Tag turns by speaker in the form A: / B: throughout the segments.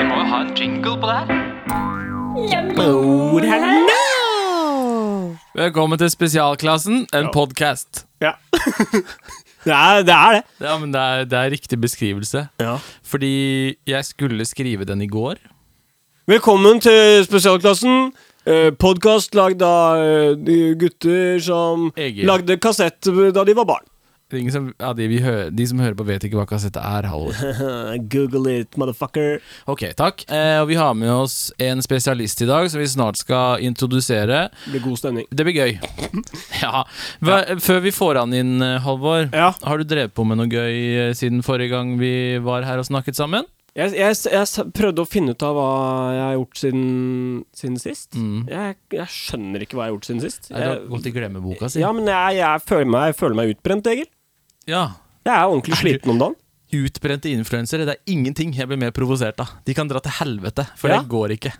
A: en jingle på det her?
B: Velkommen til Spesialklassen, en podkast.
C: Ja. det, er, det er det.
B: Ja, men det er, det er riktig beskrivelse. Fordi jeg skulle skrive den i går.
C: Velkommen til Spesialklassen. Eh, Podkast lagd av eh, de gutter som
B: Egil.
C: lagde kassett da de var barn.
B: Det er ingen som, ja, de, vi hø- de som hører på, vet ikke hva kassette er. Halvor.
C: Google it, motherfucker.
B: Ok, takk. Eh, og vi har med oss en spesialist i dag som vi snart skal introdusere.
C: Det blir god stemning.
B: Det blir gøy. Ja. Hva, Før vi får han inn, eh, Halvor,
C: Ja.
B: har du drevet på med noe gøy eh, siden forrige gang vi var her og snakket sammen?
C: Jeg, jeg, jeg s- prøvde å finne ut av hva jeg har gjort siden, siden sist. Jeg, jeg skjønner ikke hva jeg har gjort siden sist.
B: Nei, Du har
C: Jeg,
B: gått i glemmeboka si.
C: Eh, ja, men jeg, jeg, føler meg, jeg føler meg utbrent, Egil.
B: ja.
C: Jeg er ordentlig
B: Er du-
C: sliten om dagen.
B: Utbrente influensere, det er ingenting jeg blir mer provosert av. De kan dra til helvete, for
C: Ja.
B: det går ikke.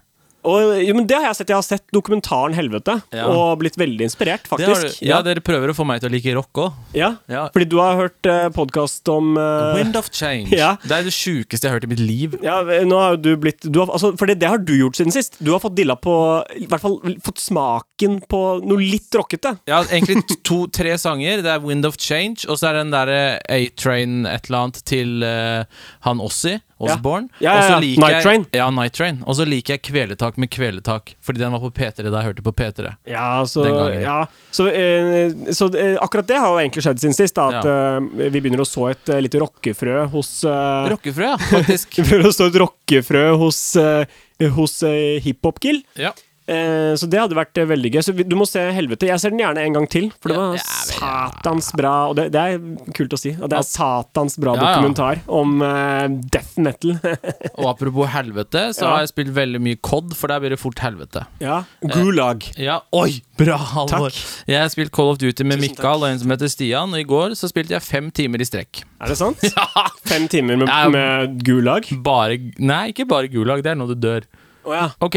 C: Og, jo, men det har jeg sett. Jeg har sett dokumentaren 'Helvete'
B: Ja.
C: og blitt veldig inspirert,
B: Det har du,
C: faktisk.
B: ja, dere prøver å få meg til å like rock òg.
C: Ja,
B: Ja.
C: fordi du har hørt eh, podkast om eh,
B: Wind of change.
C: ja.
B: Det er det sjukeste jeg har hørt i mitt liv.
C: ja, nå har jo du blitt du har, altså, For det, det har du gjort siden sist. Du har fått dilla på I hvert fall fått smaken på noe litt rockete.
B: Ja, egentlig t- to, tre sanger. Det er Wind of Change, og så er det den derre A-Train et eller annet til eh, han Ossi, Osborne.
C: Ja, ja,
B: Og så
C: ja.
B: liker
C: Night
B: jeg-
C: Train.
B: Ja, Night Train. Og så liker jeg Kvelertak med Kvelertak, fordi den var på P3 da jeg hørte på P3.
C: Ja, så,
B: Den gangen.
C: ja, så, eh, så eh, akkurat det har jo egentlig skjedd siden sist. Da, at eh, vi begynner å så et eh, lite rockefrø hos eh,
B: Rockefrø, ja, faktisk.
C: Vi begynner å så et rockefrø hos, eh, hos eh, hiphop-gill.
B: ja.
C: Eh, så det hadde vært eh, veldig gøy. Så vi, du må se 'Helvete'. Jeg ser den gjerne en gang til, for det
B: Ja,
C: var
B: ja, vel,
C: satans bra. Og det, det er kult å si. At det er satans bra
B: Ja, ja.
C: dokumentar om eh, death metal.
B: Og apropos helvete, så
C: Ja.
B: har jeg spilt veldig mye COD, for der blir det fort helvete.
C: ja.
B: Eh.
C: Gulag.
B: Ja, oi, bra, Halvor.
C: Takk.
B: Jeg har spilt Call of Duty med
C: Tusen
B: Mikael og en som heter Stian, og i går så spilte jeg fem timer i strekk.
C: Er det sant? Fem timer med,
B: Ja.
C: med gulag?
B: Bare Nei, ikke bare gulag, det er når du dør.
C: Å ja.
B: Ok.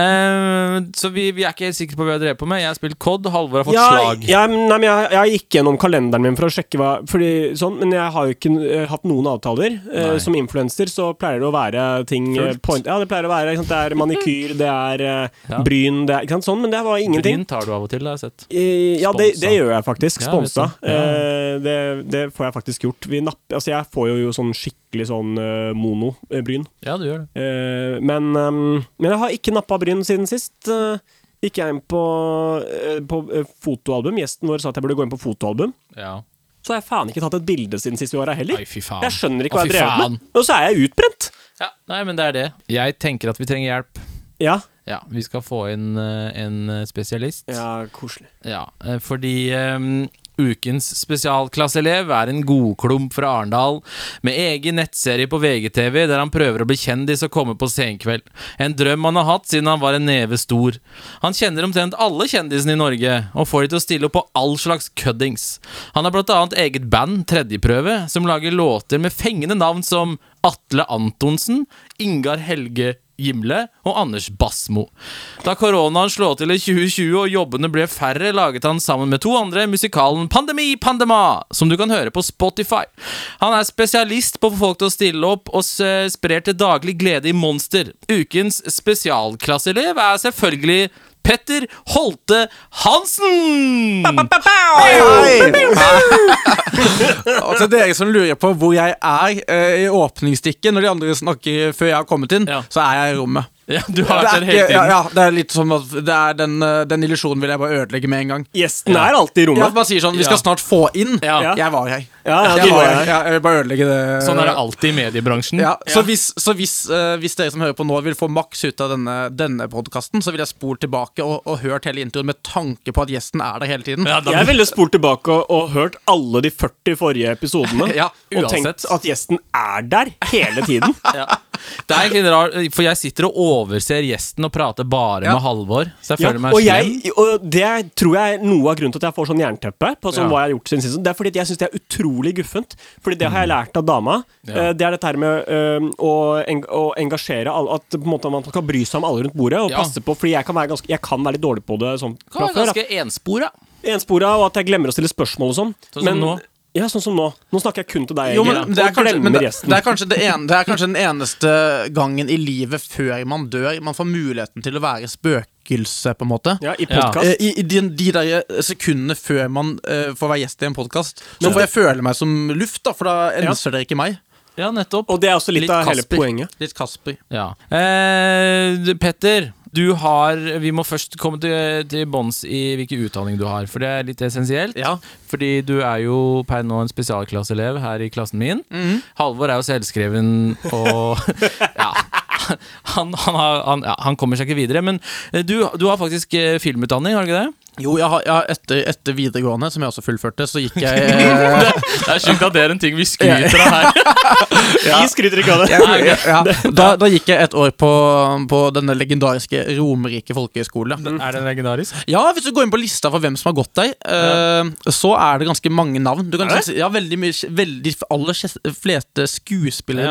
B: eh, så vi, vi er ikke helt sikre på hva vi har drevet på med. Jeg har spilt COD, Halvor har fått slag.
C: jeg, nei, men jeg, jeg gikk gjennom kalenderen min for å sjekke hva fordi, sånn, Men jeg har jo ikke eh, hatt noen avtaler. Eh,
B: Nei.
C: som influenser så pleier det å være ting eh,
B: Fullt.
C: point, Ja, det pleier å være ikke sant? Det er manikyr, det er eh,
B: Ja.
C: bryn, det er ikke sant? Sånn, men det var ingenting.
B: Din tar du av og til, det har jeg sett.
C: Eh, Ja, det,
B: Sponsa.
C: det gjør jeg faktisk.
B: Ja,
C: Sponsa.
B: vet du. Ja.
C: Eh, det, det får jeg faktisk gjort. Vi napp, altså jeg får jo, jo sånn skikkelig sånn eh, mono-bryn.
B: Ja, du gjør det.
C: Eh, men, ehm, men jeg har ikke nappa bryn siden sist. Eh, gikk jeg inn på, eh, på eh, fotoalbum. Gjesten vår sa at jeg burde gå inn på fotoalbum.
B: Ja.
C: Så har jeg faen ikke tatt et bilde siden sist vi var her heller.
B: Nei, fy faen.
C: Jeg skjønner ikke hva
B: Å,
C: jeg
B: fy
C: drev
B: faen.
C: med. Og så er jeg utbrent!
B: Ja, nei, men det er det. Jeg tenker at vi trenger hjelp.
C: Ja.
B: Ja, vi skal få inn eh, en spesialist.
C: koselig.
B: Ja, eh, fordi ehm, ukens spesialklasselev er en godklump fra Arendal, med egen nettserie på VGTV der han prøver å bli kjendis og komme på senkveld. En drøm han har hatt siden han var en neve stor. Han kjenner omtrent alle kjendisene i Norge, og får de til å stille opp på all slags køddings. Han har blant annet eget band, Tredjeprøve, som lager låter med fengende navn som Atle Antonsen, Ingar Helge Gimle og Anders Basmo. Da koronaen slå til i 2020 og jobbene ble færre, laget han sammen med to andre musikalen Pandemi Pandema, som du kan høre på Spotify. Han er spesialist på å få folk til å stille opp og s- sprer til daglig glede i Monster. Ukens spesialklasselev er selvfølgelig Petter Holte Hansen!
D: Og til Altså, dere som lurer på hvor jeg er eh, i åpningsstikket når de andre snakker før jeg har kommet inn,
B: Ja.
D: så er jeg i rommet.
B: Ja, du
D: Det
B: har vært
D: er,
B: der
D: ikke,
B: hele
D: ja,
B: tiden.
D: ja, det er litt som at det er den, eh, den illusjonen vil jeg bare ødelegge med en gang.
C: Gjesten er alltid i
D: Ja, at
C: rommet.
D: man sier sånn Vi
B: Ja.
D: skal snart få inn.
B: Ja.
D: Jeg var her.
C: Ja, ja,
D: jeg,
C: du var
D: var
C: her.
D: her. Ja, jeg vil bare ødelegge det.
B: Sånn er det alltid i mediebransjen.
D: Ja, så hvis, så hvis, eh, hvis dere som hører på nå vil få maks ut av denne, denne podkasten, så vil jeg spole tilbake og, og hørt hele introen med tanke på at gjesten er der hele tiden.
B: Ja, da-
C: Jeg ville spurt tilbake og, og hørt alle de 40 forrige episodene
D: Ja,
C: og tenkt
B: uansett.
C: at gjesten er der hele tiden.
B: Det er egentlig rar, for jeg sitter og overser gjesten og prater bare
D: Ja.
B: med Halvor. Så jeg
C: Ja,
B: føler meg
C: og,
B: slem.
C: jeg, og det tror jeg er noe av grunnen til at jeg får sånn jernteppe. På sånn
B: Ja.
C: hva jeg har gjort siden sist Det er fordi at jeg syns det er utrolig guffent. Fordi det
B: Mm.
C: har jeg lært av dama. Eh, Det er dette her med øhm, å, eng å engasjere alle. At på en måte man kan bry seg om alle rundt bordet. Og
B: Ja.
C: passe på Fordi jeg kan være ganske Jeg kan være litt dårlig på det sånn
B: Kan
C: fra
B: være
C: før.
B: ganske enspora.
C: Enspora, og at jeg glemmer å stille spørsmål og sånn.
B: Sånn som nå.
C: Ja, sånn som nå. Nå snakker jeg kun til deg,
D: Jo, men
C: Egil,
D: det er
C: Eh, og
D: kanskje, men
C: glemmer
D: det,
C: resten.
D: det, er kanskje det, en, det er kanskje den eneste gangen i livet før man dør man får muligheten til å være spøkelse, på en måte.
C: Ja, I
B: Ja.
D: Eh,
C: podkast.
D: I, i de, de der eh, sekundene før man eh, får være gjest i en podkast, så
C: Men-
D: får jeg føle meg som luft, da, for da enser dere ikke meg.
B: Ja, nettopp.
C: Og det er også litt,
B: Litt
C: av hele
B: Kasper.
C: poenget.
D: Litt Kasper.
B: Ja. Eh, du- Petter, du har Vi må først komme til, til bånds i hvilken utdanning du har, for det er litt essensielt.
D: Ja.
B: Fordi du er jo per nå en spesialklasseelev her i klassen min.
C: Mhm.
B: Halvor er jo selvskreven og Ja. Han, han, har, han, ja, han kommer seg ikke videre. Men eh, du, du har faktisk eh, filmutdanning, har du ikke det?
D: Jo, jeg har, jeg har etter, etter videregående, som jeg også fullførte, så gikk jeg eh,
B: Det er sjukt at det er en ting vi skryter av her.
C: Vi skryter ikke av det.
D: Nei, ja. da, da gikk jeg et år på, på denne legendariske Romerike folkehøgskole.
B: Er den legendarisk?
D: Ja, hvis du går inn på lista for hvem som har gått der, eh, så er det ganske mange navn. Du kan si, ja, veldig mye, veldig aller kjes- fleste skuespillere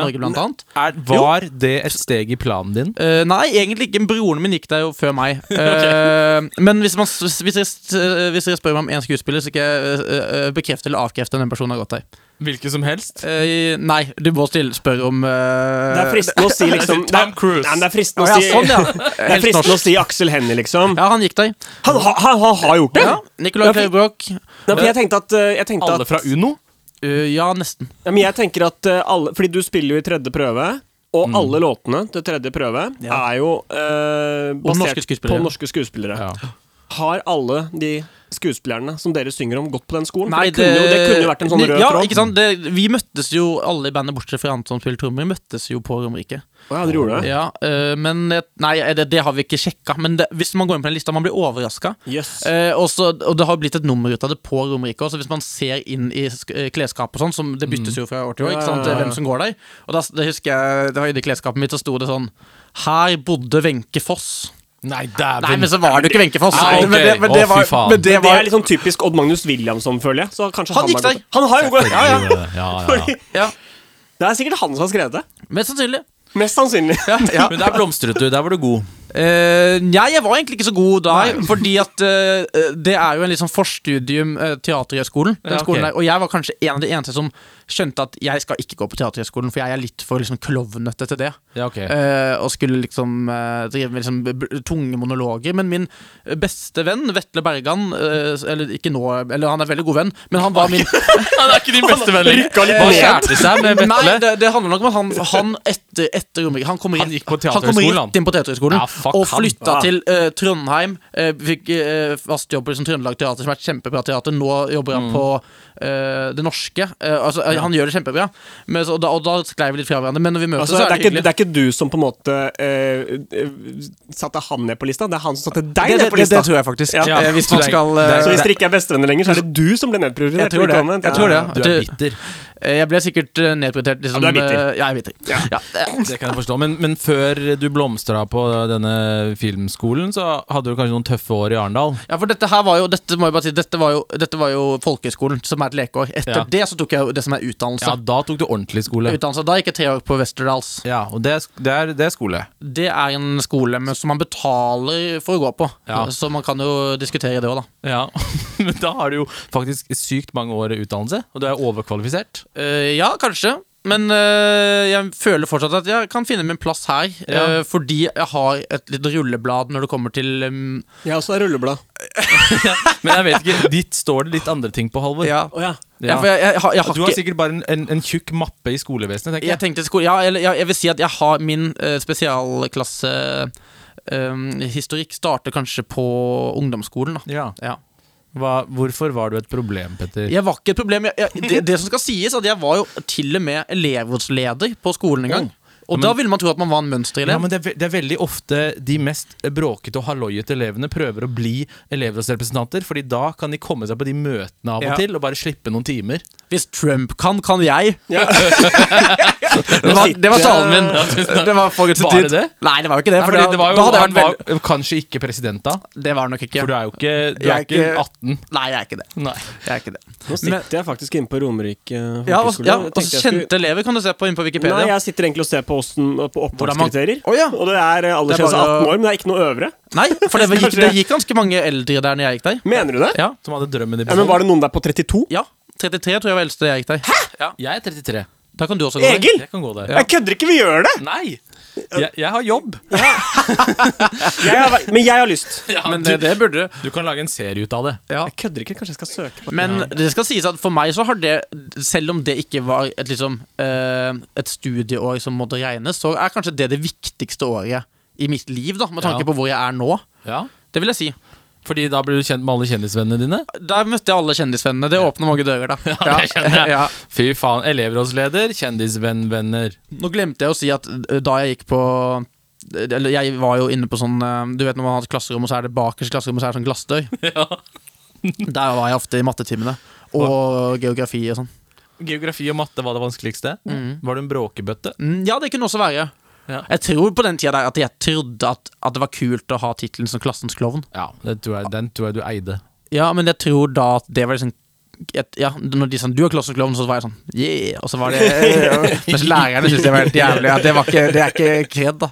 B: Ja.
D: i Norge, blant annet.
B: var det et steg i planen din?
D: Eh, nei, egentlig ikke. Broren min gikk der jo før meg. Eh, men hvis, man, s- hvis, dere, s- eh, hvis dere spør meg om én skuespiller, så skal jeg eh, eh, bekrefte eller avkrefte om den personen har gått der.
B: Hvilken som helst?
D: Eh, nei, du må stille spørre om eh,
C: Det er fristende å si liksom det
B: Tom
C: er,
B: Cruise.
C: Nei, men det er
D: Å,
C: fristende
D: ja,
C: å si
D: sånn, ja.
C: Det er
D: Helt
C: fristende å
D: norsk.
C: si Aksel Hennie, liksom.
D: Ja, han gikk der.
C: Han, ha, han, han har gjort det!
D: Ja, Nicolai
C: Ja, for-
D: Kleivbrok.
C: Nei, for jeg tenkte at, eh, jeg tenkte
B: Alle
C: at
B: fra Uno?
D: Eh, ja, nesten.
C: Ja, men jeg tenker at eh, alle Fordi du spiller jo i tredje prøve. Og alle låtene til tredje prøve er jo eh, basert
D: norske skuespillere.
C: på norske skuespillere. Har alle de skuespillerne som dere synger om, gått på den skolen? For det, kunne jo, det kunne jo vært en sånn rød
D: ja,
C: tråd.
D: Ikke sant? Det, vi møttes jo, alle i bandet bortsett fra han som spilte trommer, møttes jo på Romerike.
C: Å, ja, dere gjorde det?
D: Ja, eh, men eh, Nei, det, det har vi ikke sjekka, men det, hvis man går inn på den lista, man blir overraska.
C: Jøss.
D: Eh, og så- og det har blitt et nummer ut av det på Romerike også. Hvis man ser inn i sk- eh, klesskap og sånn, som det byttes jo fra år til år, ikke sant?
C: Mm. Ja, ja, ja.
D: hvem som går der. Og da, det husker jeg, det var inne i klesskapet mitt, så sto det sånn Her bodde Wenche Foss.
B: Nei,
D: Nei,
B: dæven.
D: men så var det jo ikke Wenche Foss.
B: Nei, ok.
D: Men det, men det
B: Å, fy
D: var,
B: faen.
D: men det
C: Det
D: var
C: er liksom typisk Odd Magnus Williamson, føler jeg. Så kanskje
D: Han
C: han,
D: gikk
C: har
D: der.
C: gått- Han har jo gått ja, ja.
B: Ja, ja, ja.
C: Fordi,
D: ja,
C: Det er sikkert han som har skrevet det.
D: Mest sannsynlig.
C: Mest sannsynlig.
D: Ja.
B: Men der blomstret du. Der var du god.
D: Eh, nei, jeg var egentlig ikke så god da. Fordi at eh, det er jo en litt sånn forstudium uh, Teaterhøgskolen.
B: Ja,
D: Den
B: ok.
D: skolen der, og jeg var kanskje en av de eneste som skjønte at jeg skal ikke gå på Teaterhøgskolen, for jeg er litt for liksom, klovnete til det.
B: Ja, ok.
D: Eh, og skulle liksom eh, drive med liksom, b- b- tunge monologer. Men min beste venn, Vetle Bergan eh, Eller ikke nå, eller han er veldig god venn, men han var min
B: Han er ikke din beste venn lenger.
C: Rykka litt
B: Han
C: ned.
B: kjærte seg med
D: Eh, Nei,
B: Vetle.
D: det, det handler nok om at han, han etter, etter Romerike Han kommer inn
B: Han gikk på
D: kommer
B: teaterhøgskolen, han.
D: rett inn på teaterhøgskolen
B: Ja, fuck
D: og
B: han.
D: flytta til eh, Trondheim. eh, fikk eh, fast jobb på liksom, Trøndelag Teater, som er et kjempebra teater. Nå jobber
B: Mm.
D: han på eh, Det Norske. Eh, altså, eh, Han gjør det kjempebra, men, så, og, da, og da sklei vi litt fra hverandre. Men når vi møtes,
C: Altså, det,
D: så
C: er ikke,
D: hyggelig.
C: det er ikke du som på en måte eh, eh, satte han ned på lista, det er han som satte deg
D: Det-
C: ned
D: det-
C: på
D: det-
C: lista.
D: det tror jeg faktisk.
C: Ja.
D: Eh, hvis man skal eh,
C: så hvis dere ikke er bestevenner lenger, så er det du som ble nedprioritert.
D: Jeg tror det.
C: ikke omvendt.
D: Jeg tror det.
B: Du er bitter.
D: eh, Jeg ble sikkert eh, nedprioritert. Liksom,
C: Ja, du er bitter.
D: eh, jeg er bitter. Ja. eh,
B: Det kan jeg forstå. Men, men før du blomstra på denne filmskolen, så hadde du kanskje noen tøffe år i Arendal?
D: Ja, for dette her var jo Dette må jeg bare si Dette var jo, dette var jo folkehøyskolen, som er et lekeår. Etter
B: Ja.
D: det så tok jeg jo det som er utdannelse.
B: Ja, da tok du ordentlig skole.
D: utdannelse. Da gikk jeg tre år på Westerdals.
B: Ja, og det er, sk- det er, det er skole.
D: Det er en skole men som man betaler for å gå på,
B: Ja.
D: så man kan jo diskutere det òg, da.
B: Ja, Men da har du jo faktisk sykt mange år utdannelse, og du er overkvalifisert.
D: Eh, ja, kanskje. Men eh, jeg føler fortsatt at jeg kan finne min plass her,
B: Ja.
D: eh, fordi jeg har et lite rulleblad når det kommer til um,
C: Jeg også er rulleblad.
B: Men jeg vet ikke, ditt står det litt andre ting på, Halvor.
D: ja.
C: Å ja.
D: ja, for jeg, jeg, har- jeg har
B: Du har
D: ikke
B: sikkert bare en, en, en tjukk mappe i skolevesenet, tenker
D: Jeg
B: jeg.
D: tenkte skole, ja, eller, ja, jeg vil si at jeg har min eh, spesialklasse eh, Historikk starter kanskje på ungdomsskolen. Da.
B: Ja.
D: Ja.
B: Hva, hvorfor var du et problem, Petter?
D: Jeg var ikke et problem. Jeg, jeg, det, det som skal sies, at jeg var jo til og med elevrådsleder på skolen en gang. Og da ville man tro at man var en mønsterelev.
B: Ja, men det er, ve- det er veldig ofte de mest bråkete og halloiete elevene prøver å bli elevrådsrepresentanter, fordi da kan de komme seg på de møtene av og
D: Ja.
B: til og bare slippe noen timer.
D: Hvis Trump kan, kan jeg.
C: Ja.
D: Det var, det var talen min. Det var, forut
B: Var det det?
D: Nei, det var jo ikke det.
B: Ja,
D: For
B: fordi
D: da,
B: det var jo,
D: da hadde jeg
B: han
D: vært veldig
B: var kanskje ikke president da,
D: Det var det nok ikke.
B: for du er jo ikke, du
D: Jeg
B: er
D: er
B: ikke
D: ikke-
B: 18.
D: Nei, jeg er ikke det.
B: Nei.
D: Jeg er ikke det.
C: Nå sitter jeg faktisk inne på Romerike eh,
D: Ja, og,
C: folkehøgskole.
D: ja,
C: Jeg
D: og
C: tenkte jeg skulle-
D: kjente elever kan du se på inn på Wikipedia.
C: Nei, jeg sitter egentlig og ser på, åssen- på
D: Hvordan man-
C: opptakskriterier.
D: Å, ja.
C: Og det er eh,
D: Det er
C: aldersgrense
D: bare å-
C: 18 år, men det er ikke noe øvre.
D: Nei, for det gikk,
C: Kanskje-
D: det gikk ganske mange eldre der når jeg gikk der.
C: Mener du det?
D: Ja.
B: Som hadde drømmen i
C: Ja, men
B: behold.
C: Var det noen der på 32?
D: Ja. 33 tror jeg var eldste jeg gikk der. Hæ?
B: Jeg er 33.
D: Da kan du også gå der.
C: Egil!
B: Jeg kan gå der.
C: Jeg kødder ikke, vi gjør det!
B: Nei! Jeg, jeg har jobb.
C: Jeg har, vært- men jeg har lyst.
D: Men det, det burde du.
B: Du kan lage en serie ut av det.
D: Ja.
C: Jeg kødder ikke, kanskje jeg skal søke på
D: Men det skal sies at for meg så har det, selv om det ikke var et, liksom, eh, et studieår som måtte regnes, så er kanskje det det viktigste året i mitt liv, da, med tanke
B: Ja.
D: på hvor jeg er nå.
B: Ja.
D: Det vil jeg si.
B: Fordi da blir du kjent med alle kjendisvennene dine.
D: Der møtte jeg alle kjendisvennene. Det åpner mange dører, da. Ja,
B: det kjenner jeg.
D: Ja.
B: Fy faen. Elevrådsleder, kjendisvennvenner.
D: Nå glemte jeg å si at eh, da jeg gikk på eller jeg var jo inne på sånn eh, Du vet når man har et klasserom, og så er det bakerst i klasserommet, så er det sånn glassdør.
B: Ja.
D: Der var jeg ofte i mattetimene. Og geografi og sånn.
B: Geografi og matte var det vanskeligste. Var du en bråkebøtte?
D: Mm, Ja, det kunne også være.
B: Ja.
D: Jeg tror på den tida der at jeg trodde at, at det var kult å ha tittelen som klassens klovn.
B: Ja, det tror jeg, den tror jeg du eide.
D: Ja, men jeg tror da at det var liksom et, ja, Når de sa 'du er klassens klovn', så var jeg sånn yeah! Og så var det Mens lærerne syntes det var helt jævlig. Ja, det, var ikke, det er ikke kred, da.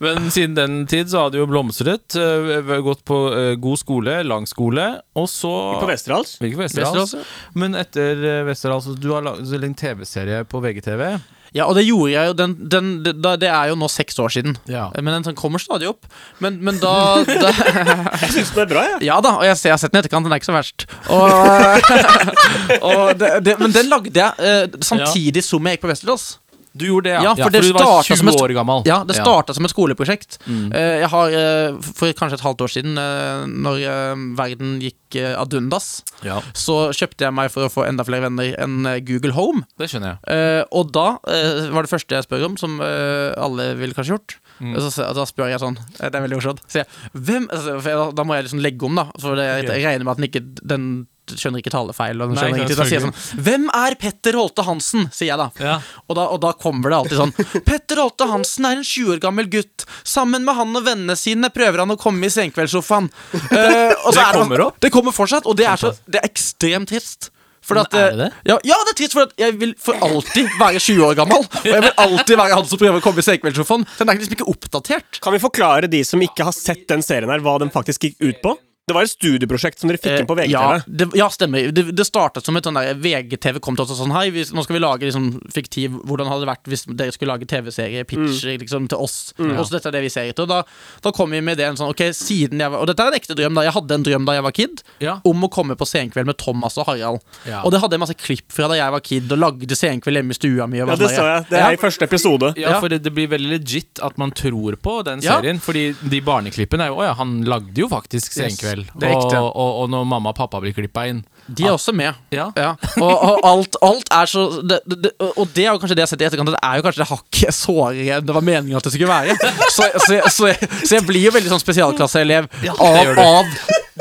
B: Men siden den tid så har du jo blomstret. øh, Gått på øh, god skole, lang skole, og så
C: På Vesterålen?
B: Ikke på Vesterålen. altså. Men etter øh, Vesterålen, så du har lagd en TV-serie på VGTV.
D: Ja, og det gjorde jeg jo den, den, det, da- det er jo nå seks år siden.
B: Ja.
D: Men den sånn kommer stadig opp. Men, men da, da
C: Jeg syns den er bra, jeg.
D: Ja da, og jeg, ser, jeg har sett den i etterkant, den er ikke så verst. Og, og det, det, men den lagde jeg eh, samtidig som jeg gikk på Westerdals.
B: Du gjorde det, ja.
D: Ja, for det
B: du var
D: startet
B: 20
D: som et-
B: år gammel.
D: Ja, det starta som et skoleprosjekt. Eh, jeg har, eh, For kanskje et halvt år siden, eh, når eh, verden gikk eh, ad undas,
B: Ja.
D: så kjøpte jeg meg for å få enda flere venner en eh, Google Home.
B: Det skjønner jeg.
D: Eh, og da eh, var det første jeg spør om, som eh, alle ville kanskje gjort.
B: Mm.
D: Og så, da spør jeg sånn eh, Det er veldig morsomt. Så jeg, hvem, altså, for jeg, da må jeg liksom legge om, da. For det, jeg,
B: Ok.
D: regner med at den ikke Den skjønner ikke talefeil. Og den
B: Nei,
D: skjønner
B: ikke
D: ingenting. da sier jeg sånn Hvem er Petter Holte Hansen? sier jeg da.
B: Ja.
D: Og da, og da kommer det alltid sånn Petter Holte Hansen er en 20 år gammel gutt. Sammen med han og vennene sine prøver han å komme i senkveldssofaen. Eh, og så
B: Det
D: er
B: kommer opp?
D: Det kommer fortsatt, og det er, så, det er ekstremt trist. For
B: Men
D: at, eh,
B: er det det?
D: Ja, ja, det er trist, for at jeg vil for alltid være 20 år gammel. Og jeg vil alltid være han som prøver å komme i senkveldssofaen. Så Den er liksom ikke oppdatert.
C: Kan vi forklare de som ikke har sett den serien her, hva den faktisk gikk ut på? Det var et studieprosjekt som dere fikk inn på
D: Eh, Ja,
C: VGTV.
D: det, ja stemmer. Det, det startet som et sånn der VGTV kom til oss og sånn Hei, vi, nå skal vi lage liksom, fiktiv Hvordan hadde det vært hvis dere skulle lage TV-serie, pitcher
C: Mm.
D: liksom, til oss? Og så dette er det vi ser etter. Og da, da kom vi med ideen sånn Ok, siden jeg var Og dette er en ekte drøm, da. Jeg hadde en drøm da jeg var kid
B: Ja.
D: om å komme på Senkveld med Thomas og Harald.
B: Ja.
D: Og det hadde jeg masse klipp fra da jeg var kid og lagde Senkveld hjemme i stua mi. Og
C: Ja,
D: var
C: det
D: sånn
C: så
D: der,
C: jeg. Det er i første episode.
B: Ja,
D: Ja.
B: for det, det blir veldig legit at man tror på den
D: Ja.
B: serien. Fordi de barneklippene er jo Å ja, han lagde jo faktisk Senkveld.
D: det er
B: og,
D: ekte.
B: og, og når mamma og pappa blir klippa inn
D: De er også med.
B: Ja.
D: Og, og alt, alt er så det, det, det- Og det er jo kanskje det jeg har sett i etterkant, at det er jo kanskje det hakket sårere enn det var meningen at det skulle være. Så, så, jeg- så, jeg- så jeg blir jo veldig sånn spesialklasseelev
B: Ja, det gjør du.
D: av, av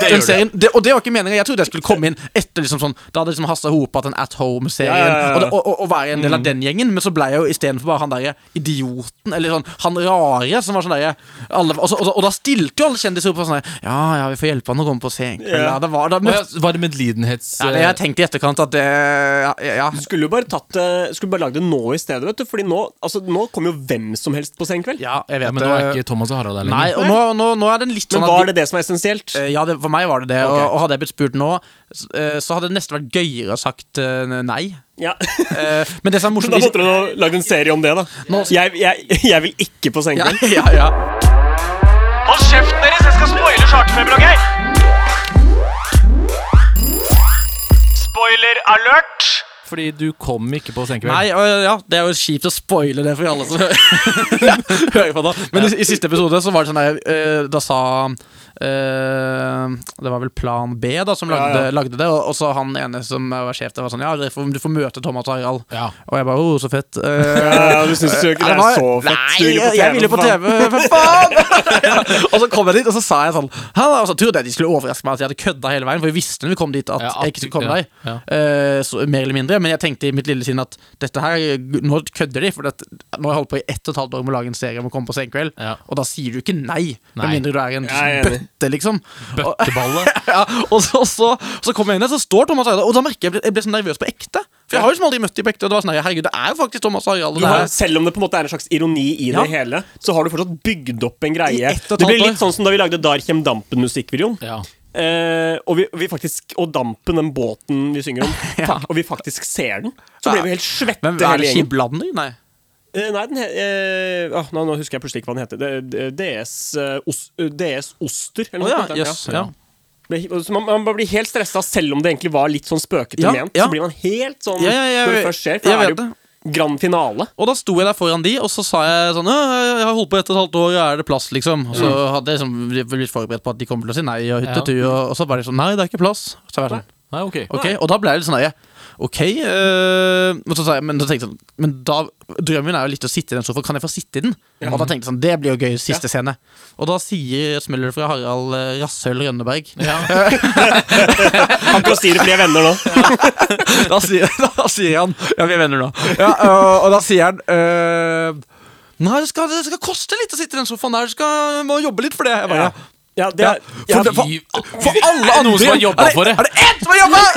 B: gjør
D: den
B: du.
D: serien. Det, og det var ikke meningen. Jeg trodde jeg skulle komme inn etter liksom sånn Da hadde liksom hasta hopa til en At Home-serien
C: Ja, ja, ja.
D: Og, det- og, og, og være en del
B: Mm.
D: av den gjengen, men så ble jeg jo istedenfor bare han derre idioten, eller sånn han rare, som var sånn derre alle- og, så- og, så- og da stilte jo alle kjendiser opp og sånn der, Ja, ja, vi får hjelpe han å komme på scenen.
C: Ja.
D: Ja, det var, da,
B: Å ja, var det medlidenhets...
D: ja, det har jeg tenkt i etterkant at det Ja. ja.
C: Du skulle jo bare tatt det- skulle bare lagd det nå i stedet, vet du. Fordi nå, altså, nå kommer jo hvem som helst på Senkveld.
D: ja jeg vet
B: men nå er ikke Thomas og Harald der
D: Nei,
B: lenger.
D: og nå, nå, nå er den litt sånn
C: Men var det det som er essensielt?
D: Eh, Ja, det, for meg var det det.
C: Ok.
D: Og, og hadde jeg blitt spurt nå, s- eh, så hadde det nesten vært gøyere å sagt eh, nei.
C: Ja.
D: Eh, Men det som er
C: Da måtte
D: morsomt
C: dere ha lagd en serie om det, da. Jeg, jeg, jeg vil ikke på
D: ja,
C: Senkveld.
D: ja, ja.
A: Hold kjeften deres, jeg skal spoile charterfeber og greier. Spoiler alert.
B: Fordi du kom ikke på Senkveld.
D: Nei, og, ja, Det er jo kjipt å spoile det for alle som hører på. da Men i, i siste episode så var det sånn der eh, Da sa eh, Det var vel Plan B da som lagde,
C: Ja, ja.
D: lagde det, og, og så han ene som var sjef der, var sånn Ja, dere får- du får møte Thomas og Harald.
B: Ja.
D: Og jeg bare Å, så fett. Eh,
C: Ja, du syns jo ikke det
D: Ja,
C: er
D: var-
C: så fett? Du
D: Nei, jeg, jeg ville på
C: for faen.
D: TV, for faen! ja. Og så kom jeg dit, og så sa jeg sånn «Hæ?» Og så trodde jeg de skulle overraske meg at jeg hadde kødda hele veien, for vi visste når vi kom dit at
B: Ja, at
D: jeg ikke skulle
B: du-
D: komme
B: ja,
D: der. Eh, så, mer eller mindre. Men jeg tenkte i mitt lille sinn at dette her Nå kødder de, for dette, nå har jeg holdt på i ett og et halvt år med å lage en serie om å komme på Senkveld,
B: Ja.
D: og da sier du ikke nei, med
B: Nei.
D: mindre du er en
C: Jeg er enig.
D: bøtte, liksom. Og-
B: Bøtteballe.
D: ja, og så, så, så kom jeg inn der, så står Thomas Harald, og da merker jeg jeg ble, jeg ble så nervøs på ekte. For jeg har jo liksom aldri møtt dem på ekte, og det var sånn «Nei, herregud, det er jo faktisk Thomas Harald. og
C: Du
D: det
C: har,
D: er-
C: selv om det på en måte er en slags ironi i
D: Ja.
C: det hele, så har du fortsatt bygd opp en
D: I
C: greie.
D: ett og et
C: Det blir
D: halvt
C: litt
D: år.
C: sånn som da vi lagde Darkjem Dampen-musikkvideoen.
B: Ja.
C: eh, og, vi, vi faktisk, og dampen, den båten vi synger om, fak- og vi faktisk ser den, så blir vi helt svette.
D: Men er det
C: hele gjengen.
D: skibladning? Nei.
C: Eh, Nei, den he, eh, ah, nå, nå husker jeg plutselig ikke hva den heter. Det- det- DS, eh, os, eh, DS Oster, eller
D: Å
C: noe
D: ja.
C: sånt.
D: Jøss. ja.
C: Ble- Så man, man bare blir helt stressa, selv om det egentlig var litt sånn spøkete
D: Ja,
C: ment.
D: ja.
C: Så blir man helt sånn
D: Ja, ja, ja,
C: når det
D: jeg-
C: først skjer.
D: jeg
C: For da er
D: vet
C: det jo grand finale.
D: Og da sto jeg der foran de, og så sa jeg sånn «Ja, Jeg har holdt på ett og et halvt år, er det plass, liksom? Og så hadde jeg liksom blitt forberedt på at de kommer til å si nei og hytte
B: Ja.
D: og tu, og, og så var de sånn Nei, det er ikke plass. Så jeg var sånn
B: Nei, ok.
D: Ok, Og da ble jeg litt sånn «Ja, Ok, eh, men så sa jeg, men da tenkte jeg sånn Men da, drømmen er jo litt å sitte i den sofaen. Kan jeg få sitte i den? Og da tenkte jeg sånn Det blir jo gøy. Siste scene. Og da sier smeller det fra Harald eh, Rasshøl Rønneberg
C: Han prostyrer flere venner nå.
D: da, sier, da sier han Ja, vi er venner nå. Ja, øh, og da sier han øh, Nei, det skal, det skal koste litt å sitte i den sofaen der. Du skal, må jobbe litt for det. Jeg bare,
C: Ja. Ja, det
D: ja.
C: er,
D: For,
C: ja,
D: det- for,
B: Gi-
D: for alle
B: Er det
D: andre
B: noen som har jobbet for det?
D: Er det én som har jobba?!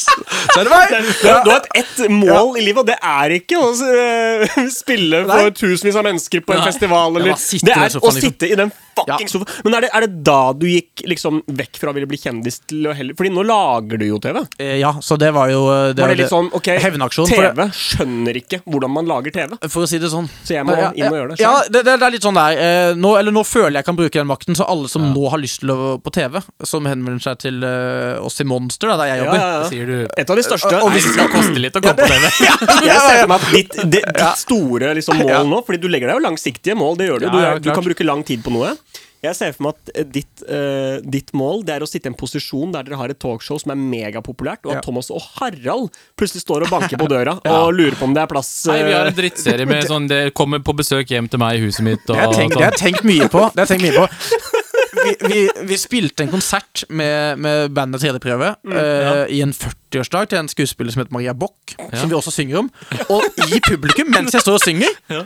D: Så er det meg!
C: du har hatt ett mål i livet, og det er ikke å eh, spille for
D: Nei.
C: tusenvis av mennesker på en
B: Nei.
C: festival.
D: Det
C: Eller.
D: var sitte
C: Det
D: i den
C: er å
D: sofaen, liksom.
C: sitte i den fucking
D: Ja.
C: sofaen. Men er det, er det da du gikk liksom vekk fra å ville bli kjendis til å heller Fordi nå lager du jo TV.
D: Eh, Ja, så det var jo eh,
C: Var
D: var
C: det litt sånn, ok,
D: Hevnaksjon. for det-
C: TV skjønner ikke hvordan man lager TV.
D: For å si det sånn.
C: Så jeg må
D: Ja,
C: inn og gjøre det selv.
D: Ja, det, det, det er litt sånn der eh, nå, eller nå føler jeg jeg kan bruke den makten, så alle som nå har lyst til å på TV, som henvender seg til eh, oss i Monster, da, der jeg jobber
B: Hva sier du?
C: Et av de største
D: Og- og
B: Nei, det skal koste litt å komme på TV.
C: Jeg ser for meg at ditt, det, ditt store liksom, mål nå Fordi du legger deg jo langsiktige mål, det gjør du.
D: Ja,
C: Du,
D: ja,
C: er, du
D: klart.
C: kan bruke lang tid på noe. Jeg ser for meg at eh, ditt, eh, ditt mål Det er å sitte i en posisjon der dere har et talkshow som er megapopulært, og at
D: Ja.
C: Thomas og Harald plutselig står og banker på døra og lurer på om det er plass.
B: Nei, vi har
C: eh,
B: en drittserie med sånn Det kommer på besøk hjem til meg i huset mitt. Og,
D: Det har jeg tenkt, det
B: sånn.
D: har jeg tenkt mye på. Det har jeg tenkt mye på. Vi, vi, vi spilte en konsert med, med bandet 3D-prøve eh, i en 40-årsdag til en skuespiller som heter Maria Bock, som vi også synger om. Og i publikum, mens jeg står og synger,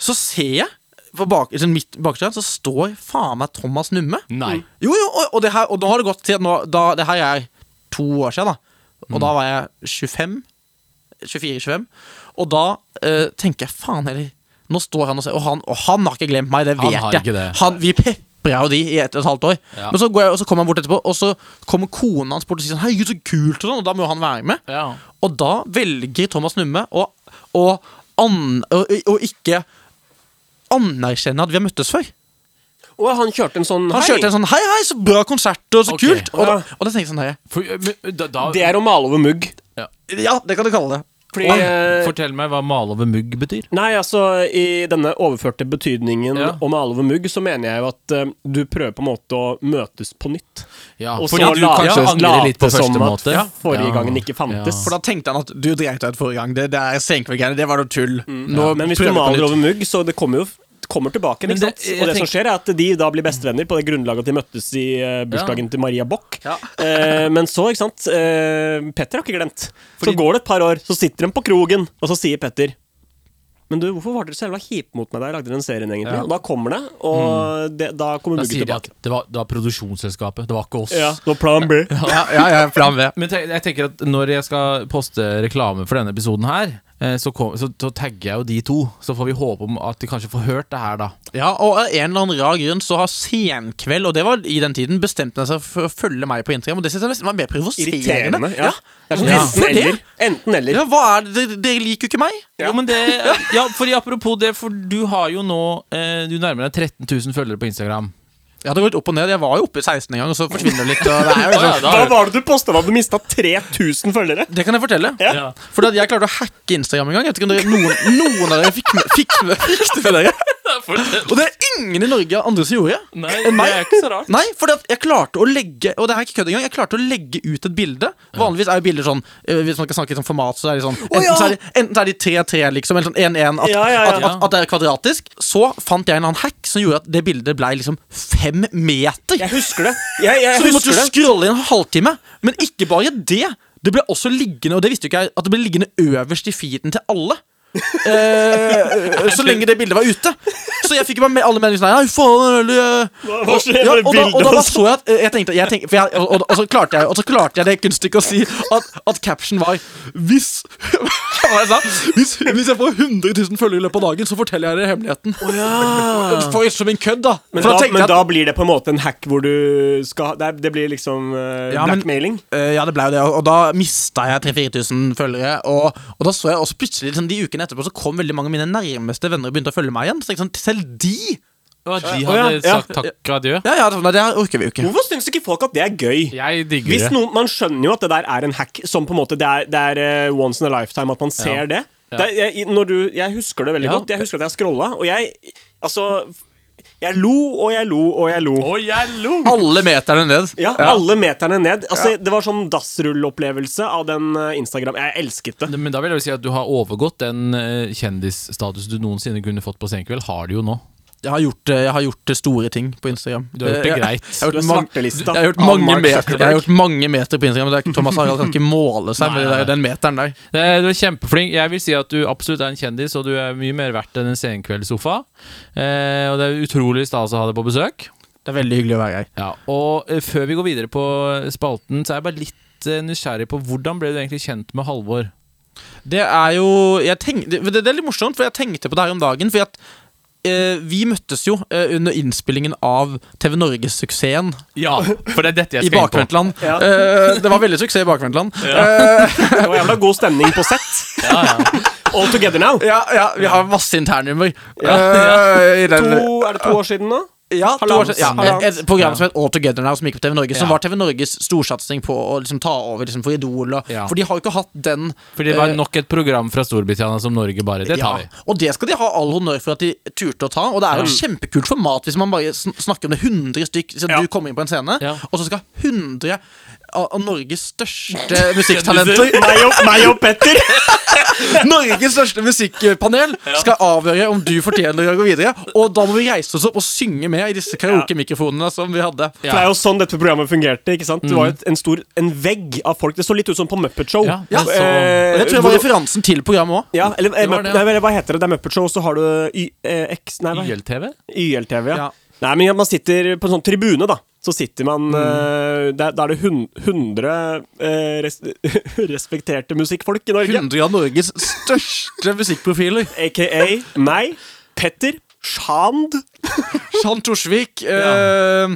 D: så ser jeg på bak, sånn midt bakskjerm, så står faen meg Thomas Numme.
B: Nei.
D: Jo, jo, og, og, det her, og nå har det gått til at nå, da, Det her er to år siden, da. Og
B: Mm.
D: da var jeg 25. 24-25. Og da eh, tenker jeg faen heller Nå står han og ser Og han, og han har ikke glemt meg, det
B: Han
D: vet
B: har ikke
D: jeg.
B: det.
D: Han, vi pepra jo de i ett og et halvt år.
B: Ja.
D: Men så, går jeg, og så kommer han bort etterpå, og så kommer kona hans bort og sier sånn Herregud, så kult, og sånn, og da må jo han være med.
B: Ja.
D: Og da velger Thomas Numme å, å, an, å, å ikke anerkjenne at vi har møttes før.
C: eh, og han kjørte en sånn
D: Han kjørte en sånn 'hei, hei, så bra konsert, og så
B: Ok.
D: kult'. Og da, og da tenkte jeg sånn nei,
B: For, men, da,
D: sånn-
B: da,
C: Det er å male over mugg.
D: Ja, det kan du kalle det.
C: Fordi eh,
B: Fortell meg hva male over mugg betyr.
C: Nei, altså i denne overførte betydningen
B: Ja.
C: om male over mugg, så mener jeg jo at eh, du prøver på en måte å møtes på nytt.
B: Ja,
C: Og
B: fordi
C: så
B: du
C: la-
B: kanskje
C: ja,
B: angrer litt på
C: late som
B: første
C: at
B: måte.
C: forrige gangen ikke fantes.
D: eh, For da tenkte han at du dreit deg ut forrige gang. Det, det er senkveldgreiene, det var noe tull. Nå
C: Mm. Men hvis du
D: prøver vi på
C: maler
D: nytt.
C: over mugg, så det kommer jo kommer tilbake.
B: Men
C: Ikke
B: det-
C: sant?
B: jeg
C: og det som
B: tenker-
C: skjer, er at de da blir bestevenner på det grunnlaget at de møttes i eh, bursdagen til Maria Bock.
D: Ja.
C: Eh, men så, ikke sant eh, Petter har ikke glemt. Så går det et par år, så sitter de på krogen, og så sier Petter men du, hvorfor var dere så jævla kjipe mot meg da jeg lagde den serien? egentlig? Og da kommer det, og
B: Mm.
C: det, da kommer
B: Da
C: mugget
B: sier de at
C: tilbake.
B: det var, det var produksjonsselskapet, det var ikke oss.
C: Ja, det var plan B.
D: Ja, ja, ja, plan V.
B: Men te- jeg tenker at når jeg skal poste reklame for denne episoden her, eh, så, kom, så, så tagger jeg jo de to. Så får vi håpe om at de kanskje får hørt det her, da.
D: Ja, og av en eller annen rar grunn så har Senkveld, og det var i den tiden, bestemt seg for å følge meg på Instagram, og det synes jeg nesten var mer provoserende.
C: Irriterende. Ja. Det er sånn
D: Ja.
C: enten
D: For det?
C: eller. Enten eller.
D: Ja, hva er det? Dere- Dere liker jo ikke meg.
B: Jo, men det, ja, fordi Apropos det, for du har jo nå eh, Du nærmer deg 13 000 følgere på Instagram.
D: Ja, det har gått opp og ned. Jeg var jo oppe i 16 en gang, og så forsvinner det litt. Og det, er jo
B: Ja,
D: liksom,
B: da-
C: Hva var det du posta da du mista 3000 følgere?
D: det kan jeg fortelle.
B: Ja.
D: Fordi at jeg klarte å hacke Instagram en gang. Jeg vet ikke om dere, noen, noen av dere fikk med, fikk med, fikk det med dere. Og det er ingen i Norge andre som gjorde.
B: Nei, det er ikke så rart.
D: Nei, fordi at jeg klarte å legge Og det her er ikke kødd engang. Jeg klarte å legge ut et bilde. Vanligvis er jo bilder sånn eh, Hvis man skal snakke i sånn format, så er de sånn Enten,
C: ja!
D: så, er de, enten så er de 3-3, liksom, eller sånn 1-1. At,
C: Ja, ja, ja.
D: At, at, at det er kvadratisk. Så fant jeg en annen hack som gjorde at det bildet ble liksom fem meter.
C: Jeg husker det. Jeg, jeg
D: Så vi måtte
C: husker
D: jo
C: det.
D: scrolle i en halvtime. Men ikke bare det. Det ble også liggende Og det visste jo ikke jeg at det ble liggende øverst i feeden til alle. Eh, så lenge det bildet var ute. Så jeg fikk bare med alle meldingene sånn, «Nei, faen, eller, eh».
C: Hva- hva skjer
D: ja,
C: med
D: og, da, og da
C: bildet,
D: bare
C: altså?
D: så jeg at eh, jeg tenkte, jeg tenkte for jeg, og, og, og, så klarte jeg, og så klarte jeg det kunststykket å si at, at caption var 'Hvis faen er det sant? Hvis, hvis jeg får 100 000 følgere i løpet av dagen, så forteller jeg dere hemmeligheten. For ikke som en kødd, da.
C: Men,
D: For
C: da,
D: tenkte
C: men
D: jeg at-
C: da blir det på en måte en hack hvor du skal Det, er- det blir liksom eh,
D: Ja, men-
C: blackmailing.
D: Eh, ja, det ble jo det, og, og da mista jeg 3000-4000 følgere. Og, og da så jeg også plutselig liksom, de ukene etterpå Så kom veldig mange av mine nærmeste venner og begynte å følge meg igjen. Så jeg, sånn, selv de
B: Og at de
C: Å, ja,
B: hadde
C: ja.
B: sagt takk og adjø.
D: Ja, ja, det, det her orker vi jo ikke.
C: Hvorfor syns ikke folk at det er gøy?
B: Jeg digger
C: Hvis
B: det.
C: noen, Man skjønner jo at det der er en hack som på en måte Det er, det er eh, once in a lifetime at man ser det. det er, jeg, når du, jeg husker det veldig
B: Ja.
C: godt. Jeg husker at jeg scrolla, og jeg Altså Jeg lo og jeg lo og jeg lo.
B: Og jeg lo!
D: Alle meterne ned.
C: Ja, alle meterne ned. Altså, Det var sånn dassrullopplevelse av den eh, Instagram. Jeg elsket det.
B: Men da vil jeg jo si at du har overgått den eh, kjendisstatus du noensinne kunne fått på Senkveld. Har du jo nå.
D: Jeg har gjort, eh, jeg har gjort eh, store ting på Instagram.
B: Du har gjort det
D: Eh, jeg-
B: greit.
D: Jeg, har
C: Du
D: gjort
C: er
D: ma-
C: svartelista.
D: jeg har gjort
C: av
D: mange
C: Mark
D: meter Jeg har
C: Zuckerberg.
D: gjort mange meter på Instagram. Det er, ikke- Thomas Harald kan ikke måle seg med det
B: Nei,
D: der, den meteren der.
B: Det er- Du er kjempeflink. Jeg vil si at du absolutt er en kjendis, og du er mye mer verdt enn en senkveldssofa. Eh, og det er utrolig stas å ha deg på besøk.
D: Det er veldig hyggelig å være her.
B: Ja, og eh, før vi går videre på spalten, så er jeg bare litt eh, nysgjerrig på hvordan ble du egentlig kjent med Halvor?
D: Det er jo jeg tenk, det, det er litt morsomt, for jeg tenkte på det her om dagen. Fordi at eh, vi møttes jo eh, under innspillingen av TV Norges-suksessen
B: Ja, for det er dette
D: i Bakvendtland. Eh, det var veldig suksess i Bakvendtland. Eh,
C: Det var jævla god stemning på sett.
B: Ja, ja.
C: All together now.
D: ja, ja, vi har masse internhumor. Eh, i den-
C: To, er det to år siden nå?
D: Ja, to år
C: Halvannet-
D: siden, ja,
C: halvannet.
D: et, et program som het All Together Now, som gikk på TV Norge. Som
B: Ja.
D: var TV Norges storsatsing på å liksom, ta over liksom, for Idol. Og,
B: Ja.
D: For de har jo ikke hatt den.
B: For det var nok et program fra Storbritannia som Norge bare Det tar vi.
D: ja.
B: Mm.
D: Og det skal de ha all honnør for at de turte å ta. Og det er jo et kjempekult format hvis man bare sn snakker om det 100 stykk. Så
C: Ja.
D: du kommer inn på en scene,
B: Ja.
D: og så skal 100 av, av Norges største
B: Eh,
D: musikktalenter
C: Meg og, meg og Petter!
D: Norges største musikkpanel skal avgjøre om du fortjener å gå videre. Og da må vi reise oss opp og synge med i disse karaoke-mikrofonene som vi hadde.
C: For Det er jo sånn dette programmet fungerte. ikke sant? Det var jo et- en stor en vegg av folk. Det så litt ut som på Muppet Show.
B: Mm. Ja, jeg så-
C: Eh,
D: Og Det tror jeg var
C: hvor-
D: referansen til programmet òg.
C: ja, eller, eh,
B: var
C: Mupp-
B: det, ja.
C: nei, vel, hva heter det? Det er Muppet Show, så har du Y- eh, X Nei, hva heter
B: YLTV?
C: YLTV, ja.
D: Ja.
C: Nei, men man sitter på en sånn tribune, da. Så sitter
B: Mm.
C: man eh, der, Da er det hun- 100 eh, res respekterte musikkfolk i Norge.
D: 100 av Norges største musikkprofiler.
C: Aka meg, Petter, Shand.
D: Shan Torsvik. eh,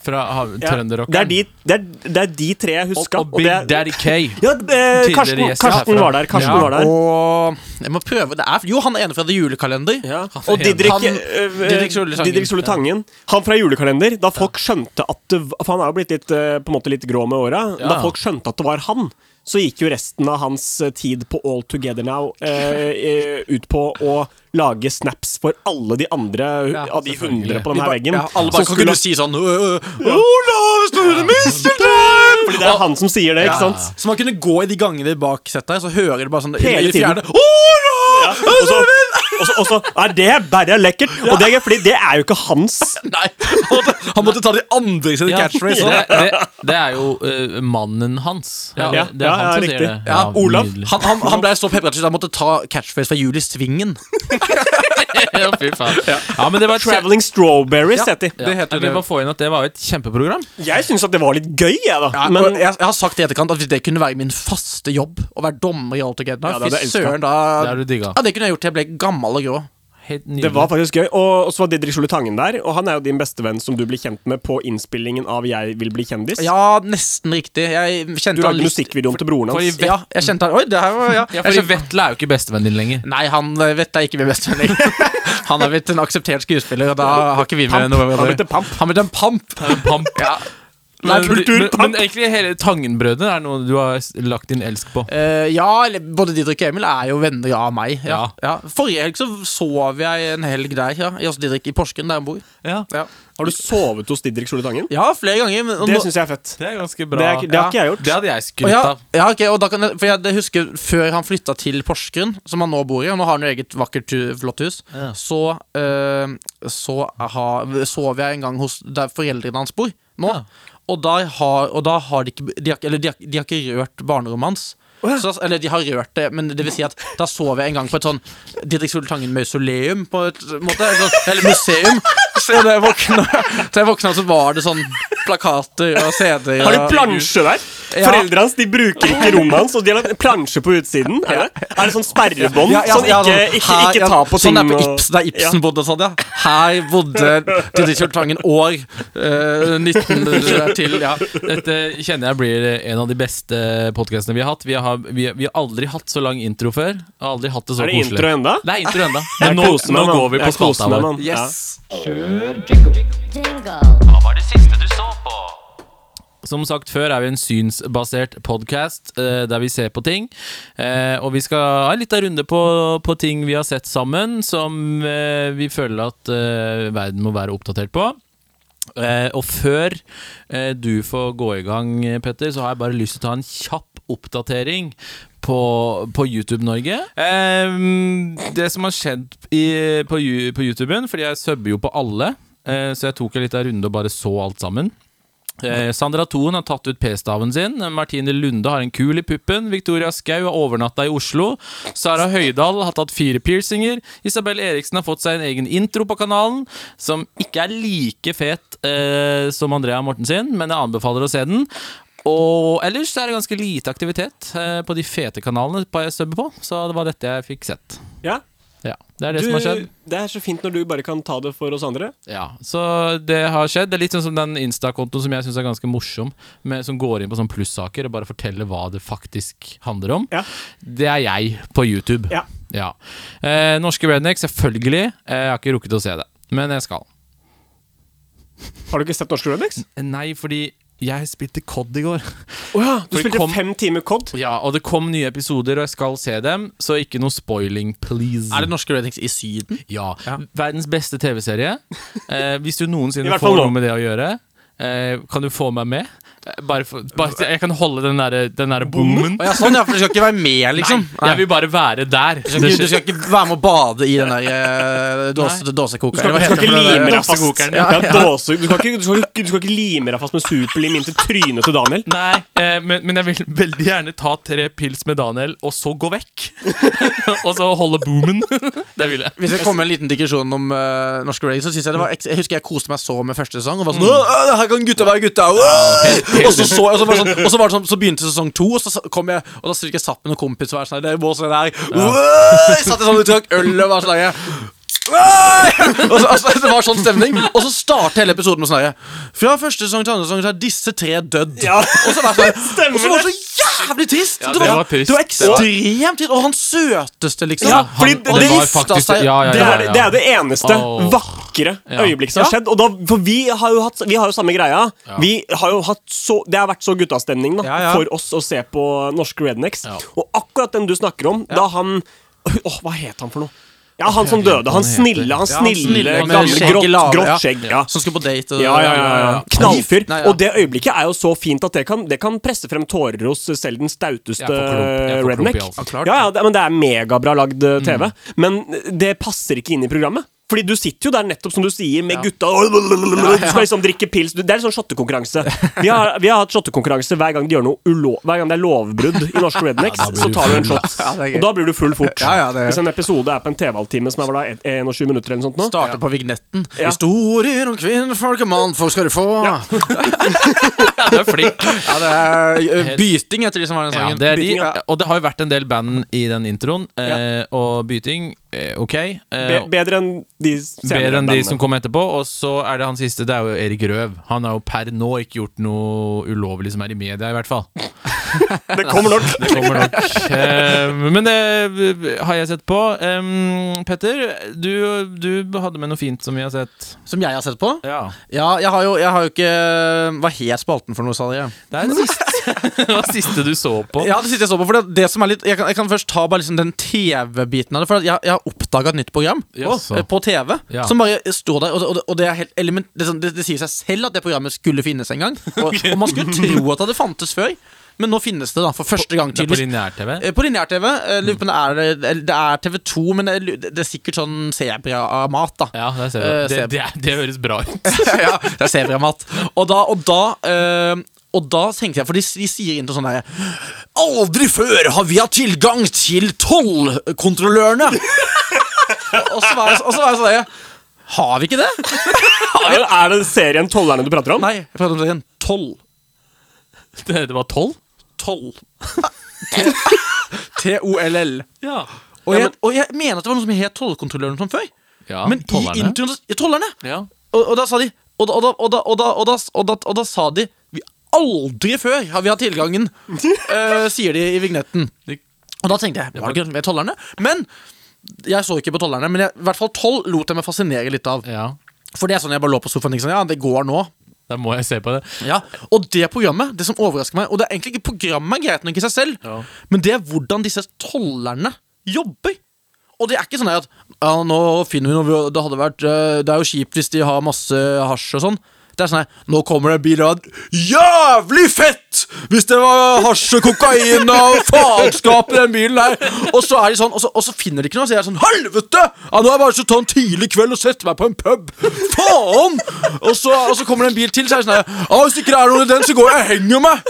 B: Fra ha- Trønderrockeren.
C: Det, er de- det, er- det er de tre jeg
B: og,
C: huska.
B: og Big Daddy K.
C: ja, eh,
B: Tidligere
C: Karsten,
B: gjest
C: Karsten
B: herfra.
C: var der. Karsten
B: Ja,
C: var der.
D: og jeg må prøve det er, Jo, han ene fra The Julekalender.
C: Ja.
B: Han-
C: Og Didrik,
D: han-
C: eh,
D: Didrik Solli Tangen.
C: Didrik Solli Tangen. Han fra Julekalender. Da folk skjønte at det, var- For han er jo blitt litt, eh, på en måte litt grå med åra.
B: Ja.
C: Da folk skjønte at det var han, så gikk jo resten av hans eh, tid på All Together Now eh, eh, ut på å lage snaps for alle de andre
D: Ja,
C: av de
B: selvfølgelig.
C: hundre på denne veggen.
D: Ja, alle bare
C: som
D: kan
C: skulle-
D: kunne si sånn øh, øh, Olav Store Misteltein!
C: fordi det er han som sier det, ikke sant?
D: Så man kunne gå i de gangene bak settet her, så hører du bare sånn
C: Hele
D: i det
C: tiden.
D: fjerne, Olav!
C: Og så, og så, og så Nei, det er bare lekkert! Og det er gøy, fordi det er jo ikke hans.
D: Nei, han måtte, han måtte ta de andre sine
B: Ja,
D: catchphrase.
B: det, det, det er jo eh, mannen hans.
D: Ja.
B: Det, det er
C: Ja,
B: han
C: ja,
B: som
C: riktig.
B: sier det.
D: Ja, Olav
B: nydelig.
D: han, han, han ble så pepret at han måtte ta catchphrase fra Julie Svingen.
B: ja, fy faen. Ja, men det var et kjem-
C: Traveling Strawberries, heter de.
B: Ja, jeg vil bare få inn at det var jo et kjempeprogram.
C: Jeg syns at det var litt gøy, jeg, da.
D: Ja,
C: Men
D: og jeg, jeg har sagt i etterkant at hvis det kunne være min faste jobb Å være dommer i All Together
C: Ja,
D: Now,
C: det hadde
D: Fy
C: jeg elsket.
D: søren, da
B: Det er du digga.
D: ja, Det kunne jeg gjort til jeg ble gammel og grå.
B: Helt
C: Det var faktisk gøy. Og og så var Didrik Solli Tangen der, og han er jo din bestevenn som du ble kjent med på innspillingen av Jeg vil bli kjendis.
D: Ja, nesten riktig. Jeg
C: Du
D: kjente han
C: lagde
D: litt
C: musikkvideoen til broren hans.
B: for i-
D: Ja, jeg kjente han Oi, det her var Ja,
B: Ja,
D: jeg
B: fordi
D: kjente,
B: Vetle er jo ikke bestevennen din lenger.
D: Nei, han eh, vet jeg ikke blir best venn Han har blitt en akseptert skuespiller, og da har ikke vi med
C: Pamp.
D: noe
C: Han har blitt en pamp.
D: Han har blitt en pamp.
B: Pamp.
D: Ja.
B: Men,
D: Nei,
B: men,
D: kulturpamp.
B: men egentlig hele Tangen-brødrene er noe du har s- lagt din elsk på.
D: Eh, ja, eller både Didrik og Emil er jo venner av meg. Ja. Ja. Forrige helg så sov jeg en helg der, ja. I- hos Didrik i Porsgrunn, der han bor.
B: Ja,
D: Ja,
C: Har du sovet hos Didrik Solli Tangen?
D: ja flere ganger. Men, og
C: Det
D: nå-
C: syns jeg er fett.
B: Det er ganske
C: Det, er,
B: bra.
C: ikke- det har ikke jeg gjort.
B: Det hadde jeg
D: og
B: skrytt
D: ja,
B: av.
D: ja, ok, og da kan jeg, for jeg det husker Før han flytta til Porsgrunn, som han nå bor i, og nå har han jo eget vakkert, hu- flott hus,
B: Ja.
D: så, eh, så har, sov jeg en gang hos der foreldrene hans bor nå.
B: Ja.
D: Og, da har, og da har de ikke de har, ikke- Eller de har, de har ikke rørt barnerommet hans. Så, eller de har rørt det, men det vil si at da sov jeg en gang på et sånn Didrik Soltangen-mausoleum, på et måte. Eller, sånn- eller museum. Så da jeg våkna, så jeg våkna, så var det sånn plakater og CD-er.
C: Har du plansje der?
D: Ja.
C: Foreldrene hans de bruker ikke rommet hans, og de har lagt plansje på utsiden. Er det, er det sånn sperrebånd?
D: Ja, ja,
C: sånn
D: ja,
C: ikke,
D: sånn,
C: ikke,
D: her-
C: ikke
D: ja,
C: ta på ting
D: Sånn det er på
C: og-
D: Ibsen, der Ibsen bodde og sånn, ja. Her bodde Didrik Tangen år eh, 1900 til, ja.
B: Dette kjenner jeg blir en av de beste podkastene vi har hatt. Vi har, vi, vi har aldri hatt så lang intro før. Og aldri hatt det så
C: Er det intro
B: koselig.
C: enda?
B: Det er intro enda Men
C: Jeg
B: nå,
C: koser meg,
B: nå
C: mann.
B: går vi på
C: Jeg koser
B: spalta
C: meg,
B: vår.
C: mann. Ja.
D: Yes.
E: Jingle.
A: Hva var det siste du så på?
B: Som sagt før er vi en synsbasert podkast eh, der vi ser på ting. Eh, og vi skal ha en liten runde på, på ting vi har sett sammen, som eh, vi føler at eh, verden må være oppdatert på. Eh, og før eh, du får gå i gang, eh, Petter, så har jeg bare lyst til å ta en kjapp oppdatering på, på YouTube-Norge. Eh, det som har skjedd i, på, Ju- på YouTuben, fordi jeg subber jo på alle, eh, så jeg tok en liten runde og bare så alt sammen. Eh, Sandra Thon har tatt ut p-staven sin. Martine Lunde har en kul i puppen. Victoria Skau har overnatta i Oslo. Sara Høydahl har tatt fire piercinger. Isabel Eriksen har fått seg en egen intro på kanalen, som ikke er like fet eh, som Andrea Morten sin, men jeg anbefaler å se den. Og ellers så er det ganske lite aktivitet eh, på de fete kanalene på- jeg subber på, så det var dette jeg fikk sett.
C: Ja.
B: Ja, Det er det som har skjedd.
C: Du, det er så fint når du bare kan ta det for oss andre.
B: Ja, så det har skjedd. Det er litt sånn som den Insta-kontoen som jeg syns er ganske morsom, med, som går inn på sånne plussaker og bare forteller hva det faktisk handler om.
C: Ja.
B: Det er jeg på YouTube.
C: Ja.
B: Eh, norske Redneck, selvfølgelig. Eh, jeg har ikke rukket å se det, men jeg skal.
C: Har du ikke sett Norske Rednecks?
B: Eh, Nei, fordi jeg spilte COD i går.
C: Å ja, du
B: For det
C: spilte
B: kom-
C: fem timer COD.
B: Ja, Og det kom nye episoder, og jeg skal se dem, så ikke noe spoiling, please.
D: Er det norske ratings i Syden?
B: Ja. Verdens beste TV-serie. Eh, hvis du
C: I
B: noensinne
C: hvert
B: får
C: fall nå.
B: noe med det å gjøre, eh, kan du få meg med? Eh, Bare for, bare, jeg kan holde den derre der bommen.
D: Å, ja, sånn, ja, for du skal ikke være med, liksom?
B: Jeg vil bare være der.
D: Du skal, ikke, du skal ikke være med å bade i den der eh,
C: Du
D: dåse,
C: skal,
D: dåsekokeren?
C: du skal ikke lime deg fast.
B: Dåsekokeren,
C: Ja, dåse- du, skal ikke, du, skal ikke, du skal ikke lime deg fast med superlim inn til trynet til Daniel.
B: Nei, eh, men, men jeg vil veldig gjerne ta tre pils med Daniel, og så gå vekk. og så holde boomen. det vil jeg. Mm.
D: Hvis det kommer en liten digresjon om eh, norske ratings, så synes jeg det var ek- Jeg husker jeg koste meg så med første sesong. Og var sånn, «Åh, her kan gutta være gutta Åh!» Og så så jeg, og så var det sånn, og så, var det sånn, så begynte sesong to, og så sa- kom jeg Og da styrte jeg satt med noen kompis og var sånn «Det må sånn der «Åh!» Jeg satt i sånn og drakk øl og var sånn der, «Åh!» og så, altså, det var sånn stemning. Og så starter hele episoden med sånn der, Fra første sesong til andre sesong så er disse tre dødd. Og så var det sånn,
C: Stemmer
D: og så var det så jævlig trist! det,
B: det
D: var,
B: var trist.
D: det var ekstremt trist. Og han søteste, liksom.
C: Ja, fordi det-
D: og
C: det
D: de
C: var
D: gifta
B: faktisk-
D: seg.
B: ja, ja,
C: Det er, det er det eneste
B: Åh.
C: vakre
B: Ja.
C: øyeblikket som har
D: Ja.
C: skjedd. Og da, for vi har jo hatt Vi har jo samme greia. Vi har jo hatt så, det har vært så guttastemning da,
D: Ja, ja.
C: for oss å se på norske rednecks.
B: Ja.
C: Og akkurat den du snakker om, da han Åh, hva het han for noe? Ja, han som døde. Han
B: heter.
C: snille, han
D: Ja, han
C: snille,
D: snille, med
C: gamle
D: skjegg i
C: grått,
D: lave, ja.
C: grått skjegg. Ja.
D: Som skulle på date. og-
C: Ja, ja, ja, ja. Knallfyr.
D: Nei, ja.
C: Og det øyeblikket er jo så fint at det kan, det kan presse frem tårer hos selv den stauteste
B: Jeg får klump- jeg får klump i
C: redneck.
B: halsen. Mm.
D: Ja, klart.
C: Ja, ja, det, men det er megabra lagd eh, TV. Men det passer ikke inn i programmet. Fordi du sitter jo der nettopp som du sier med gutta og Du skal liksom drikke pils. Du- Det er litt sånn shottekonkurranse. Vi har, vi har hatt shottekonkurranse hver gang de gjør noe ulo hver gang det er lovbrudd i norske rednecks.
B: Ja, da blir
C: så
B: du
C: tar du en
B: full.
C: shot.
D: Ja, det er gøy.
C: Og da blir du full fort.
D: Ja, ja, det er-
C: Hvis en episode er på en TV-halvtime som er vel da en- en og 20 minutter eller noe sånt nå
D: Starter på vignetten.
C: Ja.
D: Historier om kvinnfolk og mannfolk skal du få. Ja,
B: Ja, du er flink.
D: det er eh, Byting heter de som har den
B: Ja,
D: sangen.
B: det er de, eh,
C: Byting, ja.
B: og det har jo vært en del band i den introen. Eh, og byting, eh, ok. Eh,
C: Be bedre enn de senere
B: Bedre enn de
C: bandene.
B: som kom etterpå. Og så er det han siste, det er jo Erik Røv. Han har jo per nå ikke gjort noe ulovlig som er i media, i hvert fall.
C: Det kommer nok.
B: Det kommer nok. Eh, Men det har jeg sett på. Em, Petter, du, du hadde med noe fint som vi har sett.
D: Som jeg har sett på.
B: Ja.
D: Ja, jeg har jo, jeg har jo ikke Hva het spalten for noe, sa dere?
B: Det er det siste, det var det siste du så på.
D: Ja, det siste jeg så på. For det, det som er litt Jeg kan, jeg kan først ta bare liksom den TV-biten av det. For at jeg, jeg har oppdaga et nytt program
B: Jaså.
D: eh, på TV
B: Ja.
D: som bare står der. Og, og, og det, er helt element, det, er sånn- det, det sier seg selv at det programmet skulle finnes en gang. Og, og man skulle tro at det fantes før, men nå finnes det da for første gang.
B: Det er på Mm.
D: tydeligvis.
B: lineær-TV.
D: Eh, På lineær-TV. eh, lurer på om Det, er- eller det er TV2, men det er- det er sikkert sånn sebra-mat, da.
B: Ja, der ser du.
D: Eh,
B: Det,
D: ser-
B: det, er- det høres bra ut.
D: ja, det er sebramat. Og da, og da eh, og da tenkte jeg, for de, de sier inn til sånn der Aldri før har vi hatt tilgang til tollkontrollørene! og så var jeg, og så var jeg sånn der, Har vi ikke det?
C: Er det- Er det serien Tollerne du prater om?
D: Nei, jeg prater om det igjen. Toll.
B: Det, det var tolv?
D: Toll. T-O-L-L.
B: Ja.
D: Og,
C: Ja,
D: jeg- og jeg mener at det var noe som het Tollkontrolløren som før.
B: ja
D: men i
B: tollerne.
D: introen så- ja, Tollerne!
A: Ja.
D: Og, og da sa de Og da, og da, og da, og da, og da, og da, og da sa de vi Aldri før har vi hatt tilgangen, eh, sier de i vignetten.
B: De-
D: Og da tenkte jeg Var det ikke med tollerne? Men jeg så ikke på tollerne, men jeg, i hvert fall tolv lot jeg meg fascinere litt av.
B: Ja.
D: For det er sånn jeg bare lå på sofaen og tenkte sånn, ja, det går nå.
B: Da må jeg se på det.
D: Ja, Og det programmet, det som overrasker meg Og det er egentlig ikke programmet er greit nok i seg selv, men det er hvordan disse tollerne jobber. Og det er ikke sånn her at ja, nå finner vi noe vi- Det hadde vært eh, Det er jo kjipt hvis de har masse hasj og sånn. Det er sånn her Nå kommer det en bil og Jævlig fett! Hvis det var hasj og kokain og faenskap i den bilen her. Og så er de sånn Og så, og så finner de ikke noe, så jeg er sånn Helvete! Ja, nå har jeg bare lyst til å ta en tidlig kveld og sette meg på en pub. Faen! Og så, og så kommer det en bil til, så er det sånn her Ja, hvis det ikke er noe i den, så går jeg og henger meg.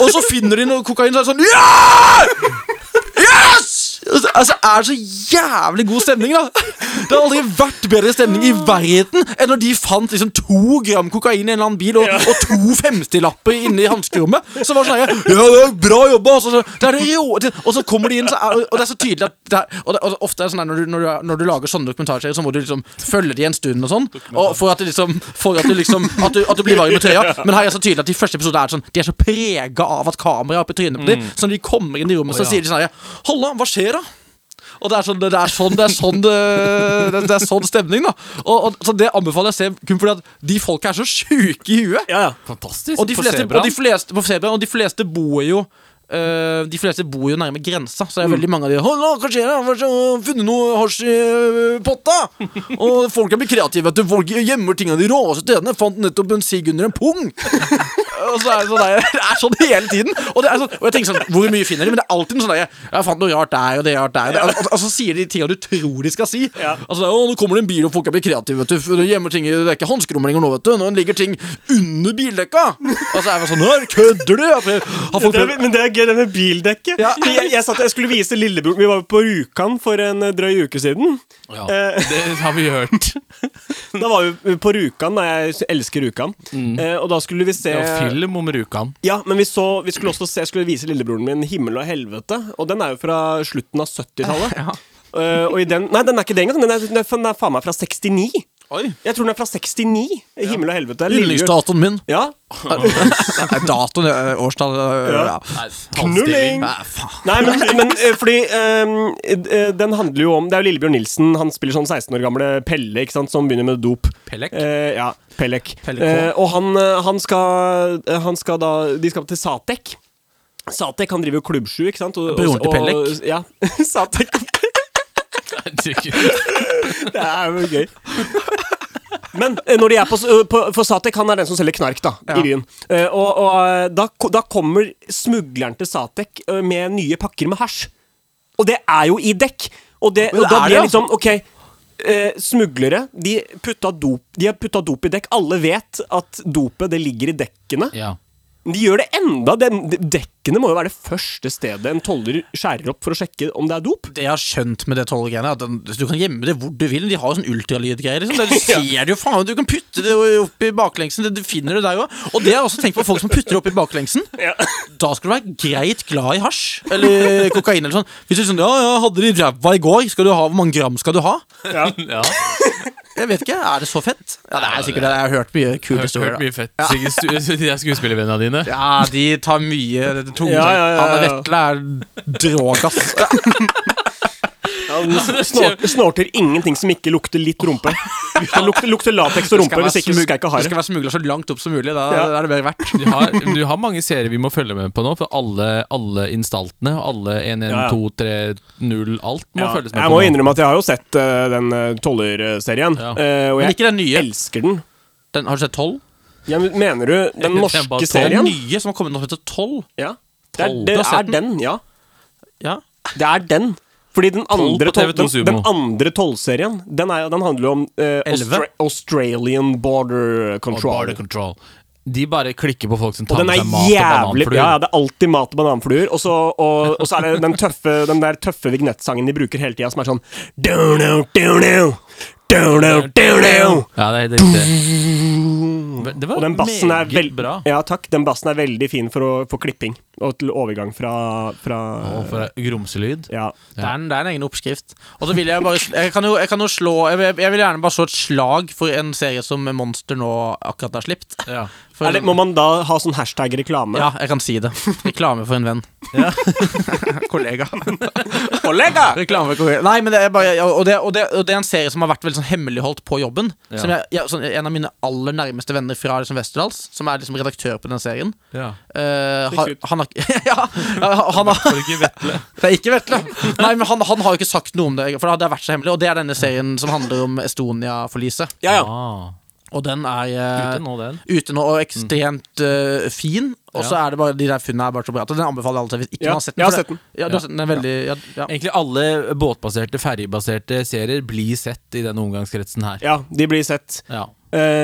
D: Og så finner de noe kokain, så er det sånn Ja! Yes! Altså, er det så jævlig god stemning, da? Det har aldri vært bedre stemning i verden enn når de fant liksom to gram kokain i en eller annen bil og, og to 50-lapper inne i hanskerommet. Så var det sånn her, Ja, det er bra jobba! Altså, Så- det er det jo. det- Og så kommer de inn, så er, og det er så tydelig at det er, og, det, og ofte er det sånn her når du, når, du, er- når du lager sånne dokumentarserier, så må du liksom følge de en stund og sånn. Og for at det liksom For at du liksom At du, at du blir varm i trøya. Men her er det så tydelig at de første episodene er sånn De er så prega av at kameraet er oppe i trynet på dem. Så når de kommer inn i rommet, så
B: ja.
D: sier de sånn her Halla, hva skjer, da? Og det er sånn, det er sånn, det er sånn, det, det, det er sånn stemning, da. Og, og, så det anbefaler jeg å se kun fordi at de folka er så sjuke i huet.
C: Ja, ja.
B: Fantastisk.
D: Og de
B: På
D: fleste,
B: Zebraen.
D: og de fleste, på Zebraen, og de fleste bor jo eh, de fleste bor jo nærme grensa, så det er veldig mange av de Halla, hva skjer? da? Hva skjer? Har du Funnet noe hasj i eh, potta? Og folk blir kreative. Vet du. Folk gjemmer tingene de råeste stedene. Fant nettopp en sigg under en pung. Og så er det, sånn, der- det er sånn hele tiden. Og, det er sånn, og jeg tenker sånn, hvor mye finner de? Men det er alltid noe sånn der, Jeg fant noe rart der og det rart der. Og, det, og, og så sier de tinga du tror de skal si.
C: Ja.
D: Altså, det er, å, nå kommer det en bil, og folk er blitt kreative. Vet du. For Det gjemmer ting i Det er ikke hanskerom lenger nå, vet du. Nå ligger ting under bildekka. Og så er man sånn Her kødder du! Jeg prøver- Har folk
C: Det er,
D: prøvd
C: men det er gøy, det med bildekket.
D: Ja.
C: Jeg, jeg, satt, jeg skulle vise lillebroren Vi var på Rjukan for en eh, drøy uke siden.
B: Ja,
C: Eh.
B: det har vi hørt.
C: Da var vi på Rjukan, og jeg elsker Rjukan. Eh, og da skulle vi se
B: Det var film om Rjukan.
C: Ja, men vi, så, vi skulle også se, jeg skulle vise lillebroren min 'Himmel og helvete', og den er jo fra slutten av 70-tallet. Eh, og i den Nei, den er ikke det engang. Den er, den er, den er faen meg fra 69.
D: Oi.
C: Jeg tror den er fra 69. 'Himmel og helvete'. er lille-
D: Yndlingsdatoen min.
C: Ja.
D: Nei, Datoen, eh, årstallet eh,
C: Ja.
D: ja.
C: Knulling!
D: Nei, faen.
C: Nei, men, men eh, fordi ehm, eh, den handler jo om Det er jo Lillebjørn Nilsen. Han spiller sånn 16 år gamle Pelle, ikke sant, som begynner med dop.
B: Pellek?
C: Eh, ja, Pellek.
D: Pelle K.
C: Eh, og han, eh, han, skal, eh, han skal da De skal til Satek. Satek han driver jo klubbsju, ikke sant? Og,
D: Broren
C: og-
D: til
C: og-
D: Pellek.
C: Ja. Satek og Det er jo gøy. Men eh, når de er på, s- eh, på For Satek han er den som selger knark da i byen. Eh, og og eh, da, ko- da kommer smugleren til Satek eh, med nye pakker med hasj. Og det er jo i dekk! Og, det, og da
D: det er
C: blir jeg
D: det, ja.
C: liksom Ok, eh, smuglere de, putta dop, de har putta dop i dekk. Alle vet at dopet det ligger i dekkene.
B: Ja.
C: Men De gjør det enda! De, de, dekkene må jo være det første stedet en toller skjærer opp for å sjekke om det er dop.
D: Det jeg har skjønt med det tollgreiene, er at den, du kan gjemme det hvor du vil. De har jo sånn ultralydgreier. Liksom. Der Du ser det jo faen, du kan putte det jo opp i baklengsen. Det, du finner det der jo. Og det har jeg også tenkt på folk som putter det opp i baklengsen. Da skal du være greit glad i hasj eller kokain eller sånn. Hvis du sånn, ja, ja, hadde de ræva i går, skal du ha, hvor mange gram skal du ha?
B: ja.
D: Jeg vet ikke, er det så fett? Ja, det er sikkert det. Jeg har hørt mye kule
B: Hørt, hørt
D: historier. da.
B: mye fett. Sikkert stu- de er skuespillervennene dine.
D: Ja, de tar mye det er tunge sånn.
C: Ja, ja, ja,
D: Han er
C: ja.
D: Vetle er drågass.
C: Han snor, snorter ingenting som ikke lukter litt rumpe. Han lukter, lukter lateks og rumpe, hvis ikke så skal jeg ikke ha
D: det
C: det.
D: skal være smugla så langt opp som mulig. Da
C: Ja.
D: er det mer verdt.
B: Du har, du har mange serier vi må følge med på nå, for alle, alle instaltene. Alle 1, 1,
C: Ja, ja.
B: 2, 3, 0, alt må
C: Ja,
B: følges med
C: jeg
B: på.
C: må
B: nå.
C: innrømme at jeg har jo sett eh, den eh, tollerserien,
B: Ja.
C: eh, og
D: Men
C: jeg
D: ikke den nye.
C: elsker den.
D: Den, har du sett 12?
C: Ja, men mener du den
B: Jeg tenker bare
C: norske
B: tolv.
D: Den
C: serien?
D: nye som har kommet nå, som heter 12?
C: Ja. Det er,
D: Tolv.
C: det
D: Du har sett
C: er den, ja.
D: Ja.
C: Det er den. Fordi den andre,
B: på TV2
C: tol- den,
B: Sumo.
C: den andre tollserien, den, er- den handler jo om eh,
D: Elleve.
C: Austra Australian Border
B: Og
C: Control.
B: Border Control. De bare klikker på folk som
C: Og
B: tar
C: den
B: med
C: er
B: seg mat og
C: jævlig
B: bananfluer.
C: Ja, ja, det er alltid mat og bananfluer. Og så, og, og så er det den tøffe Den der tøffe vignettsangen de bruker hele tida, som er sånn do-do, do-do, do-do, do-do.
B: Ja, det er helt riktig. Ve- det var
C: og den bassen er
B: meget
C: veld-
B: bra.
C: Ja, takk. Den bassen er veldig fin for, å, for klipping og til overgang fra, fra
B: Og for ei grumselyd.
C: Ja.
D: Det er, en, det er en egen oppskrift. Og så vil jeg bare Jeg kan jo, jeg kan jo slå jeg vil, jeg vil gjerne bare slå et slag for en serie som Monster nå akkurat har slipt.
B: Ja.
D: For,
C: Er det, må man da ha sånn hashtag-reklame?
D: ja, jeg kan si det. Reklame for en venn. Kollega.
C: Kollega!
D: Reklame for kollega. Nei, men det er bare og det, og, det, og det er en serie som har vært veldig sånn hemmeligholdt på jobben.
B: Ja.
D: Som jeg, jeg, sånn, en av mine aller nærmeste venner fra liksom Westerdals, som er liksom redaktør på den serien
B: Ja.
C: Det er
D: eh, har,
C: kult.
D: han har ikke Ja! Han har,
B: For ikke Vetle.
D: Det er ikke Vetle. Nei, men han, han har jo ikke sagt noe om det, for det hadde vært så hemmelig. Og det er denne serien som handler om Estonia-forliset.
C: Ja, ja.
B: Ah,
D: Og den er eh,
B: ute nå, den.
D: ute nå og ekstremt eh, fin. Og så
B: Ja.
D: er det bare de der funnene er bare så bra. at Den anbefaler jeg alle til hvis ikke
C: Ja,
D: man har sett den.
C: jeg har
D: for
C: sett
D: det-
C: den.
D: Ja, du har sett den. den er veldig, ja, ja.
B: Egentlig alle båtbaserte, ferjebaserte serier blir sett i denne omgangskretsen her.
C: ja, de blir sett.
B: Ja.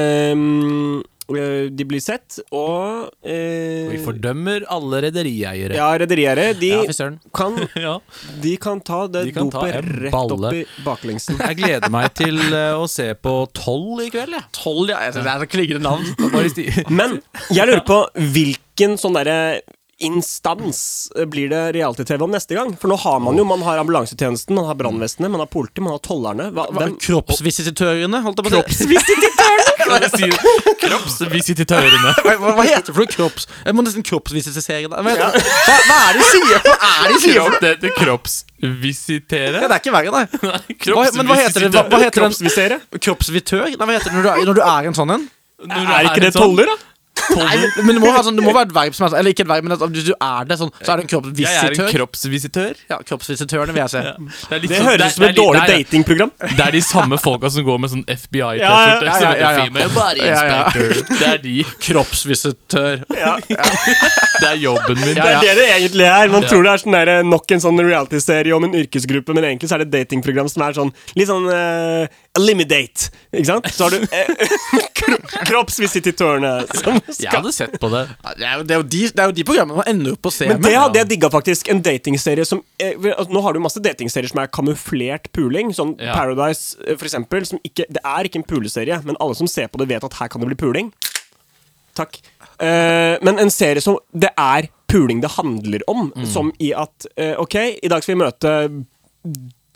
C: Ehm, øh, de blir sett, og eh,
B: Og Vi fordømmer alle rederieiere.
C: Ja, rederiere. De,
D: Ja, fy søren.
C: kan,
B: Ja.
C: de kan ta det
B: De kan ta
C: dopet
B: en
C: rett
B: balle.
C: opp i baklengsen.
B: Jeg gleder meg til eh, å se på tolv i kveld, jeg.
D: Tolv, ja. Jeg synes det er så klingende navn.
B: Bare i sti-
C: Men jeg lurer på hvilken sånn derre instans eh, blir det reality-TV om neste gang? For nå har man jo man har ambulansetjenesten, man har brannvestene, man har politi, man har tollerne. Hva,
D: Hva-
C: hvem,
D: Kroppsvisitørene, holdt jeg på å si.
B: Kroppsvisitørene.
D: Hva, hva- hva heter det for noe kropps... Jeg må nesten kroppsvisitere deg. Hva, heter det? hva, hva er det de sier? Hva er det de sier? for noe?
B: Det heter kroppsvisitere.
D: Ja, det er ikke verre, nei. Hva, men hva heter det? Hva, hva heter den?
C: kroppsvisere?
D: Kroppsvitør? Nei, hva heter det når du er, når du er en sånn en?
C: Er ikke det
B: sånn?
C: toller, da?
D: Nei, men det må, ha sånn, det må være et verb som er sånn Eller ikke et verb, men at hvis du er det sånn, så er det en
B: Jeg er en
D: kroppsvisitør.
B: kroppsvisitør.
D: Ja, kroppsvisitørene vil jeg se.
B: er litt
C: Det
B: sånn-
C: høres ut som
B: er
C: et
B: litt-
C: dårlig
B: det er-
C: datingprogram.
B: Det er de samme folka som går med sånn
C: Ja, ja,
B: FBI-T-skjorte.
D: ja, ja, ja, ja. Ja, ja.
B: Det er de.
D: Kroppsvisitør.
B: Det er jobben min.
C: Det er det det egentlig er. Man
B: Ja.
C: tror det er sånn der, eh, nok en sånn reality-serie om en yrkesgruppe, men egentlig så er det et datingprogram som er sånn litt sånn eh, Eliminate. Ikke sant? Så har du eh, kro kroppsvisititørene som
B: Jeg
C: skal
B: hadde sett på det.
D: Ja, Det er, jo, det, er jo de, det er jo de programmene man ender opp å se
C: Men det
D: med.
C: hadde jeg digga, faktisk. En datingserie som eh, vel, altså, Nå har du masse datingserier som er kamuflert puling, sånn
B: Ja.
C: Paradise eh, for eksempel. Som ikke, det er ikke en puleserie, men alle som ser på det, vet at her kan det bli puling. Takk. Eh, men en serie som det er puling det handler om,
B: Mm.
C: som i at eh, OK, i dag skal vi møte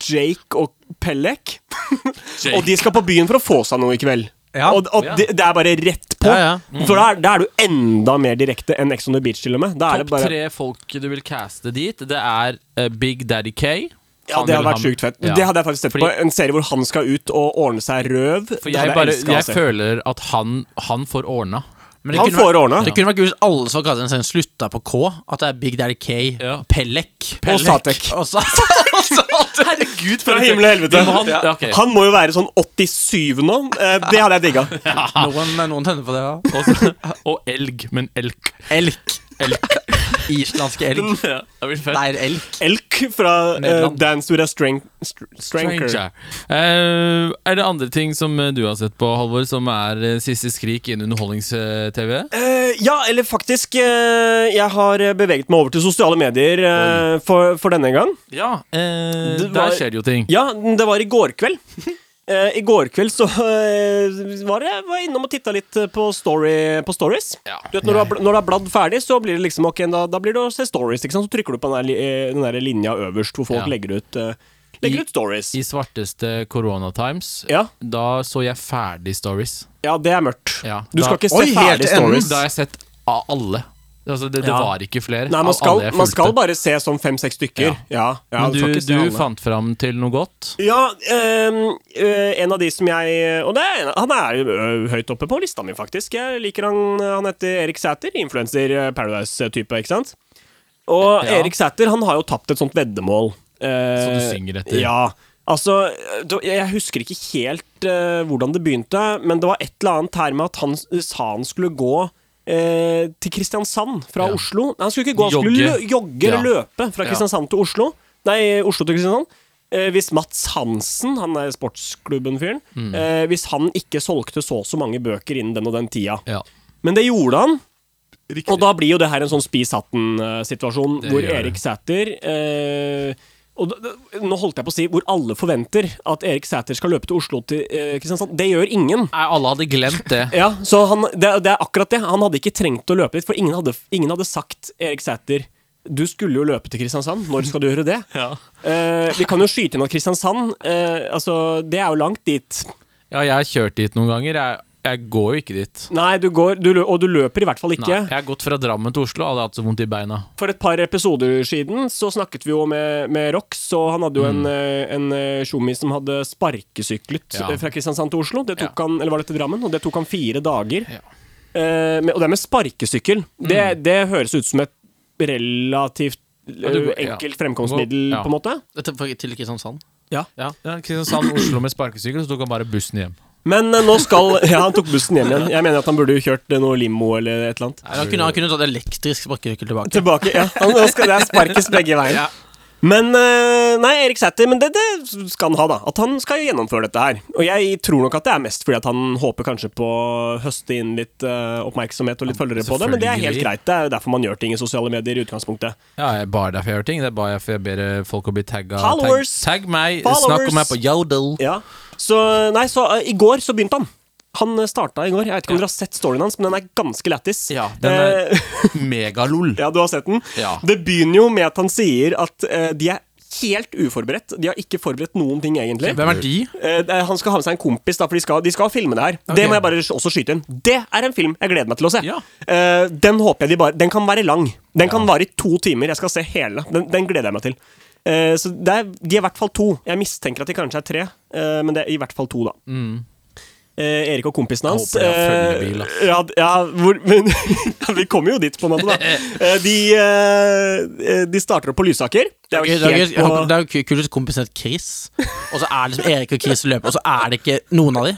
C: Jake og Pellek.
B: Jake.
C: og de skal på byen for å få seg noe i kveld.
D: Ja.
C: Og, og
B: Ja. Mm.
C: Det, det er bare rett på.
D: Ja, ja.
C: For da er, da er du enda mer direkte enn Ex on the Beach, til og med. Da er det
B: Topp
C: bare
B: tre folk du vil caste dit, det er eh, Big Daddy K.
C: Ja,
B: Han
C: det
B: eller
C: hadde vært
B: han.
C: sjukt fett.
B: Ja.
C: Det hadde jeg faktisk sett
B: Fordi-
C: på. En serie hvor han skal ut og ordne seg røv.
B: For
C: det hadde
B: jeg, bare,
C: elsket å
B: jeg
C: se.
B: føler at han, han får ordna.
D: Men det
C: Han
D: kunne
C: får
D: vært-
C: ordna.
D: Det kunne vært gøy hvis alle som kalte den serien, slutta på K. At det er Big Daddy K,
B: Ja.
D: Pellek
C: Og Satek.
D: Og Sa- og Satek.
B: Herregud,
C: Fra himmel og helvete.
B: Han, ja, ok.
C: Han må jo være sånn 87 nå. Eh, Det hadde jeg digga.
D: Noen, noen tenner på det, ja.
B: Og så- og elg, men elk.
D: Elk. elk. Islandske elg.
B: Ja, det blir fett.
D: Nei, elk.
C: Elk fra uh,
D: Nederland.
C: Dan Stora Strang... Str Stranker.
B: Stranger. Eh, er det andre ting som eh, du har sett på, Halvor, som er eh, siste skrik innen underholdnings-TV?
C: Eh, ja, eller faktisk eh, Jeg har eh, beveget meg over til sosiale medier eh, for, for denne gang.
B: Ja, eh,
C: Det var-
B: der skjer det jo ting.
C: Ja, det var i går kveld. Eh, I går kveld så eh, var jeg var jeg innom og titta litt eh, på, story, på stories.
B: Ja.
C: Du vet, når, du har, bl- når du har bladd ferdig, så blir det liksom ok, da, da blir det å se stories. Ikke sant? Så trykker du på den der, li- eh, den der linja øverst hvor folk
B: Ja.
C: legger ut, eh,
B: I-
C: legger ut stories.
B: I svarteste Corona Times,
C: Ja.
B: da så jeg ferdig stories.
C: Ja, det er mørkt.
B: Ja,
C: Du
B: da-
C: skal ikke se
D: Oi, helt
C: ferdig
D: til enden.
C: stories.
B: Da har jeg sett av alle. Altså, det, det
C: Ja.
B: var ikke flere.
C: Nei,
B: av
C: man skal,
B: alle jeg
C: man
B: fulgte.
C: skal bare se sånn fem-seks stykker. Ja. ja,
B: Men
C: skal
B: du,
C: ikke se
B: du
C: alle.
B: fant fram til noe godt?
C: Ja, ehm, eh, en av de som jeg Og det er, en- han er ø, høyt oppe på lista mi, faktisk. Jeg liker han Han heter Erik Sæther. Influenser Paradise-type, ikke sant? Og
B: Ja.
C: Erik Sæther han har jo tapt et sånt veddemål. Eh,
B: Som du synger etter.
C: Ja. Altså, da- jeg husker ikke helt eh, hvordan det begynte, men det var et eller annet her med at han s- sa han skulle gå eh, til Kristiansand fra
B: Ja.
C: Oslo. Nei, han skulle ikke gå, han skulle
B: Jogge.
C: lø jogge
B: Ja.
C: eller løpe fra
B: Ja.
C: Kristiansand til Oslo. Nei, Oslo til Kristiansand. Eh, hvis Mats Hansen, han er sportsklubben-fyren,
B: Mm.
C: eh, hvis han ikke solgte så og så mange bøker innen den og den tida.
B: Ja.
C: Men det gjorde han. Og da blir jo det her en sånn spis hatten-situasjon,
B: Det
C: hvor
B: gjør det.
C: Erik Sæther eh, og da- da- nå holdt jeg på å si hvor alle forventer at Erik Sæther skal løpe til Oslo til eh, Kristiansand. Det gjør ingen.
B: Nei, alle hadde glemt det.
C: Ja, så han, det, er- det er akkurat det. Han hadde ikke trengt å løpe dit, for ingen hadde, ingen hadde sagt Erik Sæther du skulle jo løpe til Kristiansand, når skal du gjøre det? Eh, vi kan jo skyte inn at Kristiansand eh, Altså, det er jo langt dit.
B: Ja, jeg har kjørt dit noen ganger. Jeg, jeg går jo ikke dit.
C: Nei, du går, du, lø- og du løper i hvert fall
B: Nei,
C: ikke.
B: jeg har gått fra Drammen til Oslo og hadde hatt så vondt i beina.
C: For et par episoder siden så snakket vi jo med, med Rox, og han hadde jo en, eh, en eh, tjommi som hadde sparkesyklet
B: Mm. Ja.
C: eh, fra Kristiansand til Oslo. Det tok
B: Ja.
C: han, eller var det til Drammen? Og det tok han fire dager.
B: Ja.
C: Eh, med, og det med sparkesykkel, det, det høres ut som et relativt
B: du går-
C: eh,
B: ja.
C: enkelt fremkomstmiddel,
B: Ja.
C: på en måte.
D: Dette for- Til Kristiansand.
B: Ja, Kristiansand-Oslo med sparkesykkel, så tok han bare bussen hjem.
C: Men eh, nå skal Ja, han tok bussen hjem igjen. Jeg mener at han burde jo kjørt eh, noe limo eller et eller annet.
D: Nei, han, kunne, han kunne tatt elektrisk sparkesykkel tilbake.
C: Tilbake, ja. Han nå skal, det er sparkes begge veier.
B: Ja.
C: Men eh, Nei, Erik Sæther, men det, det skal han ha, da. At han skal gjennomføre dette her. Og jeg tror nok at det er mest fordi at han håper kanskje på å høste inn litt eh, oppmerksomhet og litt følgere på det, men det er helt
B: selvfølgelig.
C: greit. Det er jo derfor man gjør ting i sosiale medier i utgangspunktet.
B: Ja, jeg bare derfor jeg gjør ting. Det er bare derfor jeg ber folk å bli tagga. Tagg,
C: Followers!
B: tagg meg! Snakk
C: Followers!
B: om meg på Yodel.
C: Ja. Så Nei, så eh, i går så begynte han. Han eh, starta i går. Jeg vet ikke om dere har sett storyen hans, men den er ganske lættis.
D: Ja,
B: den er-
C: Eh,
B: Megalol.
C: Ja, du har sett den?
B: Mm. Ja.
C: Det begynner jo med at han sier at eh, de er helt uforberedt. De har ikke forberedt noen ting, egentlig.
D: Hvem er de?
C: Eh, det er- han skal ha med seg en kompis, da, for de skal, de skal filme det her. Det må jeg bare også skyte inn. Det er en film jeg gleder meg til å se.
D: Ja.
C: Eh, den håper jeg de bare Den kan være lang. Den kan vare i to timer. Jeg skal se hele. Den, den gleder jeg meg til. Eh, så det er, de er i hvert fall to. Jeg mistenker at de kanskje er tre, eh, men det er i hvert fall to, da.
D: Mm.
C: Eh, Erik og kompisen hans
B: håper jeg har
C: eh,
B: følgebil, ass.
C: ja, ja, hvor, men, ja, Vi kommer jo dit, på en måte, da. Eh, de, eh, de starter opp på Lysaker. Det er
D: Det
C: jo
D: er jo-
C: helt
D: jeg håper- det
C: på
D: er jo ku- kult hvis kompisen het Chris, og så er det liksom Erik og Chris løper, og så er det ikke noen av de.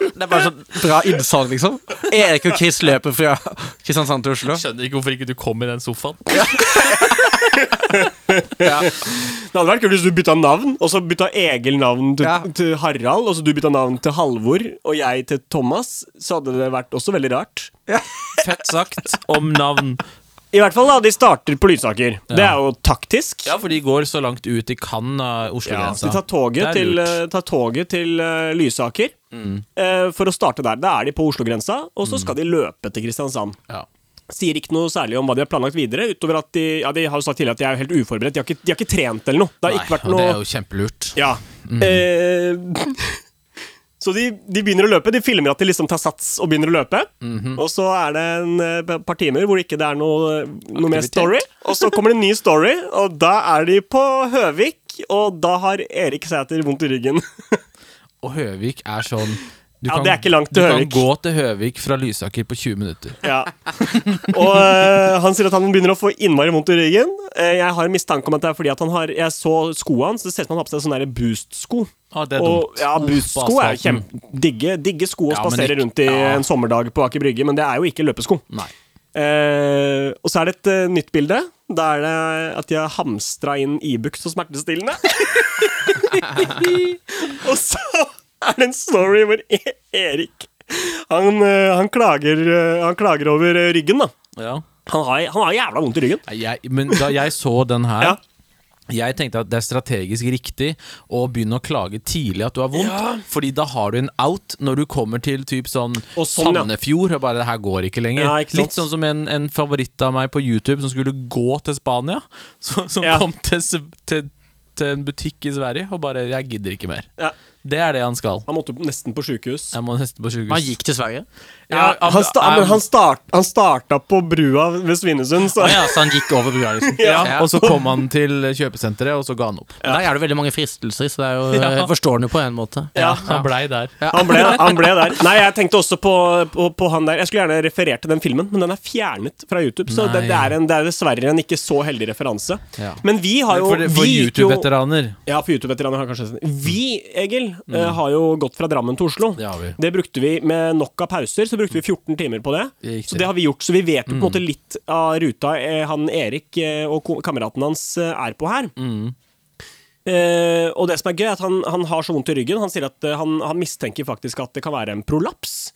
D: Det er bare sånn bra innsalg, liksom. Erik og Chris løper fra Kristiansand til Oslo.
B: Skjønner ikke hvorfor ikke du kom i den sofaen.
C: Det hadde vært kult hvis du bytta navn, og så bytta Egil navn til,
D: Ja.
C: til Harald, og så du bytta navn til Halvor, og jeg til Thomas. Så hadde det vært også veldig rart.
B: Fett sagt om navn.
C: I hvert fall da, de starter på Lysaker. Det er jo taktisk.
B: Ja, for de går så langt ut de kan av
C: Ja,
B: Oslo-grensa.
C: de tar toget
B: Det er
C: til,
B: lurt. Mm.
C: eh, tar toget til eh, Lysaker eh, for å starte der. Da er de på Oslo-grensa, og så skal de løpe til Kristiansand.
B: Ja.
C: Sier ikke noe særlig om hva de har planlagt videre, utover at de, ja, de har jo sagt tidligere at de er jo helt uforberedt. De har ikke, de har ikke trent eller noe. Det har
B: Nei,
C: ikke vært
B: og det
C: noe
B: er jo kjempelurt.
C: Ja. Eh, så de, de begynner å løpe. De filmer at de liksom tar sats og begynner å løpe. Og så er det en eh, par timer hvor det ikke er noe, noe mer story. Og så kommer det en ny story, og da er de på Høvik, og da har Erik Sæter vondt i ryggen.
B: Og Høvik er sånn du
C: Ja, det er ikke langt til
B: du
C: Høvik.
B: kan gå til Høvik fra Lysaker på 20 minutter.
C: Ja. Og eh, han sier at han begynner å få innmari vondt i ryggen. Eh, jeg har en mistanke om at det er fordi at han har Jeg så skoene hans, det ser ut som han har på seg sånne der Boost-sko.
B: Ja, Ah, det er
C: og,
B: dumt.
C: ja, Boost-sko
B: På
C: er jo
B: asfalten.
C: kjempe digge, digge sko å
B: Ja, men
C: spasere
B: ikke-
C: rundt i
B: ja.
C: en sommerdag på Aker Brygge, men det er jo ikke løpesko.
B: Nei.
C: Eh, og så er det et eh, nytt bilde. Da er det at de har hamstra inn Ibux og smertestillende. og så er det en story hvor E- Erik han, eh, han, klager, eh, han klager over eh, ryggen, da.
B: Ja.
C: Han har, han har jævla vondt i ryggen.
B: Nei, Jeg, men da jeg så den her
C: Ja.
B: Jeg tenkte at det er strategisk riktig å begynne å klage tidlig at du har vondt, Fordi da har du en out når du kommer til typ sånn,
C: Og sånn, ja.
B: Sandefjord og bare 'det her går ikke lenger'.
C: Ja, ikke sant?
B: Litt sånn som en, en favoritt av meg på YouTube som skulle gå til Spania, så, som
C: Ja.
B: kom til, s- til, til en butikk i Sverige og bare 'jeg gidder ikke mer'.
C: Ja.
B: Det er det han skal.
C: Han måtte nesten på sjukehus.
B: Jeg må nesten på
D: Han
B: sjukehus.
D: gikk til Sverige.
C: Ja,
B: Ja,
C: han, sta
B: um,
C: men han, start, han starta på brua ved Svinesund, så
D: Å ja, så han gikk over brua, liksom.
B: ja,
D: Ja.
B: og så kom han til kjøpesenteret, og så ga han opp.
D: Der er det veldig mange fristelser, så det er jo, jeg forstår han jo på en måte.
C: Ja.
B: Han blei der.
C: Han ble, han ble der. Nei, jeg tenkte også på, på, på han der. Jeg skulle gjerne referert til den filmen, men den er fjernet fra YouTube. Så det,
B: Nei.
C: det, er en, det er dessverre en ikke så heldig referanse.
B: Ja.
C: Men vi har jo
B: For, for
C: vi gikk jo-
B: YouTube-veteraner.
C: Ja, for YouTube-veteraner har kanskje Vi, Egil, eh, har jo gått fra Drammen til Oslo.
B: Mm. Det har vi.
C: Det brukte vi med nok av pauser, så brukte vi 14 timer på det.
B: Riktig.
C: Så det har vi gjort, så vi vet jo
B: Mm.
C: på en måte litt av ruta eh, han Erik eh, og ko- kameraten hans eh, er på her.
B: Mm.
C: Eh, og det som er gøy, er at han, han har så vondt i ryggen. Han sier at eh, han, han mistenker faktisk at det kan være en prolaps.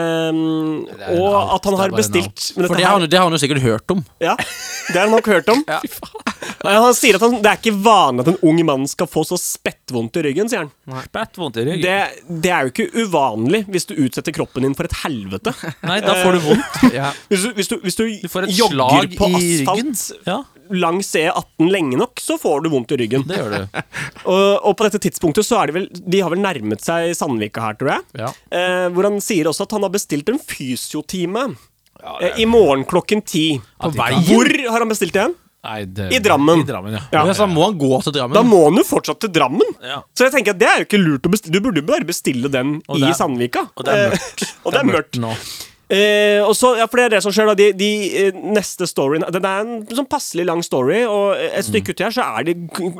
C: Ehm,
B: er en
C: og
B: alt, det
C: at han
B: er
C: har
B: bare en
C: bestilt men
D: For
C: dette
D: det har,
C: her,
D: han, jo- det har han jo sikkert hørt om.
C: ja, det har han nok hørt om.
D: Fy faen.
C: Nei, Han sier at han, det er ikke vanlig at en ung mann skal få så spettvondt i ryggen, sier han.
B: Spett vondt i ryggen.
C: Det, det er jo ikke uvanlig hvis du utsetter kroppen din for et helvete. Eh,
B: Nei, da får du vondt.
D: Ja.
C: Hvis du, hvis du, hvis du,
B: Du får et
C: jogger
B: slag
C: på
B: i ryggen.
C: asfalt
B: Ja,
C: langs E18 lenge nok, så får du vondt i ryggen.
B: det gjør du.
C: Og, og på dette tidspunktet så er de vel De har vel nærmet seg Sandvika her, tror jeg.
B: Ja.
C: Eh, hvor han sier også at han har bestilt en fysiotime eh, i morgen klokken ti.
B: På veien?
C: Hvor har han bestilt igjen?
B: Nei, det,
C: I Drammen.
B: I Drammen, ja.
C: Ja.
D: Men så må han gå til Drammen.
C: Da må han jo fortsatt til Drammen.
B: Ja.
C: Så jeg tenker at det er jo ikke lurt å bestille. Du burde jo bare bestille den
B: Og
C: i
B: det er-
C: Sandvika.
B: og det er
C: Eh, og det er mørkt.
B: nå.
C: Eh, og så, ja, for det er det som skjer da de, de eh, neste storyen Den er en sånn passelig lang story, og et stykke uti her så er de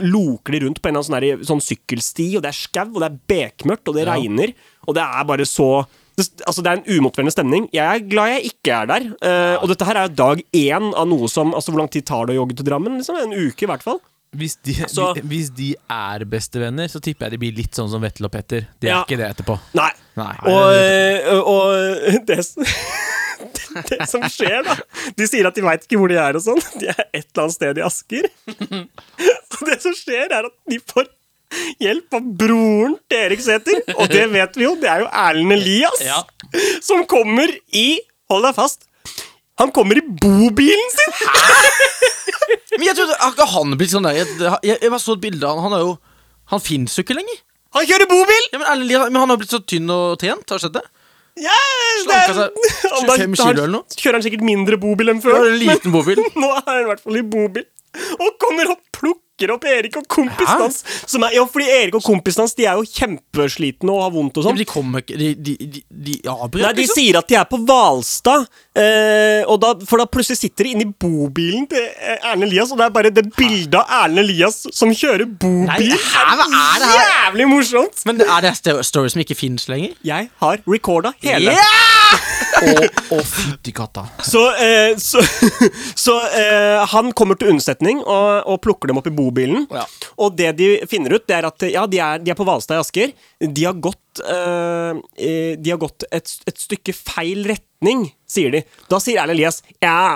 C: loker de rundt på en eller annen sånn, her, sånn sykkelsti, og det er skau, og det er bekmørkt, og det
B: Ja.
C: regner, og det er bare så det, Altså, det er en umotiverende stemning. Jeg er glad jeg ikke er der. Eh, og dette her er jo dag én av noe som Altså, hvor lang tid tar det å jogge til Drammen? Liksom? En uke, i hvert fall.
B: Hvis de,
C: Så-
B: de- hvis de er bestevenner, så tipper jeg de blir litt sånn som Vetle og Petter. Det er
C: Ja.
B: ikke det etterpå.
C: Nei.
B: Nei.
C: Og, eh, og det, s- det som skjer, da De sier at de veit ikke hvor de er og sånn. De er et eller annet sted i Asker. Så det som skjer, er at de får hjelp av broren til Erik Sæther. Og det vet vi jo, det er jo Erlend Elias.
B: Ja.
C: Som kommer i Hold deg fast. Han kommer i bobilen sin!
D: Men jeg trodde, har ikke han blitt sånn der Jeg, jeg, jeg bare så et bilde av han. Han er jo Han fins jo ikke lenger.
C: Han kjører bobil!
D: Ja, men, Erlend Lie- men han har blitt så tynn og trent. Har du sett det?
C: Ja, det er-
D: Slanka seg 25
C: Da- da
D: kilo eller noe.
C: Kjører han sikkert mindre bobil enn
D: Det
C: før?
D: var en liten bobil.
C: Nå er han i hvert fall i bobil. Og kommer og plukker opp Erik og kompisen
D: Hæ?
C: hans. Som er, ja, fordi Erik og kompisen hans De er jo kjempeslitne og har vondt og
D: Ja, men
C: sånn.
D: de kommer ikke De, de, de, de avbryter,
C: Nei, De
D: liksom.
C: sier at de er på Hvalstad, eh, og da, for da plutselig sitter de inni bobilen til eh, Erlend Elias, og det er bare det bildet av Erlend Elias som kjører bobil,
D: Nei, hæ, hva er det her?
C: jævlig morsomt!
D: Men er det sto- story som ikke fins lenger?
C: Jeg har recorda hele.
B: Å, fytti katta.
C: Så, eh, så, så eh, han kommer til unnsetning og, og plukker dem opp i bobilen.
D: Ja.
C: Og det de finner ut, det er at ja, de er, de er på Hvalstad i Asker. De har gått, eh, eh, de har gått et, et stykke feil retning, sier de. Da sier Erlend Elias ja,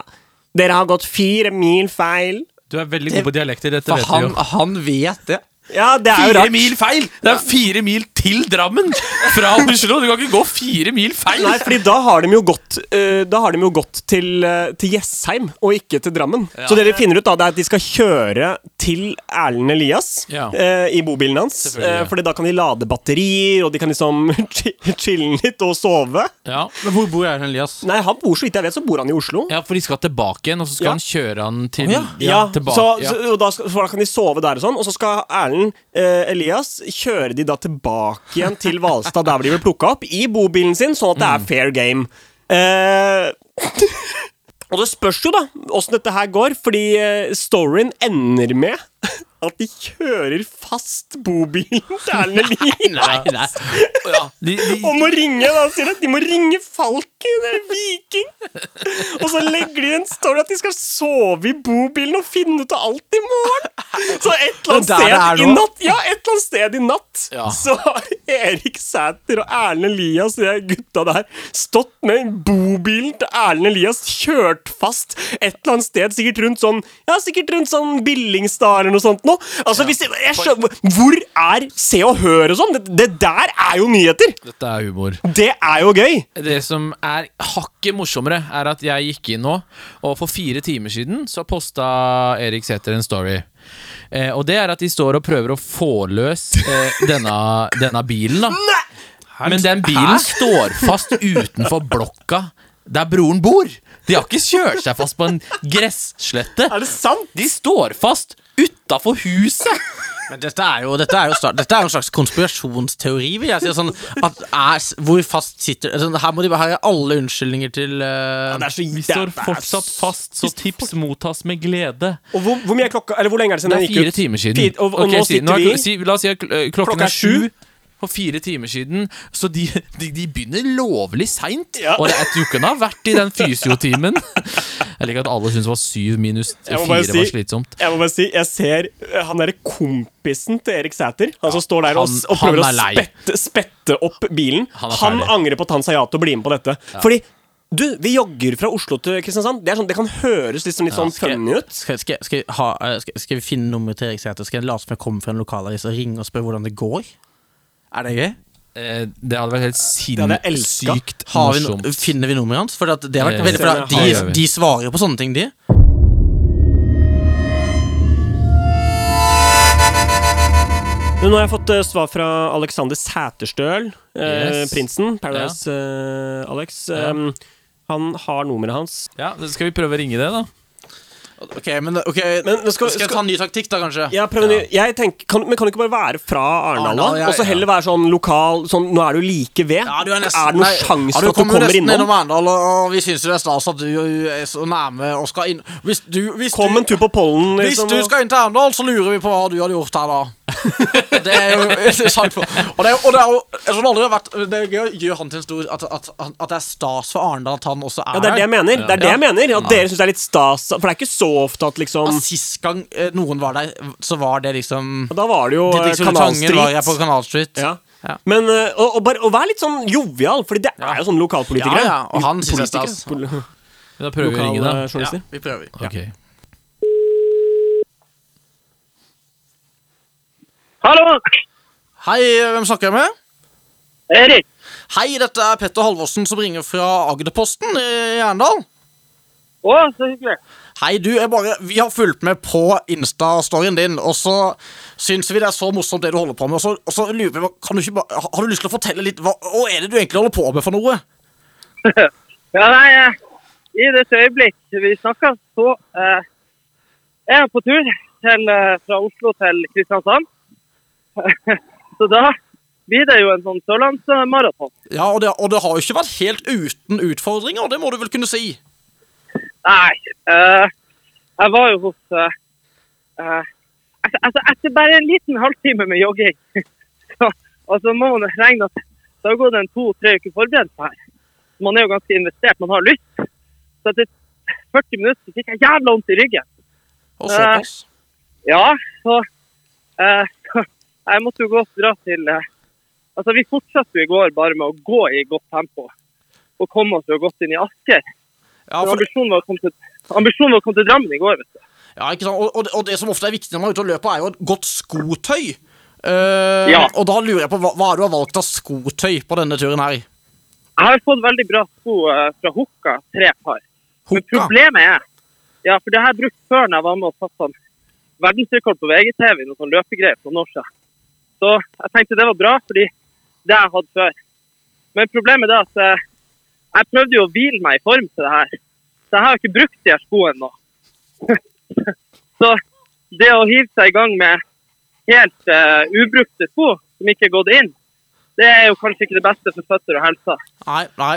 C: dere har gått fire mil feil.
B: Du er veldig god på dialekter, dette
D: For
B: vet du
D: han,
B: jo.
D: han vet det.
C: Ja, det er jo
B: Fire
C: rart.
B: mil feil! Det er fire mil til Drammen! Fra Oslo! Du kan ikke gå fire mil feil!
C: Nei, fordi da har de jo gått, eh, da har de jo gått til, eh, til Jessheim, og ikke til Drammen. Så det de finner ut, da, det er at de skal kjøre til Erlend Elias
B: Ja.
C: eh, i bobilen hans.
B: Selvfølgelig, ja.
C: Eh, fordi da kan de lade batterier, og de kan liksom chi- chille litt og sove.
B: Ja.
D: Men hvor bor Erlend Elias?
C: Nei, han bor, så vidt jeg vet, så bor han i Oslo.
B: ja, for de skal tilbake igjen, og så skal
C: Ja.
B: han kjøre han til
D: Å, ja.
B: tilbake.
C: så,
B: ja.
C: så, og da, skal, for da kan de sove der og sånn. Og så skal Erlend eh, Elias kjøre de da tilbake igjen til Hvalstad, der hvor de ble plukka opp, i bobilen sin, sånn at det er fair game. Eh, og det spørs jo, da, åssen dette her går, fordi eh, storyen ender med at de kjører fast bobilen til Erlend Elias.
D: Nei, nei.
B: ja. De, de,
C: Og må ringe, da, sier de. De må ringe Falken eller Viking. Og så legger de en story at de skal sove i bobilen og finne ut av alt i morgen. Så et eller annet
D: Det er der det
C: sted
D: er
C: i
D: nå.
C: natt Ja, et eller annet sted i natt
B: Ja.
C: så har Erik Sæter og Erlend Elias og de gutta der stått med bobilen til Erlend Elias kjørt fast et eller annet sted, sikkert rundt sånn Ja, sikkert rundt sånn Billingstad eller noe sånt noe. Altså, hvis jeg, jeg skjønner, Hvor er Se og Hør og sånn? Det, det der er jo nyheter!
B: dette er humor.
C: Det er jo gøy!
B: Det som er hakket morsommere, er at jeg gikk inn nå, og for fire timer siden så posta Erik Sæther en story. Eh, og det er at de står og prøver å få løs eh, denne, denne bilen, da. Men den bilen står fast utenfor blokka der broren bor. De har ikke kjørt seg fast på en gresslette.
C: Er det sant?
B: De står fast utafor huset!
D: Men dette er jo Dette er jo, start, dette er jo en slags konspirasjonsteori, vil jeg si. Sånn, at er, hvor fast sitter sånn, her, må de, her er alle unnskyldninger til eh,
C: Det er så
B: Vi
C: det er-
B: står
C: det er
B: fortsatt
C: så-
B: fast, så tips mottas med glede.
C: Og hvor, hvor mye er klokka Eller hvor lenge er det siden
B: Det
C: den
B: er
C: gikk
B: fire
C: ut?
B: timer siden.
C: Fire- og, og
B: Ok,
C: nå
B: si-
C: sitter
B: er
C: vi
B: kl- si, La oss si at kl- øh, klokken
C: Klokka er
B: er sju.
C: sju.
B: For fire timer siden. Så de, de, de begynner lovlig seint.
C: Ja.
B: Og jeg tror ikke han har vært i den fysiotimen. Jeg liker at alle syns det var syv minus
C: Jeg
B: fire
C: må bare
B: var
C: si-
B: slitsomt.
C: Jeg må bare si, jeg ser eh, han derre kompisen til Erik Sæter. Han som står der og, s-
B: han-
C: og prøver å
B: han er lei.
C: spette, spette opp bilen.
B: Han
C: Han,
B: er ferdig.
C: angrer på at han sa ja til å bli med på dette. Fordi du, vi jogger fra Oslo til Kristiansand. Det, er sånn, det kan høres litt, sånn- litt sånn
D: Skal,
C: funny ut.
D: skal, skal, skal, ha, eh, skal, skal vi finne nummeret til Erik Sæther? Skal jeg late som jeg kommer fra en lokalavis og ringe og spørre hvordan det går? Er det gøy?
B: Eh, Det hadde vært helt
C: hadde jeg elsket.
B: sinnssykt
D: Har vi,
B: morsomt.
D: no- finner vi nummeret hans? For at det har vært
B: Eh,
D: veldig, for
C: det
D: at
B: har
D: de,
B: vi.
D: de svarer på sånne ting, de.
C: Men Nå har jeg fått eh, svar fra Alexander Sæterstøl, eh,
B: Yes.
C: prinsen. Paradise eh, Alex.
B: Ja.
C: Um, han har nummeret hans.
B: Ja, Skal vi prøve å ringe det, da?
D: Ok, men, da- ok,
C: Men nå skal-
D: Skal jeg ta en ny taktikk, da, kanskje?
C: Ja, prøv en ny. Jeg tenker, kan, men kan det ikke bare være fra Arendal, da?
D: Arendal, Ah, ja,
C: og så
D: ja.
C: heller være sånn lokal sånn, Nå er du like ved.
D: Ja, du er, nesten,
C: det noen
D: nei,
C: sjanse
D: ja,
C: for at du kommer
D: nesten
C: innom?
D: innom Arendal, og, og vi syns jo det er stas at du eh, er så nærme og skal inn Hvis du, hvis
C: Kom en
D: du,
C: tur på pollen.
D: hvis
C: Liksom,
D: du
C: og-
D: skal inn til Arendal, så lurer vi på hva du hadde gjort her da. Det er jo interessant. For. Og det er, og det er jo jeg tror aldri det har vært Det er gøy, gjør han til en stor At, at, at det er stas for Arendal at han også er
C: Ja, det er det jeg
D: her.
C: mener. Det er det jeg mener At dere syns det er litt stas. For det er ikke så ofte at liksom
D: At Sist gang eh, noen var der, så var det liksom
C: Og da var det jo eh,
D: Didrik Solli Tangen var jeg på
C: Kanalstreet.
D: Kanal Street.
C: Ja.
D: Ja.
C: Men, eh, og, og, bare, og vær litt sånn jovial, Fordi det er jo sånne lokalpolitikere.
D: Ja, ja, og han synes det er stas.
C: Pol-
B: Da prøver vi å ringe, da.
C: Lokale
D: Ja,
C: journalister.
D: vi prøver. Ja.
B: Ok.
E: Hallo!
D: Hei, hvem snakker jeg med?
E: Erik!
D: Hei, dette er Petter Halvorsen som ringer fra Agderposten i Arendal.
E: Å, så hyggelig.
D: Hei, du, jeg bare, vi har fulgt med på Insta-storyen din, og så syns vi det er så morsomt det du holder på med. Og så, og så lurer vi, kan du ikke bare, Har du lyst til å fortelle litt hva, hva er det du egentlig holder på med for noe?
E: Ja, nei, eh, i dette øyeblikk vi snakker, så eh, er jeg på tur til, eh, fra Oslo til Kristiansand. så da blir det jo en sånn sørlandsmaraton.
D: Ja, og det, og det har jo ikke vært helt uten utfordringer, det må du vel kunne si?
E: Nei, eh, jeg var jo hos eh, eh, altså, altså, etter bare en liten halvtime med jogging, så altså, må man regne at det har gått en to-tre uker forberedelse her. Så Man er jo ganske investert, man har lyst. Så etter 40 minutter fikk jeg jævla vondt i ryggen.
D: Og såpass.
E: Ja, så, eh, så jeg måtte jo gå og dra til eh, Altså, vi fortsatte jo i går bare med å gå i godt tempo og komme oss jo godt inn i Asker.
D: Ja,
E: Men
D: for,
E: ambisjonen var å komme til, ambisjonen var å komme til Drammen i går, vet du.
D: ja, ikke sant? Og, og, det, og det som ofte er viktig når man er ute og løper, er jo et godt skotøy. Eh,
E: Ja.
D: Og da lurer jeg på hva, hva er det du har valgt av skotøy på denne turen her?
E: Jeg har fått veldig bra sko eh, fra Hokka, tre par. Men
D: Hokka?
E: problemet er Ja, for det har jeg brukt før når jeg var med og satte sånn verdensrekord på VGTV i noen sånn løpegreier for noen år siden. Så jeg tenkte det var bra, fordi det har jeg hatt før. Men problemet er at eh, jeg prøvde jo å hvile meg i form til det her. Så jeg har jo ikke brukt de her skoene nå. Så det å hive seg i gang med helt eh, ubrukte sko som ikke er gått inn, det er jo kanskje ikke det beste for føtter og helsa.
D: Nei, nei.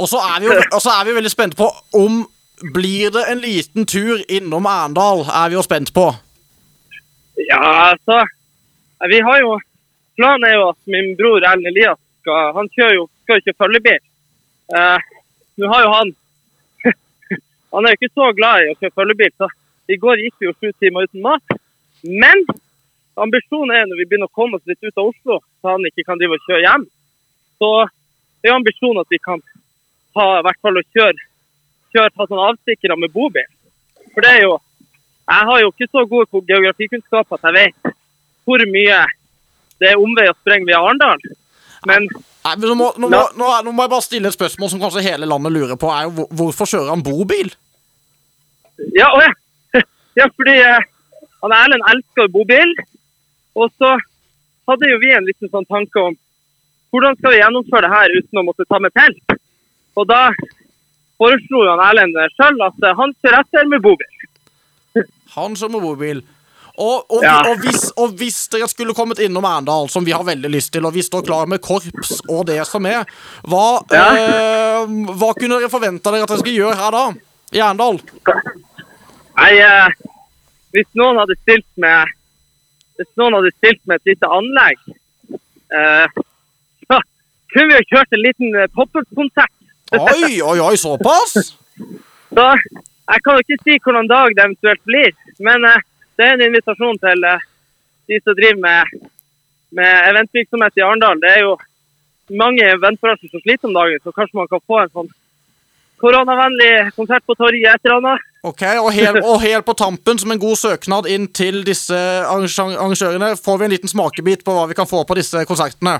D: Og så er vi jo og så er vi veldig spente på om blir det en liten tur innom Arendal, er vi jo spent på.
E: Ja, altså. Vi har jo Planen er jo at min bror Ellen Elias skal Han kjører jo skal ikke følgebil. Eh, Nå har jo han Han er jo ikke så glad i å kjøre følgebil, så i går gikk vi jo sju timer uten mat. Men ambisjonen er når vi begynner å komme oss litt ut av Oslo, så han ikke kan drive og kjøre hjem, så det er ambisjonen at vi kan ha i hvert fall å kjøre, kjøre ta sånne avstikkere med bobil. For det er jo jeg har jo ikke så god ko- geografikunnskap at jeg vet hvor mye det er omvei å sprenge via Arendal. Men
D: Nei, men nå, må, nå, må, nå, er- nå må jeg bare stille et spørsmål som kanskje hele landet lurer på. er jo hvor- Hvorfor kjører han bobil?
E: ja, å ja. ja fordi eh, han Erlend elsker jo bobil. Og så hadde jo vi en liten sånn tanke om hvordan skal vi gjennomføre det her uten å måtte ta med telt? Og da foreslo jo han Erlend sjøl at eh, han kjører etter med bobil.
D: Han kjører med bobil. Og, og,
E: Ja.
D: og, hvis, og hvis dere skulle kommet innom Arendal, som vi har veldig lyst til, og vi står klar med korps og det som er, hva, eh, hva kunne dere forventa dere at dere skulle gjøre her da? I Arendal?
E: Nei, eh, hvis noen hadde stilt med hvis noen hadde stilt med et lite anlegg, eh, så kunne vi jo kjørt en liten eh, pop-up-konsert.
D: Oi, oi, oi, såpass?
E: Så Jeg kan jo ikke si hvordan dag det eventuelt blir, men eh, det er en invitasjon til eh, de som driver med, med eventvirksomhet i Arendal. Det er jo mange eventbransjer som sliter om dagen, så kanskje man kan få en sånn koronavennlig konsert på torget et eller annet.
D: Ok, og helt, og helt på tampen, som en god søknad inn til disse arrangø- arrangørene, får vi en liten smakebit på hva vi kan få på disse konsertene.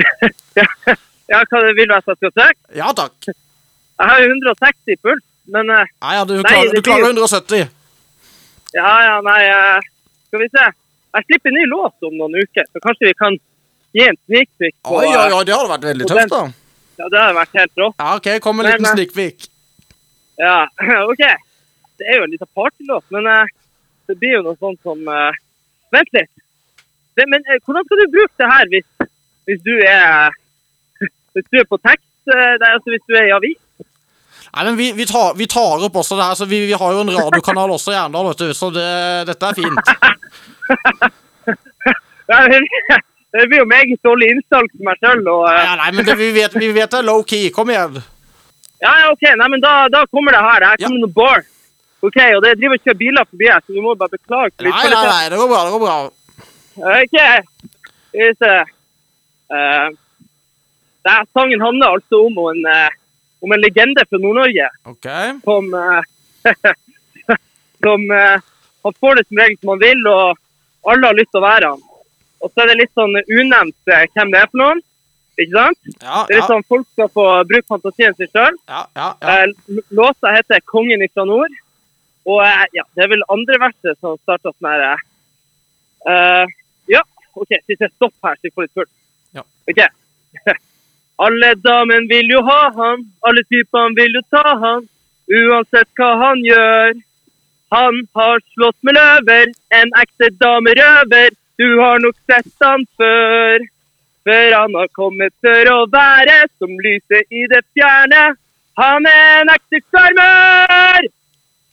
E: Ja, hva det vil være at jeg skal søke?
D: Ja takk.
E: Jeg har jo 160 i puls, men eh,
D: Nei, ja, du
E: Nei,
D: klarer, du
E: det blir-
D: klarer 170.
E: ja, ja, nei, eh, skal vi se. Jeg slipper ny låt om noen uker, så kanskje vi kan gi en sneak peek på
D: Oi, oi, oi, det hadde vært veldig
E: og
D: tøft,
E: den-
D: da.
E: Ja, det hadde vært helt rått.
D: Ja, ok, kom med en liten
E: Men, eh,
D: sneak peek.
E: Ja, OK. Det er jo en liten partylåt, men eh, det blir jo noe sånt som eh, Vent litt. Det, men eh, hvordan skal du bruke det her hvis, hvis du er Hvis du er på tekst? eh, nei, altså hvis du er i avis?
D: Nei, men vi, vi, tar, vi tar opp også det her, så vi, vi har jo en radiokanal også i Arendal, vet du, så det, dette er fint.
E: Ja, Det blir jo meget dårlig innsalg for meg eh, sjøl.
D: Ja, nei, men det, vi, vet, vi vet det er low key. Kom igjen.
E: Ja, ja, OK. Nei, men da, da kommer det her. Det her
D: Ja.
E: kommer noe bar. OK, og det driver og kjører biler forbi her, så du må bare beklage. for
D: Nei, nei,
E: lydkvaliteten.
D: nei, det går bra, det går bra.
E: Ok. Skal vi se. Eh, det er- sangen handler altså om en, eh, om en legende fra Nord-Norge
D: Ok.
E: som, eh, som eh, han får det som regel som han vil, og alle har lyst til å være han. Og så er det litt sånn unevnt eh, hvem det er for noen. Ikke sant?
D: Ja,
E: Det er
D: ja,
E: litt sånn Folk skal få bruke fantasien sin sjøl.
D: ja, ja. ja.
E: Eh, l- Låta heter 'Kongen ifra nord'. Og eh, ja, det er vel andre verset som starter sånn her eh, eh, Ja, OK, siste stopp her, så vi får litt full.
D: Ja.
E: OK. Alle damen vil jo ha han, alle typene vil jo ta han. Uansett hva han gjør. Han har slått med løver, en ekte damerøver. Du har nok sett han før. Før han har kommet for å være som lyset i det fjerne. Han er en ekte sjarmør!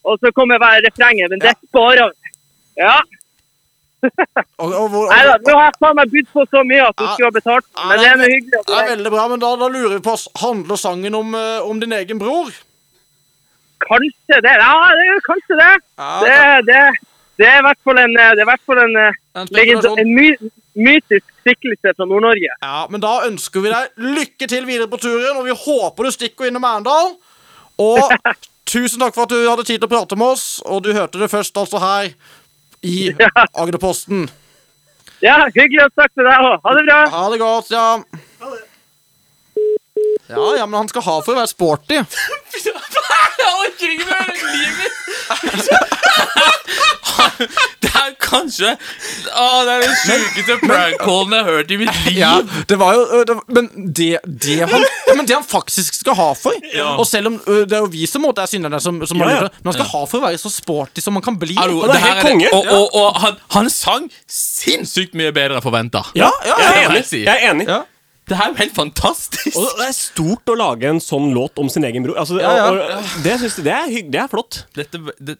E: Og så kommer hver refrenget, men det sparer han. Ja.
D: Og, og, hvor-
E: Nei da, nå har jeg faen meg bydd på så mye at du
D: Ja.
E: skulle ha betalt.
D: Ja,
E: Men det er noe hyggelig.
D: Det er
E: at du-
D: veldig bra, men da, da lurer vi på oss, Handler sangen om, eh, om din egen bror?
E: Kanskje det. Ja, det er kanskje det.
D: Ja,
E: Det, det, det er i hvert fall en, eh, det er i hvert fall en, eh,
D: En
E: legend-
D: spekulasjon.
E: en my, mytisk skikkelse fra Nord-Norge.
D: Ja, men da ønsker vi deg lykke til videre på turen, og vi håper du stikker innom Arendal. Og tusen takk for at du hadde tid til å prate med oss, og du hørte det først altså her i Agderposten.
E: Ja, hyggelig å snakke med deg òg. Ha det bra.
D: Ha det godt, ja. Ja, ja, men han skal ha for å være sporty.
B: Jeg orker ikke mer av livet mitt! Det er kanskje Å, det er den sjukeste prank-callen jeg har hørt i mitt liv.
D: Ja, det var jo ø, det, Men det, det, han, ja, men det han faktisk skal ha for Og selv om ø, det er jo vi som måtte er synderne som, som har
C: Ja, ja.
D: gjort det, Men han skal ha for å være så sporty som man kan bli.
B: Hallo,
C: Og det er
B: her
C: helt konge.
B: Og, og, og han, han sang sinnssykt mye bedre enn forventa.
C: Ja,
D: ja,
C: jeg
B: ja,
C: er
B: ja.
C: enig. Jeg er enig.
D: Ja.
B: Det her er jo helt fantastisk.
C: Og det er stort å lage en sånn låt om sin egen bror. Altså,
D: Ja, ja.
C: og- og Det, synes jeg, det, er hygg, det er flott.
B: Dette, det,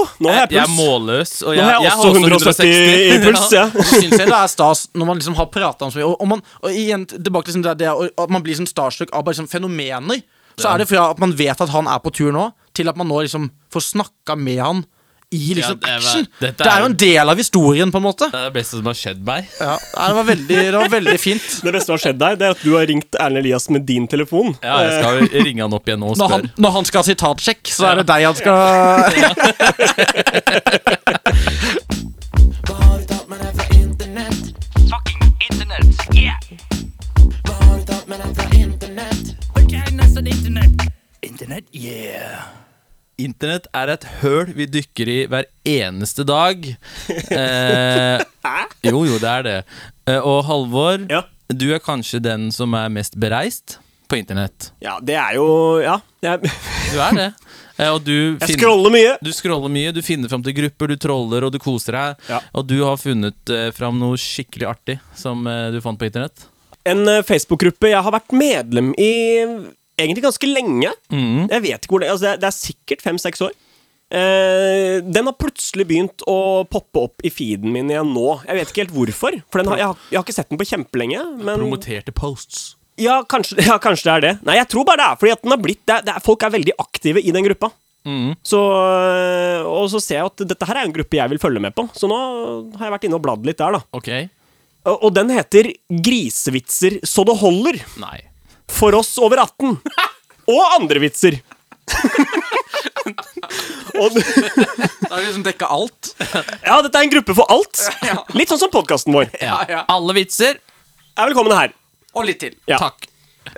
C: Åh, nå har jeg
B: jeg er
C: puls.
B: målløs. Og jeg,
C: har jeg
B: jeg
C: også 170 i puls, ja.
D: Så synes jeg det er stas når man liksom har prata om så mye. Og, og, man, og igjen tilbake til liksom det, det å- at man blir sånn starstruck av bare sånn fenomener. Så er det fra at man vet at han er på tur nå, til at man nå liksom får snakka med han i liksom
B: det er-
D: action.
B: dette
D: Det
B: er-
D: er jo en del av historien, på en måte.
B: Det er det beste som har skjedd meg.
D: Ja, det, var veldig, det var veldig fint.
C: Det beste som har skjedd deg, det er at du har ringt Erlend Elias med din telefon.
B: Ja, jeg skal ringe han opp igjen nå og
D: Når han,
B: spørre.
D: når han skal ha sitatsjekk, så er det deg han skal
F: fucking internet. Yeah. Internet, yeah.
B: Internett er et høl vi dykker i hver eneste dag. Eh, jo, jo, det er det. Eh, og Halvor,
C: Ja.
B: du er kanskje den som er mest bereist på internett.
C: Eh, Ja, det er jo Ja. Jeg,
B: Du er det. Eh, og du
C: jeg
B: finner-
C: scroller mye.
B: Du scroller mye, du finner fram til grupper, du troller og du koser deg.
C: Ja.
B: Og du har funnet eh, fram noe skikkelig artig som eh, du fant på internett.
C: En eh, Facebook-gruppe jeg har vært medlem i egentlig ganske lenge. Jeg vet ikke hvor det altså Det er, det er sikkert fem-seks år. Eh, den har plutselig begynt å poppe opp i feeden min igjen nå. Jeg vet ikke helt hvorfor. For den har, jeg, har, jeg har ikke sett den på kjempelenge. Men
B: Promoterte posts.
C: ja kanskje, ja, kanskje det er det. Nei, jeg tror bare det er fordi at den har blitt det, er- det er, Folk er veldig aktive i den gruppa.
B: Mhm.
C: Så, øh, og så ser jeg at dette her er en gruppe jeg vil følge med på, så nå har jeg vært inne og bladd litt der, da.
B: Ok.
C: Og, og den heter Grisevitser så det holder
B: Nei.
C: for oss over 18. Og andre vitser. og,
D: Da har vi liksom dekka alt.
C: ja, dette er en gruppe for alt. Litt sånn som podkasten vår.
B: Ja. Alle vitser.
C: Er velkommen her.
D: Og litt til.
C: Ja.
B: Takk.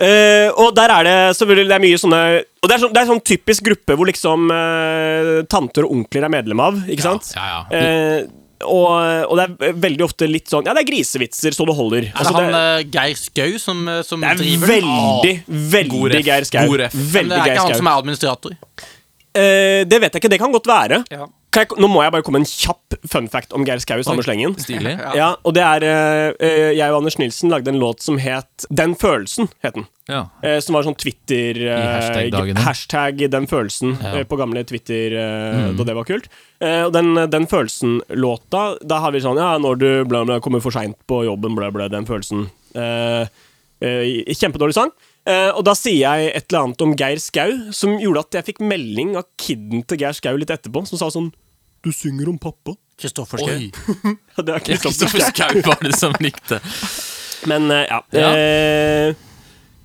C: Eh, og der er det selvfølgelig det er mye sånne Og det er, sånn, det er sånn typisk gruppe hvor liksom eh, tanter og onkler er medlem av, ikke sant?
B: ja, ja.
C: Eh, og, og det er veldig ofte litt sånn Ja, det er grisevitser så det holder.
D: Er det
C: Altså,
D: han
C: det,
D: eh, Geir Skau som, eh, som
C: det er
D: driver den?
C: veldig,
B: God
C: veldig
B: ref,
C: Geir Skau.
B: god ref.
D: Men det
C: Veldig
D: er
C: Geir
D: ikke han
C: Skau.
D: som er administrator.
C: Eh, det vet jeg ikke. Det kan godt være.
D: Ja.
C: Kan jeg, nå må jeg bare komme med en kjapp fun fact om Geir Skau i samme slengen.
B: Stilig.
C: Ja. og det er eh, eh, Jeg og Anders Nilsen lagde en låt som het Den følelsen. het den
B: Ja.
C: Eh, som var sånn Twitter eh,
B: hashtag-dagene.
C: Hashtag den følelsen
B: Ja.
C: eh, på gamle Twitter eh, da det var kult. Eh, og den, den følelsen-låta, da har vi sånn Ja, når du bla, bla, kommer for seint på jobben, bla, bla, den følelsen. Eh, eh, kjempedårlig sang. Eh, og da sier jeg et eller annet om Geir Skau, som gjorde at jeg fikk melding av kiden til Geir Skau litt etterpå, som sa sånn Du synger om pappa.
D: Kristoffer Schau.
B: Oi.
C: Ja, Det er Kristoffer
B: Kristoffer
C: Schau.
B: Schau var det som likte.
C: Men eh, ja.
B: Ja.
C: Eh,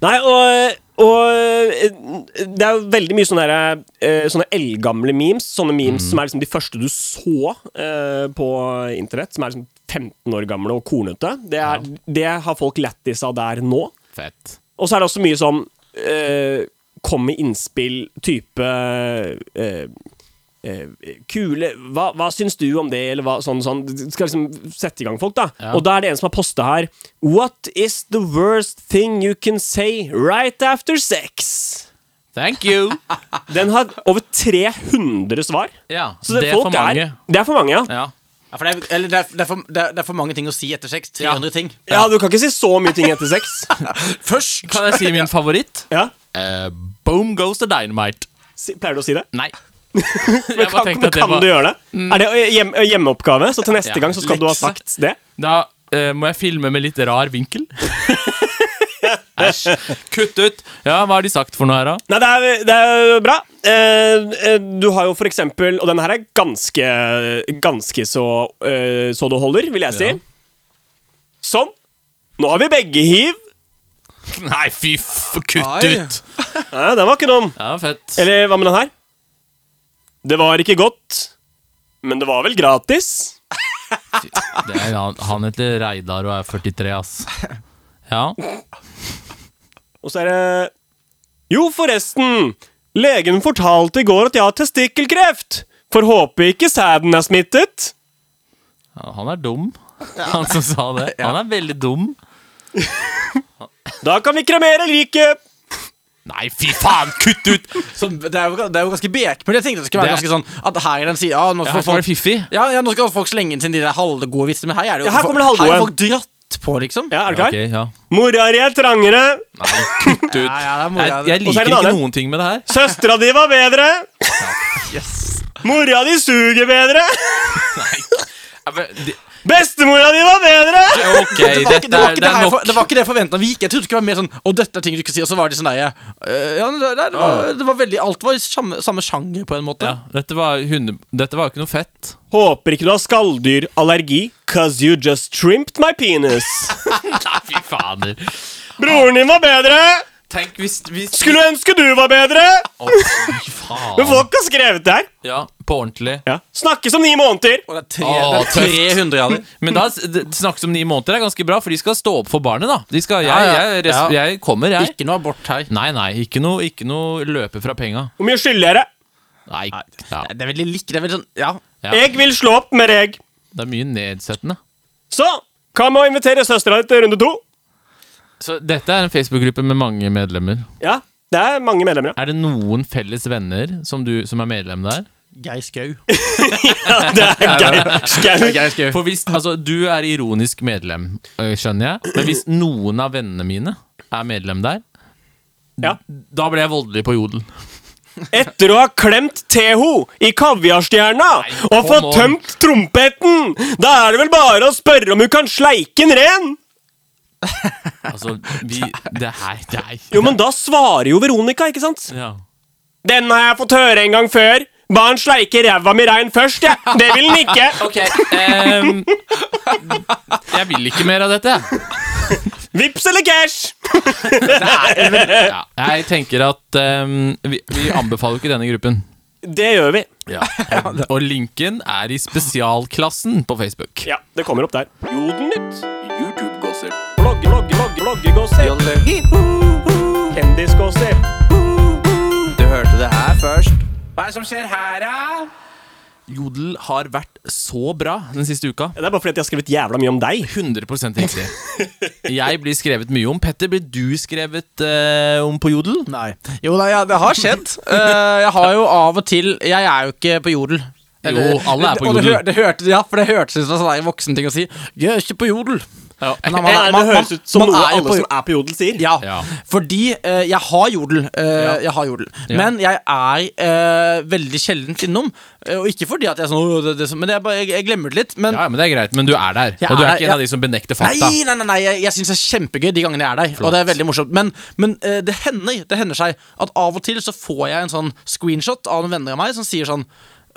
C: nei, og, og eh, det er jo veldig mye sånne, der, eh, sånne eldgamle memes. Sånne memes som er liksom de første du så eh, på internett, som er liksom 15 år gamle og kornete. Det, er, det har folk lættis av der nå.
B: Fett.
C: Og så er det også mye sånn eh, Kom med innspill type eh, eh, Kule hva, hva syns du om det? Eller hva, sånn, sånn. Du skal liksom sette i gang folk, da.
B: Ja.
C: Og da er det en som har posta her What is the worst thing you can say right after sex?
B: Thank you.
C: Den har over 300 svar.
B: Ja,
C: Så det,
B: det er
C: folk
B: for mange.
C: Er, det er for mange, ja.
B: Ja.
D: Ja, for det, er, eller det, er, det, er for, det, er, det er for mange ting å si etter sex. 300 ting.
C: ja. Du kan ikke si så mye ting etter sex.
B: Først kan jeg si min favoritt.
C: Ja.
B: Eh, boom goes the dynamite.
C: Si- Pleier du å si det?
B: Nei.
C: Men
B: bare tenkte
C: kan,
B: at
C: men
B: det
C: kan
B: var- Mm.
C: du gjøre det? Er det hjem, hjemmeoppgave? Så til neste
B: Ja,
C: gang så skal du ha
B: lekse.
C: sagt det?
B: Da eh, må jeg filme med litt rar vinkel. Æsj. Kutt ut. Ja, hva har de sagt for noe her, da?
C: Nei, det er, det er bra. Eh, eh, du har jo for eksempel Og denne her er ganske, ganske så, eh, så det holder, vil jeg si.
B: Ja.
C: Sånn. Nå har vi begge hiv.
B: Nei, fy f... Kutt
D: Ai.
B: ut!
C: Nei, den var ikke dum.
B: Ja, fett.
C: Eller hva med den her? Det var ikke godt, men det var vel gratis?
B: Det er, han, han heter Reidar og er 43, ass. Ja.
C: Og så er det Jo, forresten. Legen fortalte i går at jeg har testikkelkreft. Får håpe ikke sæden er smittet.
B: Han er dum, han som sa det. Han er veldig dum.
C: Da kan vi kremere liket.
B: Nei, fy faen! Kutt ut!
D: Så det, er jo, det er jo ganske bekmørkt. Jeg tenkte det skulle
B: Det
D: være
B: er-
D: ganske sånn at her i den sida ja, nå
B: Ja,
D: får
B: her var det
D: folk-
B: fiffig.
D: ja, ja, nå skal folk slenge inn sine de der halvgode vitser, men her er det jo
C: Ja, her kommer det halvgode.
D: Her er folk dratt på, liksom.
C: Ja, er du
B: Ja,
C: klar?
B: ok, ja.
C: Mora di er trangere.
B: Kutt ut.
D: Ja, ja, det er moro.
B: Jeg, jeg liker
C: Og så er det en
B: ikke
C: annen.
B: noen ting med det her.
C: Søstera di var bedre. Mora di suger bedre.
B: Ja, men de-
C: Bestemora di var bedre.
B: Ok,
D: det, var ikke,
B: dette
D: det, var
B: er,
D: ikke
B: det
D: det,
B: er
D: her
B: nok.
D: for, det var ikke det jeg forventa. Vi gikk- Jeg trodde det skulle være mer sånn Og dette er ting du ikke sier. Og så var de sånn der, eh, ja, det, det, var, det var veldig Alt var i samme, samme sjanger, på en måte.
B: Ja, dette var, hunde, dette var jo ikke noe fett.
C: Håper ikke du har skalldyrallergi, cause you just trimmed my penis.
B: Nei, fy fader.
C: Broren din var bedre.
B: Tenk hvis, hvis
C: Skulle ønske du var bedre.
B: Å, fy
C: Men
B: faen.
C: folk har skrevet det her.
B: Ja, på ordentlig.
C: Ja. Snakkes om ni måneder.
D: Og det er, tre,
B: Åh,
D: det er 300 av dem.
B: Men da det snakkes om ni måneder er ganske bra, for de skal stå opp for barnet, da. De skal, jeg,
D: Ja, ja.
B: jeg, res-
D: Ja.
B: jeg kommer, jeg.
D: Ikke noe abort her.
B: Nei, nei, ikke noe, ikke noe løpe fra penga.
C: Hvor mye skylder jeg deg?
B: Nei, ja,
D: Det er veldig lik Det er veldig sånn Ja.
B: Ja.
C: Jeg vil slå opp med deg.
B: det er mye nedsettende.
C: Så hva med å invitere søstera di til runde to?
B: Så dette er en Facebook-gruppe med mange medlemmer.
C: Ja, det er mange medlemmer, ja.
B: Er det noen felles venner som, du, som er medlem der?
D: Geir Skau.
C: Det er Geir Skau.
D: Geir Skau.
B: For hvis, altså, du er ironisk medlem, øh, skjønner jeg. Men hvis noen av vennene mine er medlem der,
C: Ja.
B: da blir jeg voldelig på jodel.
C: Etter å ha klemt Teho i kaviarstjerna og
B: come
C: fått
B: on.
C: tømt trompeten, da er det vel bare å spørre om hun kan sleike en ren?
B: Altså, vi Det er deg.
C: Jo, men da svarer jo Veronica, ikke sant?
B: Ja.
C: Den har jeg fått høre en gang før. Ba han sleike ræva mi rein først, jeg. Ja. Det vil han ikke.
B: Ehm, jeg vil ikke mer av dette. jeg.
C: Vips eller cash?
B: Ja, jeg tenker at ehm, vi, vi anbefaler jo ikke denne gruppen.
C: Det gjør vi.
B: Og, og linken er i spesialklassen på Facebook.
C: Ja, det kommer opp der. Jodelnytt.
F: YouTube-gossip.
C: Blogg, blogg, blogg, bloggegossip. Kendisgossip.
F: Du hørte det her først.
B: Jodel har vært så bra den siste uka.
C: Det er bare fordi at jeg har skrevet jævla mye om deg.
B: 100 riktig. Jeg blir skrevet mye om. Petter, blir du skrevet eh, om på Jodel?
D: Nei. Jo, nei, ja, det har skjedd. Eh, jeg har jo av og til Jeg er jo ikke på jodel.
B: Jo, alle er på
D: Og det,
B: jodel.
D: hør- det hørte, ja, for det hørtes ut som en sånn voksen ting å si. Jeg er ikke på jodel. Men man-
C: Det, er, det
D: man-
C: høres ut som
D: man- man
C: noe
D: er jo
C: alle
D: på
C: som er på jodel, sier.
D: Ja,
B: Ja.
D: fordi eh, jeg har jodel. eh, Jeg har jodel. Men jeg er eh, veldig sjeldent innom. Eh, og ikke fordi at jeg er sånn «Åh, det, det, som-» Men jeg, bare, jeg, jeg glemmer det litt. Men
B: Ja, men det er greit, men du er der.
D: Jeg
B: Og du er
D: er-
B: ikke en av de som benekter fakta.
D: Nei, nei, nei, nei, jeg, jeg syns det er kjempegøy de gangene jeg er der. Og det er veldig morsomt Men, men eh, det hender Det hender seg at av og til så får jeg en sånn screenshot av noen venner av meg som sier sånn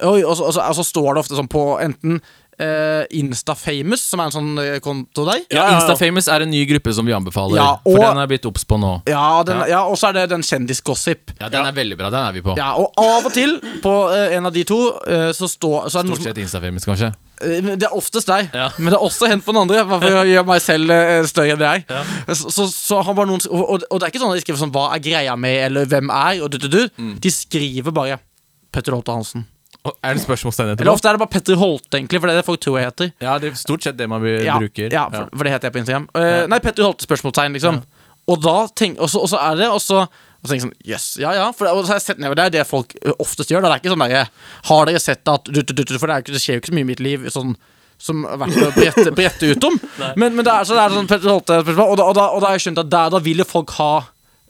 D: Oi, og så, og så, og så står det ofte sånn på enten eh, Instafamous, som er en sånn eh, konto der.
C: Ja, ja, ja.
B: Instafamous er en ny gruppe som vi anbefaler.
D: Ja,
B: For
D: og-
B: den er blitt obs på nå.
D: Ja, den, ja. og så er det den kjendisgossip.
B: Ja, Den er veldig bra. Den er vi på.
D: Ja, og av og til, på eh, en av de to, eh, så, står så er det noe
B: Stort
D: som
B: sett Instafamous, kanskje.
D: Eh, men Det er oftest deg,
B: Ja.
D: men det er også hendt på den andre. Bare for å gjøre meg selv eh, større enn jeg. Så, så, så har bare noen og, og, og det er ikke sånn at de skriver sånn 'Hva er greia med?' eller 'Hvem er?' og du, du, du.
B: Mm.
D: De skriver bare 'Petter Holte Hansen'.
B: Og er det spørsmålstegn
D: Eller
B: etterpå?
D: ofte er det bare Petter Holte, egentlig, for det er det folk tror jeg heter.
B: Ja, det er stort sett det man br-
D: Ja,
B: bruker.
D: ja for, for det heter jeg på Instagram. Eh, Nei, Petter Holte spørsmålstegn, liksom. Og da tenk, og så, og så er det, og så og så tenker jeg sånn, yes, ja, ja, for og så har jeg sett nedover der, det folk ø, oftest gjør. Da. Det er ikke sånn der, har dere sett at du, du, du, du, For det, er jo ikke, det skjer jo ikke så mye i mitt liv sånn, som er verdt å brette, brette ut om. men, men det er, så det er sånn Petter Holte spørsmål, og da, og da, og da har jeg skjønt at der da vil jo folk ha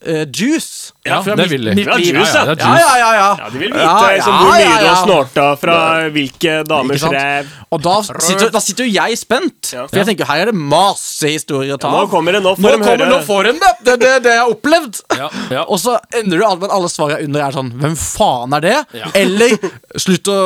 D: eh, juice.
B: Ja,
D: Fra
B: det
D: mitt-
B: vil de.
D: mitt
C: Ja,
D: liv.
C: juice, ja.
D: ja, ja, ja, ja,
C: Ja, de vil vite
D: Ja, ja,
C: liksom, hvor mye
D: ja,
C: du har
D: ja.
C: snorta fra hvilke
D: Ikke
C: damers
D: sant?
C: ræv.
D: Og da sitter, da sitter jo jeg spent.
C: Ja.
D: For jeg tenker her er det masse historier å ta
C: Ja, nå
D: av.
C: kommer det, nå får de
D: kommer-
C: høre.
D: nå får de det. Det, det, det jeg har opplevd.
B: Ja, ja.
D: Og så ender du alt med at alle svarene under er sånn Hvem faen er det?
B: Ja.
D: Eller slutt å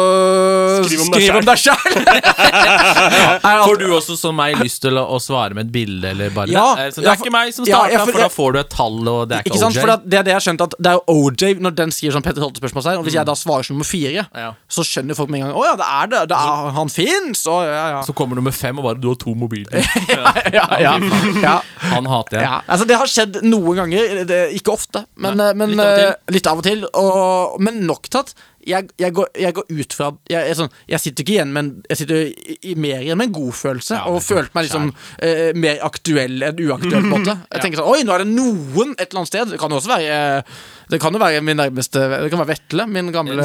C: Skriv om deg
D: skrive om deg sjæl.
B: Får du også som meg lyst til å, å svare med et bilde? Eller bare,
D: Ja,
B: Nei, så det
D: ja,
B: er ikke meg som
D: ja,
B: starta,
D: jeg
B: for
D: får-
B: da
D: jeg-
B: får du et tall, og det er ikke,
D: Ikke sant?
B: OJ.
D: For det er det jeg har skjønt at det er jo OJ når den skriver sånn Petter Holte spørsmålstegn. Og
C: Mm.
D: hvis jeg da svarer som nummer fire,
B: Ja.
D: så skjønner folk med en gang Å ja, det er det. det er, han fins. Og ja, ja.
B: Så kommer nummer fem og bare 'du har to mobiler'.
D: ja, ja, ja.
B: Han hater jeg.
D: Ja, altså Det har skjedd noen ganger, det, ikke ofte, men, eh, men
B: litt av og til.
D: eh, litt av og til. Og, men nok til at jeg, jeg, går, jeg går ut fra jeg, er sånn, jeg sitter ikke igjen med en- Jeg sitter i, i, mer igjen med en god følelse,
B: Ja,
D: og
B: men
D: følte meg liksom eh, mer aktuell enn uaktuell. på en måte Jeg tenker sånn Oi, nå er det noen et eller annet sted. Det kan jo også være eh, Det kan jo være min nærmeste Det kan være Vetle, min gamle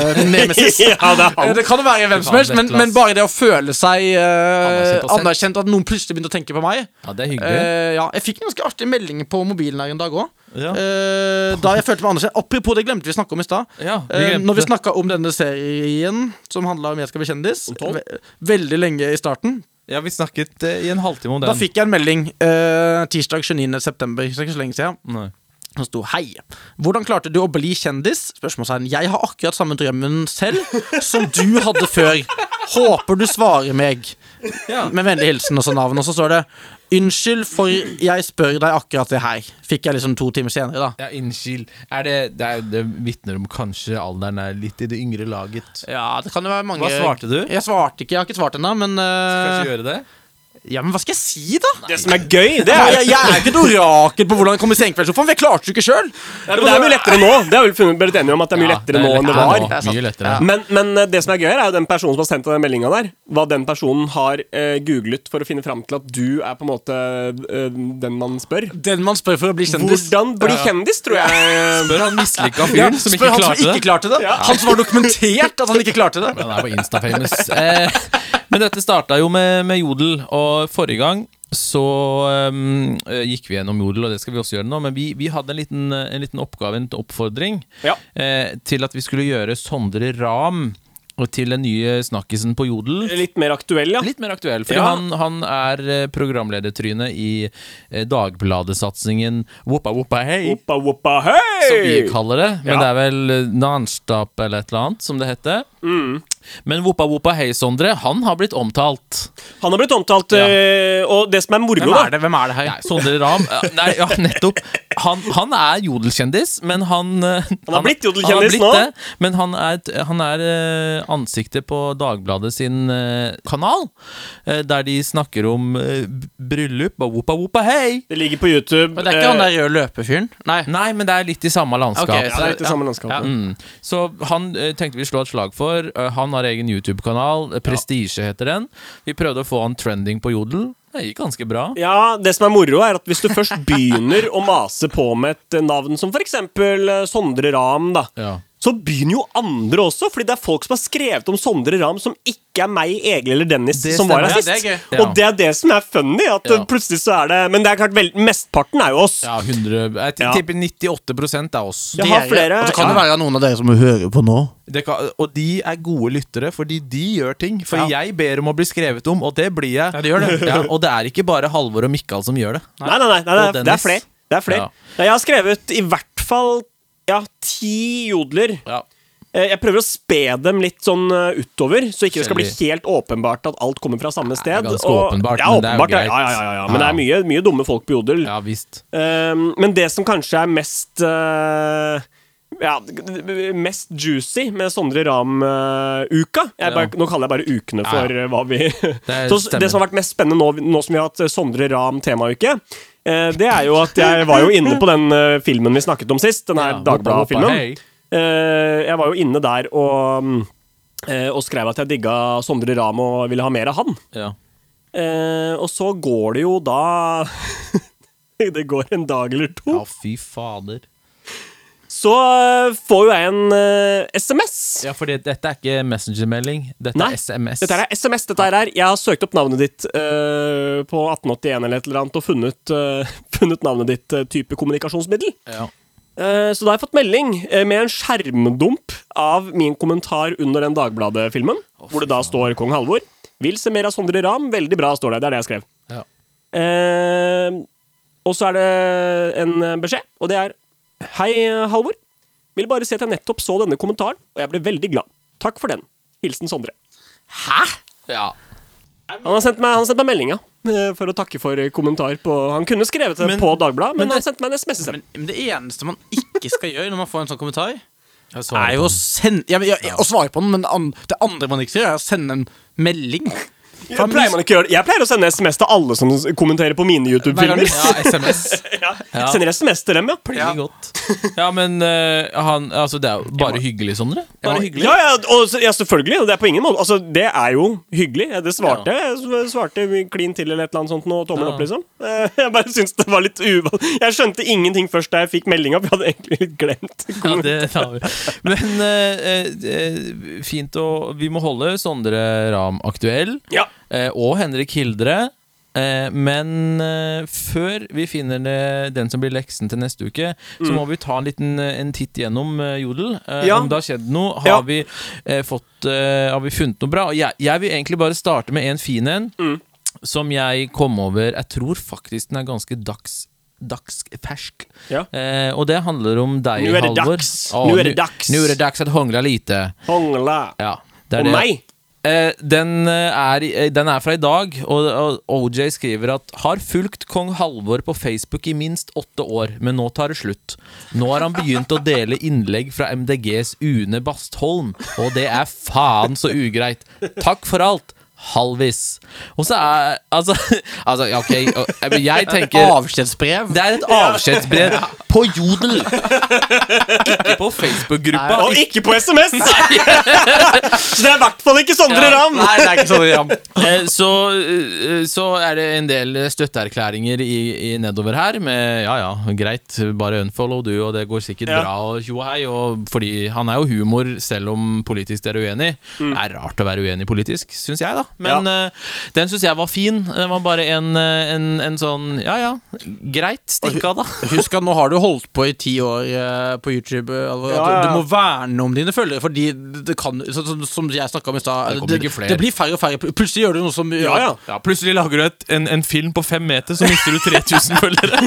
D: nemesis.
C: Ja, det er
D: Eh,
C: han.
D: Det kan jo være hvem som helst, men,
B: Vetle, ass.
D: men bare det å føle seg eh,
B: Anerkjent og sett.
D: anerkjent, at noen plutselig begynte å tenke på meg.
B: Ja, det er hyggelig.
D: Eh, ja, jeg fikk en ganske artig melding på mobilen her en dag òg.
B: Ja.
D: da jeg følte meg anerkjent. Apropos det glemte vi å snakke om i stad.
B: Ja, vi
D: Eh,
B: glemte
D: når vi
B: det.
D: snakka om denne serien som handla om Jeg skal bli kjendis, ve veldig lenge i starten,
B: Ja, vi snakket eh, i en halvtime om den.
D: da fikk jeg en melding eh, tirsdag 29.9., så det er ikke så lenge siden.
B: Nei.
D: Han sto Hei, hvordan klarte du å bli kjendis? Spørsmålstegn. Jeg har akkurat samme drømmen selv som du hadde før. Håper du svarer meg. Med vennlig hilsen og så navn. Og så står det Unnskyld for jeg spør deg akkurat det her. Fikk jeg liksom to timer senere, da.
B: Ja, Unnskyld. Er det, det, er, det vitner om kanskje alderen er litt i det yngre laget.
D: Ja, det kan jo være mange
B: Hva svarte du?
D: Jeg svarte ikke, jeg har ikke svart ennå, men
B: Kanskje
D: eh,
B: gjøre det?
D: Ja, men hva skal jeg si, da?
C: Det som er gøy, det er
D: Jeg, jeg er ikke et orakel på hvordan jeg kommer i sengekveldssofaen, for jeg klarte det jo ikke sjøl.
C: Ja, men det er mye lettere nå. Det har vi funnet- blitt enige om at det er mye
B: Ja,
C: lettere nå enn det
B: lettere
C: var.
B: nå.
D: Det er sant.
B: Mye lettere.
D: Ja.
C: Men, men eh, det som er gøy, her er jo den personen som har sendt den meldinga der, hva den personen har eh, googlet for å finne fram til at du er på en måte eh, den man spør.
D: Den man spør for å bli kjendis.
C: Hvordan bli kjendis, tror jeg. eh,
B: Spør han mislykka
D: Ja,
B: fyren som ikke
D: spør han
B: klarte
D: som
B: det.
D: ikke klarte det. Han som har dokumentert at han ikke klarte det.
B: Han er på Instafamous. Eh, men dette starta jo med, med Jodel, og forrige gang så ehm, eh, gikk vi gjennom Jodel, og det skal vi også gjøre nå, men vi, vi hadde en liten, eh, en liten oppgave, en oppfordring,
C: Ja.
B: eh, til at vi skulle gjøre Sondre Ram Og til den nye snakkisen på Jodel.
C: Litt mer aktuell, ja.
B: Litt mer aktuell, for
C: Ja.
B: han, han er eh, programledertryne i eh, Dagbladet-satsingen Woppa Woppa Hei,
C: Oppa, oppa,
B: som vi
C: hei!
B: kaller det. Men
C: Ja.
B: det er vel eh, Nanstap eller et eller annet, som det heter.
C: Mm.
B: Men Woppa Woppa Hei, Sondre, han har blitt omtalt.
C: Han har blitt omtalt,
B: Ja.
C: eh, og det som er moro,
D: Hvem
C: da
D: er det, Hvem er det her?
B: Nei, Sondre Ram eh, Nei, ja, nettopp. Han, han er jodelkjendis, men han eh, Han
C: blitt jodelkjendis
B: han har blitt
C: nå.
B: det, Men han er, et- han er eh, ansiktet på Dagbladet sin eh, kanal, eh, der de snakker om eh, b- bryllup og woppa woppa hei.
C: Det ligger på YouTube.
D: Men det er ikke han der røde løpefyren? Nei.
B: Nei, men det er litt i samme landskap.
D: Ok,
C: Ja, det er ikke det samme landskapet.
B: Mm. Så han eh, tenkte vi slå et slag for. Eh, han har egen YouTube-kanal. eh, Prestige heter den. Vi prøvde å få han trending på Jodel. Det gikk ganske bra.
C: Ja, det som er moro, er at hvis du først begynner å mase på med et eh, navn som f.eks. Sondre Ram, da,
B: Ja.
C: så begynner jo andre også, fordi det er folk som har skrevet om Sondre Ram som ikke er meg, Egil eller Dennis,
B: Det
C: som var
B: stemmer.
C: her
B: Ja,
C: sist.
D: det er
B: gøy. Ja.
C: Og det er det som er funny, at eh,
B: Ja.
C: plutselig så er det Men det er klart, vel, mesteparten er jo oss.
B: Ja, 100 Jeg
C: Ja.
B: tipper 98 er oss.
C: Jeg har
D: Dere-
C: flere
D: Og så kan det
C: ja.
D: være noen av dere som hører på nå.
B: Det kan, og de er gode lyttere, fordi de gjør ting. For jeg ber om å bli skrevet om, og det blir jeg.
D: Ja, det gjør det.
B: Ja, og det er ikke bare Halvor og Mikael som gjør det.
C: Nei, nei, nei, nei,
B: Og
C: nei det er
B: Dennis.
C: flere. Det er flere.
B: Ja.
C: Nei, Jeg har skrevet i hvert fall ja, ti jodler.
B: Ja.
C: Eh, Jeg prøver å spe dem litt sånn eh, utover, så ikke det skal bli
B: Forskjellig.
C: helt åpenbart at alt kommer fra samme sted.
B: ganske åpenbart,
C: ja,
B: men det er jo
C: åpenbart, ja,
B: greit.
C: Ja, ja, ja, ja. Men det
B: Ja.
C: er mye, mye dumme folk på Jodel.
B: ja visst.
C: Um, men det som kanskje er mest eh, ja, g- g- mest juicy med Sondre Ram-uka.
B: Ja.
C: Nå kaller jeg bare ukene for
B: Ja,
C: eh, hva vi
B: Det
C: Så s-
B: stemmer.
C: det som har vært mest spennende nå, nå som vi har hatt eh, Sondre Ram temauke, eh, det er jo at jeg var jo inne på den eh, filmen vi snakket om sist. Den her
B: Ja,
C: Dagbladet-filmen.
B: hoppa, hoppa,
C: Eh, jeg var jo inne der og, mm, eh, og skrev at jeg digga Sondre Ram og ville ha mer av han.
B: Ja.
C: Eh, og så går det jo da Det går en dag eller to.
B: ja, fy fader.
C: Så eh, får jo jeg en eh, SMS.
B: Ja, for dette er ikke Messenger-melding. Dette
C: Nei,
B: er SMS.
C: Dette her er SMS. dette her er Jeg har søkt opp navnet ditt eh, på 1881 eller et eller annet og funnet, eh, funnet navnet ditt eh, type kommunikasjonsmiddel.
B: Ja.
C: Eh, så da har jeg fått melding eh, med en skjermdump av min kommentar under den Dagbladet-filmen, hvor det da står kong Halvor. Vil se mer av Sondre Ram. Veldig bra, står det. Det er det jeg skrev.
B: Ja.
C: Eh, og så er det en beskjed, og det er Hei, Halvor. Vil bare si at jeg nettopp så denne kommentaren, og jeg ble veldig glad. Takk for den. Hilsen Sondre.
B: Ja.
C: Han har sendt meg, han har sendt meg meldinga eh, for å takke for kommentar på Han kunne skrevet det
B: Men-
C: på Dagbladet, men,
B: men det-
C: han sendte meg en SMS isteden.
D: Men, men det eneste man ikke skal gjøre når man får en sånn kommentar,
B: Jeg så
D: er
B: det
D: jo
B: på
D: å sende ja, men, ja, ja, Å svare på den, men an, det andre man ikke skal gjøre, er å sende en melding.
C: Jeg pleier, man ikke å gjøre det. jeg pleier å sende SMS til alle som s- kommenterer på mine
B: Hver gang-
C: YouTube-filmer.
B: Ja, SMS. Ja.
C: Sender SMS til dem, ja.
B: Ja.
C: Bare
B: Godt. ja, men eh, han Altså, det er jo bare hyggelig, Sondre. Bare hyggelig.
C: Ja, ja, og, så- ja, selvfølgelig. og Det er på ingen måte Altså, det er jo hyggelig. Ja, Det svarte jeg s- svarte klin til eller et eller annet sånt nå, tommel
B: Ja.
C: opp, liksom. Eh, Jeg bare syns det var litt uvan... Jeg skjønte ingenting først da jeg fikk meldinga, for jeg hadde egentlig litt glemt.
B: Ja, det tar vi. Men eh, eh, fint å Vi må holde Sondre Ram aktuell.
C: Ja.
B: eh, og Henrik Hildre. Eh, men eh, før vi finner eh, den som blir leksen til neste uke, så må vi ta en liten eh, en titt gjennom eh, Jodel. Eh,
C: Mm. Ja.
B: Om det har skjedd noe. Har,
C: Ja.
B: vi, eh, fått, eh, har vi funnet noe bra? Og Jeg, jeg vil egentlig bare starte med en fin en.
C: Mm.
B: Som jeg kom over Jeg tror faktisk den er ganske dags, dagsfersk.
C: Ja.
B: Eh, og det handler om deg,
C: Nu er det
B: Halvor.
C: dags.
B: Å,
C: Nu er det
B: nu-
C: dags.
B: Nu er det dags at hongla lite.
C: Hongla.
B: Ja, det er
C: Og
B: det.
C: meg.
B: Eh, den, eh, er, i- eh, den er fra i dag, og, og OJ skriver at Har fulgt kong Halvor på Facebook i minst åtte år, men nå tar det slutt. Nå har han begynt å dele innlegg fra MDGs Une Bastholm, og det er faen så ugreit. Takk for alt. Halvis. Og så er Altså, altså ja, OK. og- men Jeg tenker
D: Avskjedsbrev.
B: det er et avskjedsbrev på Jodel! Ikke på Facebook-gruppa.
C: Og ikke på SMS! så det er i hvert fall ikke Sondre Ram!
D: Nei, det er ikke sånn Ram.
B: Eh, så, eh, så er det en del støtteerklæringer i, i nedover her med ja ja, greit, bare unfollow du, og det går sikkert
C: Ja.
B: bra og tjo og hei. Og Mm. fordi han er jo humor selv om politisk dere er uenig. Det er rart å være uenig politisk, syns jeg, da. Men eh, den syns jeg var fin. Den var bare en, eh, en, en sånn Ja ja, greit, stikk av, da.
D: Husk at nå har du holdt på i ti år eh, på YouTube. eh, Alvar, at
C: Ja, ja, ja.
D: Du må verne om dine følgere, fordi det kan så, så, Som jeg snakka om i stad,
B: Det kommer
D: det,
B: ikke flere.
D: det blir færre og færre. Plutselig gjør du noe som
C: Ja, ja.
B: Ja, plutselig lager du et, en, en film på fem meter, så mister du 3000 følgere.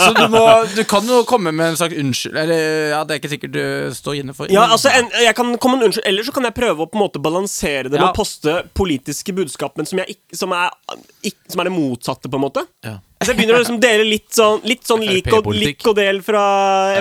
D: Så du, må, du kan jo komme med en slags unnskyld Eller ja, det er ikke sikkert du står inne for.
C: Ja, altså, en, jeg kan komme en unnskyld Eller så kan jeg prøve å på en måte balansere det med
D: Ja.
C: å poste politiske budskap, men som, jeg ikke, som, er, ikke, som er det motsatte, på en måte.
D: Ja.
C: Så jeg begynner å liksom dele litt sånn, litt sånn lik, og,
B: FrP-politikk.
C: lik og del fra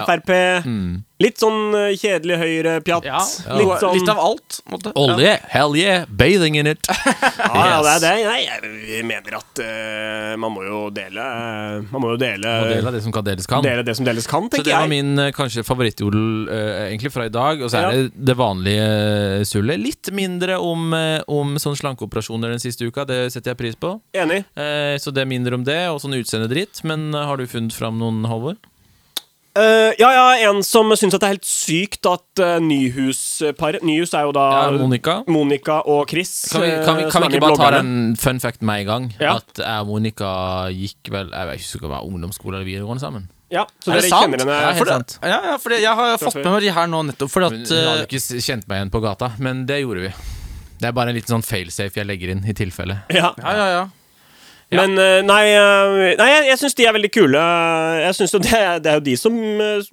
C: Frp.
B: Mm.
C: Litt sånn eh, kjedelig høyre-pjatt.
D: Ja,
C: Litt sånn
D: litt av alt. på en måte.
B: Olje, hell yeah, bathing in it.
C: Ja, ja,
B: Yes.
C: det er det. Nei, jeg mener at eh, man må jo dele eh, Man må jo dele,
B: Og del av det som kan deles kan.
C: dele det som deles kan,
B: Så
C: tenker
B: det var
C: jeg.
B: min eh, kanskje favorittjodel eh, egentlig fra i dag. Og så er
C: Ja.
B: det det vanlige eh, sullet. Litt mindre om, eh, om sånn slankeoperasjoner den siste uka, det setter jeg pris på.
C: Enig.
B: Eh, så det er mindre om det, og sånn utseendedritt. Men eh, har du funnet fram noen, Halvor?
C: Eh, ja, ja, en som syns at det er helt sykt at uh, Nyhus-paret Nyhus er jo da
B: Ja, Monica.
C: Monica og Chris.
B: Kan vi, kan vi,
C: eh,
B: kan vi
C: som er med i
B: ikke bare ta
C: bloggerne.
B: den fun fact med en gang?
C: Ja.
B: At eh, Monica gikk vel Jeg vet ikke om det var ungdomsskole eller videregående sammen.
C: Ja, så
D: Er
C: dere
D: det sant?
C: kjenner henne
B: Ja,
D: For
B: helt
D: det,
B: sant.
D: ja, ja, for det, jeg har fått med meg de her nå nettopp fordi
B: Hun hun
D: at
B: hadde
D: eh,
B: ikke s- kjent meg igjen på gata, men det gjorde vi. Det er bare en liten sånn failsafe jeg legger inn, i tilfelle.
C: Ja.
D: eh, Ja, ja, ja.
C: Men eh, nei, eh, nei jeg, jeg syns de er veldig kule. Jeg synes jo det, er- det er jo de som eh,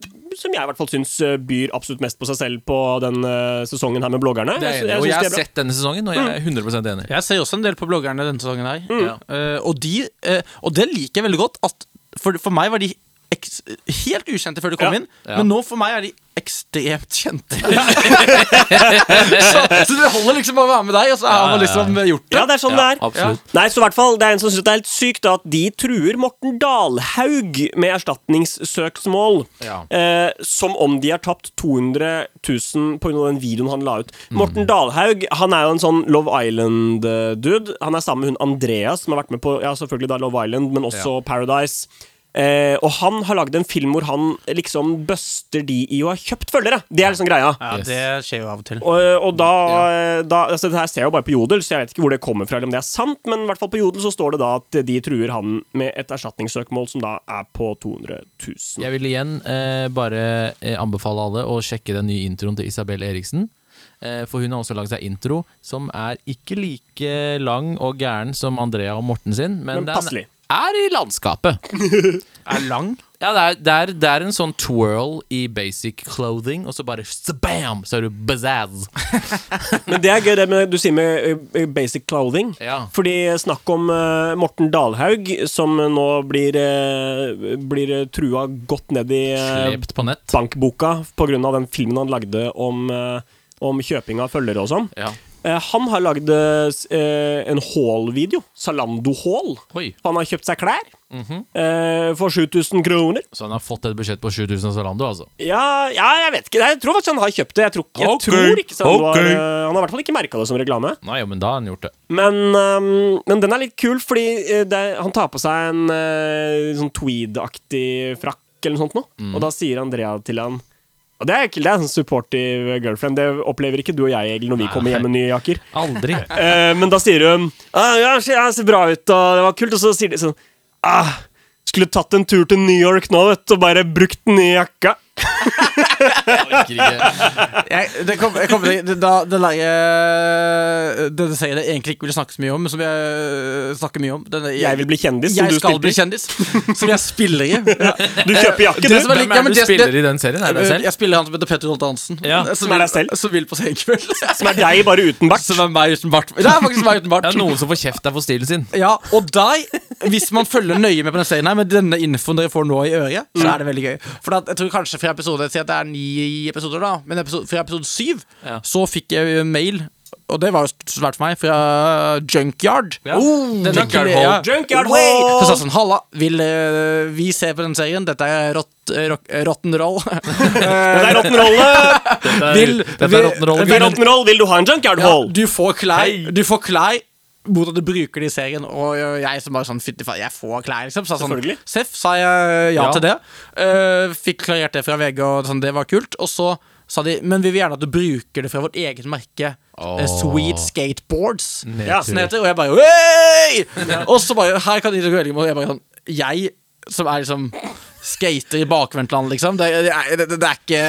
C: Som jeg i hvert fall syns byr absolutt mest på seg selv på den eh, sesongen her med bloggerne.
B: Det er
C: Jeg
B: enig.
C: sy-
B: Og jeg
C: jeg syns
B: har
C: de er bra.
B: sett denne sesongen, og jeg er 100 enig.
D: Jeg ser også en del på bloggerne denne sesongen her.
C: Mm.
D: Eh, og, de, eh, og det liker jeg veldig godt. At for, for meg var de eks helt ukjente før de kom
C: Ja.
D: inn,
B: Ja.
D: men nå for meg er de ekstremt kjente. så, så det holder liksom bare å være med deg, og så har man liksom gjort det.
C: Ja, det er sånn det er.
B: Absolutt.
C: Nei, så i hvert fall, Det er en som synes det er helt sykt da, at de truer Morten Dalhaug med erstatningssøksmål.
B: Ja.
C: Eh, som om de har tapt 200 000 pga. den videoen han la ut. Morten Dalhaug han er jo en sånn Love Island-dude. Han er sammen med hun Andreas, som har vært med på ja, selvfølgelig da Love Island, men også Paradise. Eh, og han har lagd en film hvor han liksom bøster de i å ha kjøpt følgere. Det er liksom greia.
D: Ja, det skjer jo av og til.
C: Og, eh, og da, da altså, Det her ser jeg jo bare på Jodel, så jeg vet ikke hvor det kommer fra. eller om det er sant, Men i hvert fall på Jodel så står det da at de truer han med et erstatningssøksmål som da er på 200 000.
B: Jeg vil igjen eh, bare eh, anbefale alle å sjekke den nye introen til Isabel Eriksen. Eh, for hun har også lagd seg intro som er ikke like lang og gæren som Andrea og Morten sin, men,
C: Men
B: den
C: passelig.
B: er i landskapet.
D: Er lang.
B: Ja, det er, det, er, det er en sånn twirl i basic clothing, og så bare bam, så er du bazazz.
C: Men det er gøy, det med, du sier med eh, basic clothing.
B: Ja.
C: Fordi snakk om eh, Morten Dalhaug, som nå blir, eh, blir eh, trua godt ned i eh,
B: Slept på nett.
C: bankboka pga. den filmen han lagde om, eh, om kjøping av følgere og sånn.
B: Ja.
C: Eh, Han har lagd eh, en haul-video. Salando-haul.
B: Oi.
C: Han har kjøpt seg klær
B: Mhm.
C: eh, for 7000 kroner.
B: Så han har fått et budsjett på 7000 av Zalando, altså.
C: Ja, ja, jeg vet ikke. Nei, Jeg tror faktisk han har kjøpt det. Jeg tror, jeg
B: Ok,
C: tror ikke så han,
B: ok.
C: var, eh, han har i hvert fall ikke merka det som reklame.
B: Nei, jo, men da har han gjort det.
C: Men, ehm, men den er litt kul, fordi eh, det, er- han tar på seg en eh, sånn tweed-aktig frakk eller noe sånt nå.
B: Mm.
C: Og da sier Andrea til han og det er, ikke- det er en supportive girlfriend. Det opplever ikke du og jeg egentlig når vi kommer hjem med nye jakker.
B: Aldri.
C: Eh, men da sier hun ah, ja, jeg ser- jeg ser bra ut, og det var kult. Og så sier de sånn ah, Skulle tatt en tur til New York nå, vet du, og bare brukt den nye jakka.
D: Jeg, det kom, jeg kom, det, da, det leie Det det sier jeg egentlig ikke vil snakke så mye om, men som jeg eh, snakker mye om. Den,
C: Jeg vil bli kjendis, som
D: jeg
C: du
D: skal
C: spilte
D: bli kjendis. Som jeg spiller i. Ja.
C: Du kjøper jakke,
D: Det Eh, som
C: du.
D: er litt-
B: Hvem
D: ja,
B: er
D: men
B: det du
D: det-
B: spiller
D: det-
B: i den serien? Er det deg selv?
D: Jeg spiller han som heter Petter Holt Hansen.
B: Ja,
C: som er deg selv.
D: Som vil på senkveld.
C: Som er deg, bare uten bart.
D: Som er meg uten bart. Det er faktisk meg uten bart.
B: Det er noen som får kjeft der for stilen sin.
D: Ja, og deg, hvis man følger nøye med på den serien her, med denne infoen dere får nå i øret, så er det veldig gøy. For at, jeg tror kanskje fra episode Si at det er ni episoder, da. Men episode, fra episode syv
B: Ja.
D: så fikk jeg mail, og det var jo svært for meg, fra Junkyard.
B: Ja. Oh,
D: Denne
B: Junkyard
D: kine- ja.
B: Hall.
C: Junkyard
D: Way!
C: Hall!
D: Så sa jeg sånn, halla, vil eh, vi se på den serien? Dette er rått- eh, rock- eh, rotten roll.
C: Det er rock'n'roll.
D: Vil-
B: Dette er
D: vil-
B: rock'n'roll.
C: eh, Det er rock'n'roll. Vil du ha en junkyard
D: Ja,
C: hall?
D: du får klær, du får klær mot at du bruker det i serien. Og jeg som bare sånn Fytti faen, jeg får klær, liksom. Sa sånn,
C: Selvfølgelig.
D: Seff, sa jeg ja,
B: Ja.
D: til det. Eh, fikk klarert det fra VG, og sånn, det var kult. Og så sa de men vi vil gjerne at du bruker det fra vårt eget merke. eh, Sweet Skateboards.
B: Nedtur.
D: Som det heter. Og jeg bare Oi! Og så bare Her kan de ikke velge meg. Og jeg bare sånn Jeg som er liksom skater i bakvendtland, liksom. Det, det, er- det, det er ikke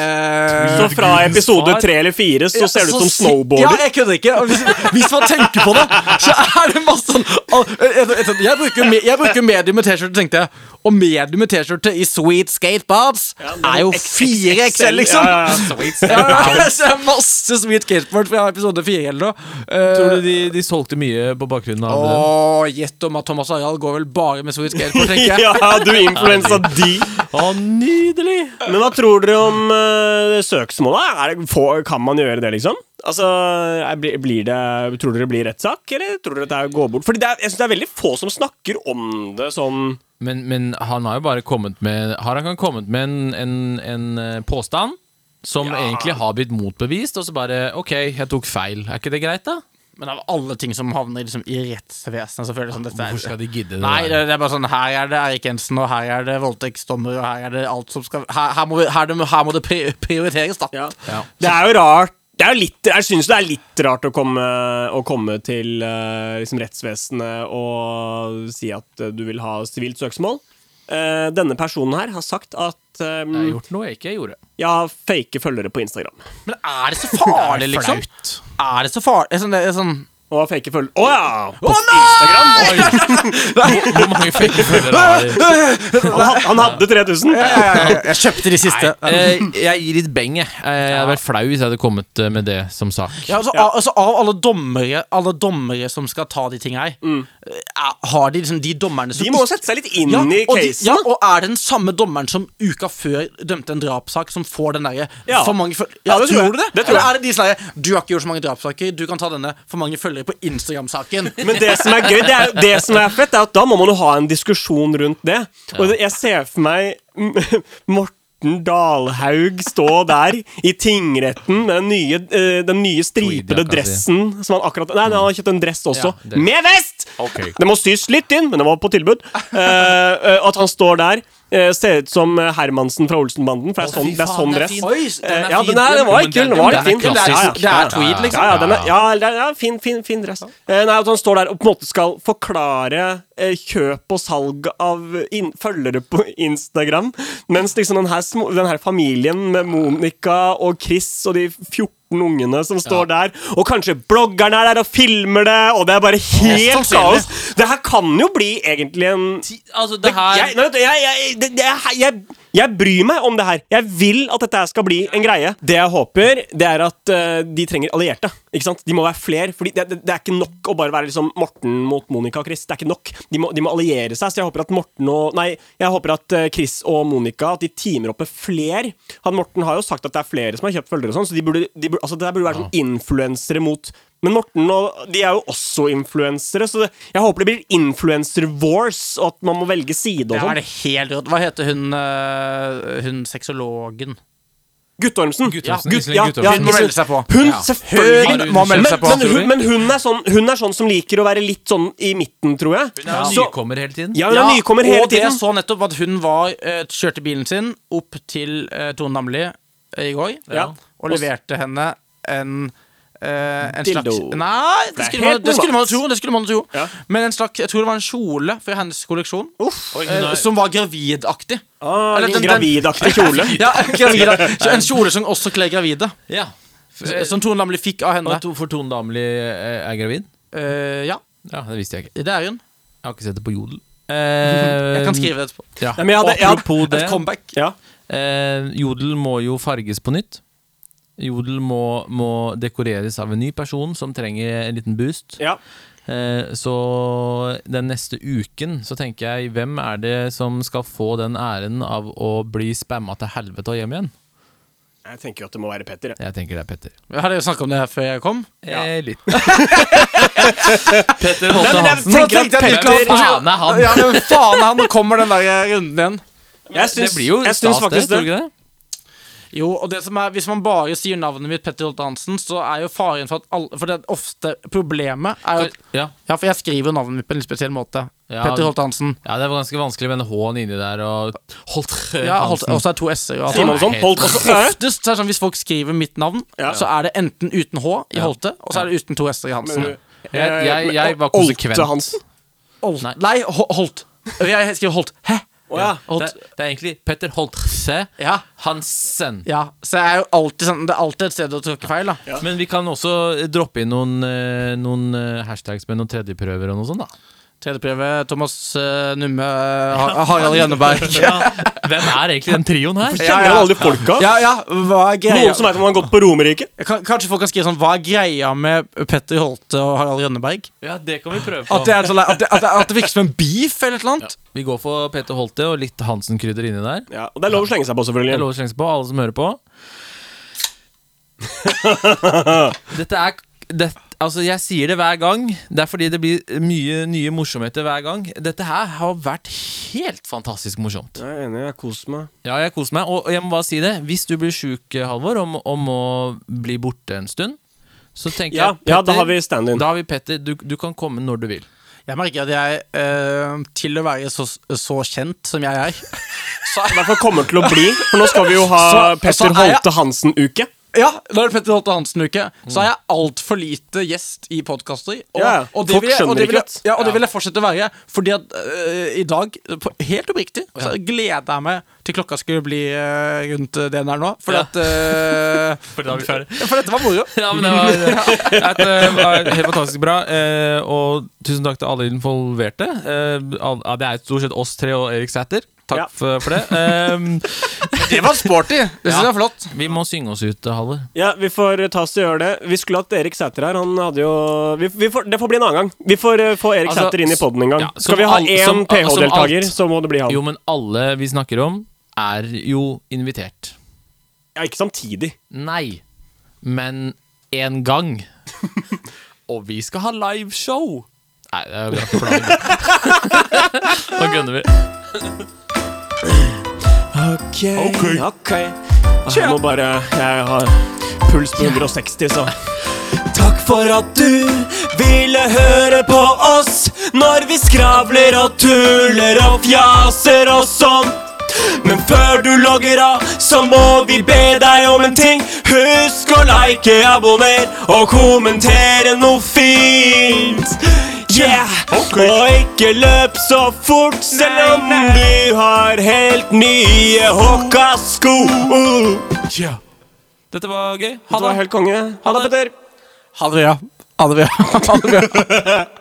C: Så fra
B: Gudens
C: episode
B: far.
C: tre eller fire så ser du ut som
D: si- Ja,
C: snowboarder.
D: jeg kødder ikke. Og Hvis, hvis man tenker på det, så er det masse sånn og, et- et- et- Jeg bruker, me- jeg bruker medium med T-skjorte, tenkte jeg. Og medium med T-skjorte i sweet skateboards er jo 4XL, liksom.
C: Ja, ja,
D: Ja, ja, så det er masse sweet skateboard fra episode fire eller noe. Eh,
B: Tror du de, de solgte mye på bakgrunnen av det?
D: Åh, gjett om at Thomas Harald går vel bare med sweet skateboard, tenker jeg.
C: ja. ja, du influensa de.
B: Å, nydelig!
C: Men hva tror dere om eh, søksmålet? Er det, får, kan man gjøre det, liksom? Altså, er, blir- blir det, Tror dere det blir rettssak, eller tror dere det går bort? Fordi det er, jeg synes det er veldig få som snakker om det sånn
B: Men, men han har jo bare kommet med Har han kan kommet med en, en, en eh, påstand som egentlig har blitt motbevist, og så bare OK, jeg tok feil. Er ikke det greit, da?
D: Men av alle ting som havner liksom, i rettsvesenet, så føler jeg sånn dette er
B: Hvorfor skal de gidde det?
D: Nei,
B: der?
D: det, det er bare sånn Her er det Erik Jensen, og her er det voldtektsdommer, og her er det alt som skal Her, her, må, vi, her, det må- her må det pri- prioriteres, da.
B: Ja.
C: Det er jo rart det er jo litt, Jeg syns det er litt rart å komme, å komme til eh, liksom rettsvesenet og si at eh, du vil ha sivilt søksmål. Eh, denne personen her har sagt at eh,
B: Jeg har gjort noe jeg ikke gjorde.
C: jeg har fake følgere på Instagram.
D: Men er det så farlig, liksom? Er det så farlig? Det er Sånn, det er sånn
C: Og har fake følgere Å ja! På
D: nei!
C: Instagram!
B: Hvor- Hvor mange fake følgere har de?
C: Han, had- han hadde 3000.
D: Jeg kjøpte de siste.
B: Nei, eh, jeg gir litt beng, jeg. Eh, Jeg hadde vært flau hvis jeg hadde kommet eh, med det som sak.
D: Ja, altså, Av, altså, av alle dommere, alle dommere som skal ta de tinga her, er- har de liksom de dommerne som
C: De må
D: ikke-
C: sette seg litt inn
D: ja,
C: i
D: og de,
C: casen.
D: ja, og er det den samme dommeren som uka før dømte en drapssak, som får den derre
C: Ja.
D: for mange føl-
C: Ja, det tror jeg.
D: du det?
C: Det tror jeg.
D: Eller er det de som er sånn, Du har ikke gjort så mange drapssaker, du kan ta denne for mange følgere på Instagram-saken.
C: Men det som er gøy, det, er, det som er fett, er at da må man jo ha en diskusjon rundt det. Og det- jeg ser for meg mm, Morten Dalhaug stå der i tingretten med den nye, eh, den nye stripede
B: Tweed-jakka si.
C: dressen som han akkurat Nei, nei, han har kjøpt en dress også.
B: Ja, det-
C: Med vest!
B: Ok.
C: Det må sys litt inn, men den var på tilbud. Eh, eh, at han står der. eh, ser ut som eh, Hermansen fra Olsenbanden, for det er sånn, det er sånn dress.
D: Oi, den er
C: ja,
D: fin.
C: den, er, den var litt kul. Den var
B: Den
C: litt
B: er
C: fin.
B: klassisk.
C: Ja, ja.
D: Det er tweed, liksom.
C: Ja, ja, den er, ja, det er- ja fin, fin, fin dress. Eh, nei, at han står der og på en måte skal forklare eh, kjøp og salg av in følgere på Instagram, mens liksom den her, små, den her familien med Monica og Chris og de 14 ungene som står der, og kanskje bloggerne er der og filmer det, og det er bare helt
D: sannsynlig.
C: kaos. Det her kan jo bli egentlig en
B: Altså, det
C: jeg, nei, vet du, jeg, jeg, det, det, jeg, jeg, jeg bryr meg om det her. Jeg vil at dette her skal bli en greie. Det jeg håper, det er at eh, de trenger allierte. Ikke sant? De må være flere. Fordi det, det, det er ikke nok å bare være liksom Morten mot Monica og Chris. Det er ikke nok. De må, de må alliere seg. Så jeg håper at Morten og Nei, jeg håper at eh, Chris og Monica At de teamer opp med flere. Han Morten har jo sagt at det er flere som har kjøpt følgere og sånn, så de burde, de burde, altså, det der burde være sånn influensere mot men Morten og de er jo også influensere, så det, jeg håper det blir influencer wars, og at man må velge side og
D: Det er
C: sånn.
D: det helt rått. Hva heter hun øh, Hun sexologen?
C: Guttormsen.
B: Guttormsen,
C: Ja,
B: Iselin
C: ja,
B: Guttormsen.
C: ja,
D: Hun må
C: Iselin-
D: melde seg på.
C: Hun,
D: Ja.
C: selvfølgelig.
B: Hun må melde
C: men,
B: seg på,
C: men,
B: tror
C: hun,
B: vi.
C: men hun, er sånn, hun er sånn som liker å være litt sånn i midten, tror jeg.
B: Ja,
C: Så-
B: nykommer hele tiden.
C: Ja, hun er nykommer hele
D: og det
C: tiden.
D: jeg så nettopp at hun var, øh, kjørte bilen sin opp til øh, Tone Damli øh, i går
C: Ja.
D: og leverte henne en øh, en
C: Dildo.
D: slags Nei, det
C: er
D: skulle, man,
C: helt
D: det skulle man
C: normalt.
D: tro. Det skulle man tro.
C: Ja.
D: Men en slags, jeg tror det var en kjole fra hennes kolleksjon
B: Oi,
D: øh,
B: nei.
D: som var gravidaktig.
C: Ah,
D: Eller
C: litt
D: den- den-
C: gravidaktig kjole.
D: Ja, gravid, en kjole som også kler gravide. Eh,
B: Ja.
D: Som Tone Damli fikk av henne.
B: Og to, for Tone Damli eh, er gravid?
D: Øh, ja,
B: Ja, det visste jeg ikke.
D: det er hun.
B: Jeg har ikke sett det på Jodel. Eh,
D: Jeg kan skrive det etterpå.
B: Um, Ja.
C: Nei, men jeg hadde- jeg hadde-
B: Apropos det,
D: Et comeback.
C: Ja.
B: eh, Jodel må jo farges på nytt. Jodel må, må dekoreres av en ny person som trenger en liten boost.
C: Ja.
B: Eh, så den neste uken så tenker jeg hvem er det som skal få den æren av å bli spamma til helvete og hjem igjen?
C: Jeg tenker jo at det må være Petter. jeg.
B: Jeg tenker det er Petter.
D: Jeg hadde jo snakka om det her før jeg kom.
B: Eh, litt. Petter Holte
C: Nei, men
B: Hansen.
C: jeg tenker at Petter
B: Faen er han!
D: Ja, men faen han, nå kommer den der runden igjen.
C: Jeg syns,
B: Det blir jo
C: jeg syns
B: stas, det.
C: faktisk
B: Tror du
C: det.
B: ikke det?
D: Jo, og det som er, Hvis man bare sier navnet mitt, Petter Holte Hansen, så er jo faren for at alle For det er ofte problemet er jo at
B: Ja.
D: Ja, for jeg skriver jo navnet mitt på en litt spesiell måte.
B: Ja,
D: Petter Holte Hansen.
B: Ja, det var ganske vanskelig med den H-en inni der og Holt
D: Ja, Holte,
B: Hansen.
D: og så er det to s-er. og alt
C: Sier man
D: sånt.
C: sånn? Holdt også
D: Oftest så er det sånn Hvis folk skriver mitt navn,
C: Ja.
D: så er det enten uten H i
B: Ja.
D: Holte, og så er det uten to s-er i Hansen. eh,
B: Jeg, jeg, jeg var konsekvent.
C: Olte Hansen.
D: Holt. Nei, Ho- Holt. Jeg skriver Holt. Hæ?
C: Å ja.
D: Holt.
B: Det, det er egentlig Petter Holtse
D: Ja.
B: Hansen.
D: ja. Så det er jo alltid sånn Det er alltid et sted å tråkke feil, da.
B: Men vi kan også droppe inn noen, eh, noen eh, hashtags med noen tredjeprøver og noe sånt, da.
D: Tredjeprøve Thomas eh, Numme Har- Harald Rønneberg. Ja.
B: Hvem er egentlig den trioen her?
D: Ja,
C: Kjenner
D: ja.
C: jo alle de folka.
D: ja, hva er greia
C: Noen som vet om han har gått på Romerike.
D: Kan- Kanskje folk kan skrive sånn Hva er greia med Petter Holte og Harald Rønneberg?
B: Ja, det kan vi prøve
D: At det, er en sånn, at, det, at, det, at det virker som en beef eller et eller annet?
B: Vi går for Petter Holte og litt Hansen-krydder inni der.
C: Ja, og det er lov å slenge seg på,
B: Det er
C: selvfølgelig.
B: lov å slenge seg på, alle som hører på. Dette er det, Altså, jeg sier det hver gang. Det er fordi det blir mye nye morsomheter hver gang. Dette her har vært helt fantastisk morsomt.
C: Jeg er enig, jeg koser meg.
B: Ja, jeg koser meg. Og jeg må bare si det. Hvis du blir sjuk, Halvor, om, om å bli borte en stund, så tenker
C: Ja,
B: jeg
C: ja, da har vi stand-in.
B: Da har vi Petter. Du, du kan komme når du vil.
D: Jeg merker at jeg, eh, til å være så, så kjent som jeg er
C: Derfor kommer det til å bli, for nå skal vi jo ha
D: Så- så
C: Petter
D: er jeg-
C: Holte Hansen-uke.
D: Ja, da er det Petter Holte Hansen-uke. Så er jeg altfor lite gjest i podkaster. Og,
C: Ja,
D: og det
C: folk
D: vil jeg- og
C: skjønner
D: det vil
C: ikke
D: jeg-
C: det.
D: ja, og det vil jeg fortsette å være. Fordi at øh, i dag, på, helt oppriktig, så gleder jeg meg til klokka skulle bli øh, rundt øh, det den er nå. Fordi
B: Ja.
D: at øh,
B: For da er vi ferdige.
D: For dette var moro.
B: Ja, men det var, et, eh, var helt fantastisk bra. eh, Og tusen takk til alle involverte. Eh, al- ja, Det er stort sett oss tre og Erik Sæther. Takk
C: Ja.
B: for, for det. Ehm,
D: Det var sporty. Det syns jeg
B: Ja.
D: var flott.
B: vi må synge oss ut, Halvor.
C: Ja, vi får ta oss til å gjøre det. Vi skulle hatt Erik Sæter her. Han hadde jo vi, vi får, Det får bli en annen gang. Vi får eh, få Erik
B: Altså,
C: Sæter inn i poden en gang.
B: ja, som
C: skal vi ha
B: alt-
C: én
B: som-
C: ph-deltaker,
B: som
C: så må det bli han.
B: Jo, men alle vi snakker om, er jo invitert.
C: Ja, ikke samtidig.
B: Nei, men en gang. Og vi skal ha liveshow! Nei, det er bra plan. Da gunner vi.
C: Ok, ok. Ah, Jeg må bare Jeg har puls på 160, så Takk for at du ville høre på oss når vi skravler og tuller og fjaser og sånn. Men før du logger av, så må vi be deg om en ting. Husk å like, abonner og kommentere noe fint. Yeah! Og ikke løp så fort, selv om du har helt nye Håka-sko.
B: Dette var gøy.
C: Det
B: Ha
C: var
B: det.
C: helt konge. Ha det, Petter.
D: Ha det bra. Ha det bra. Ha det bra.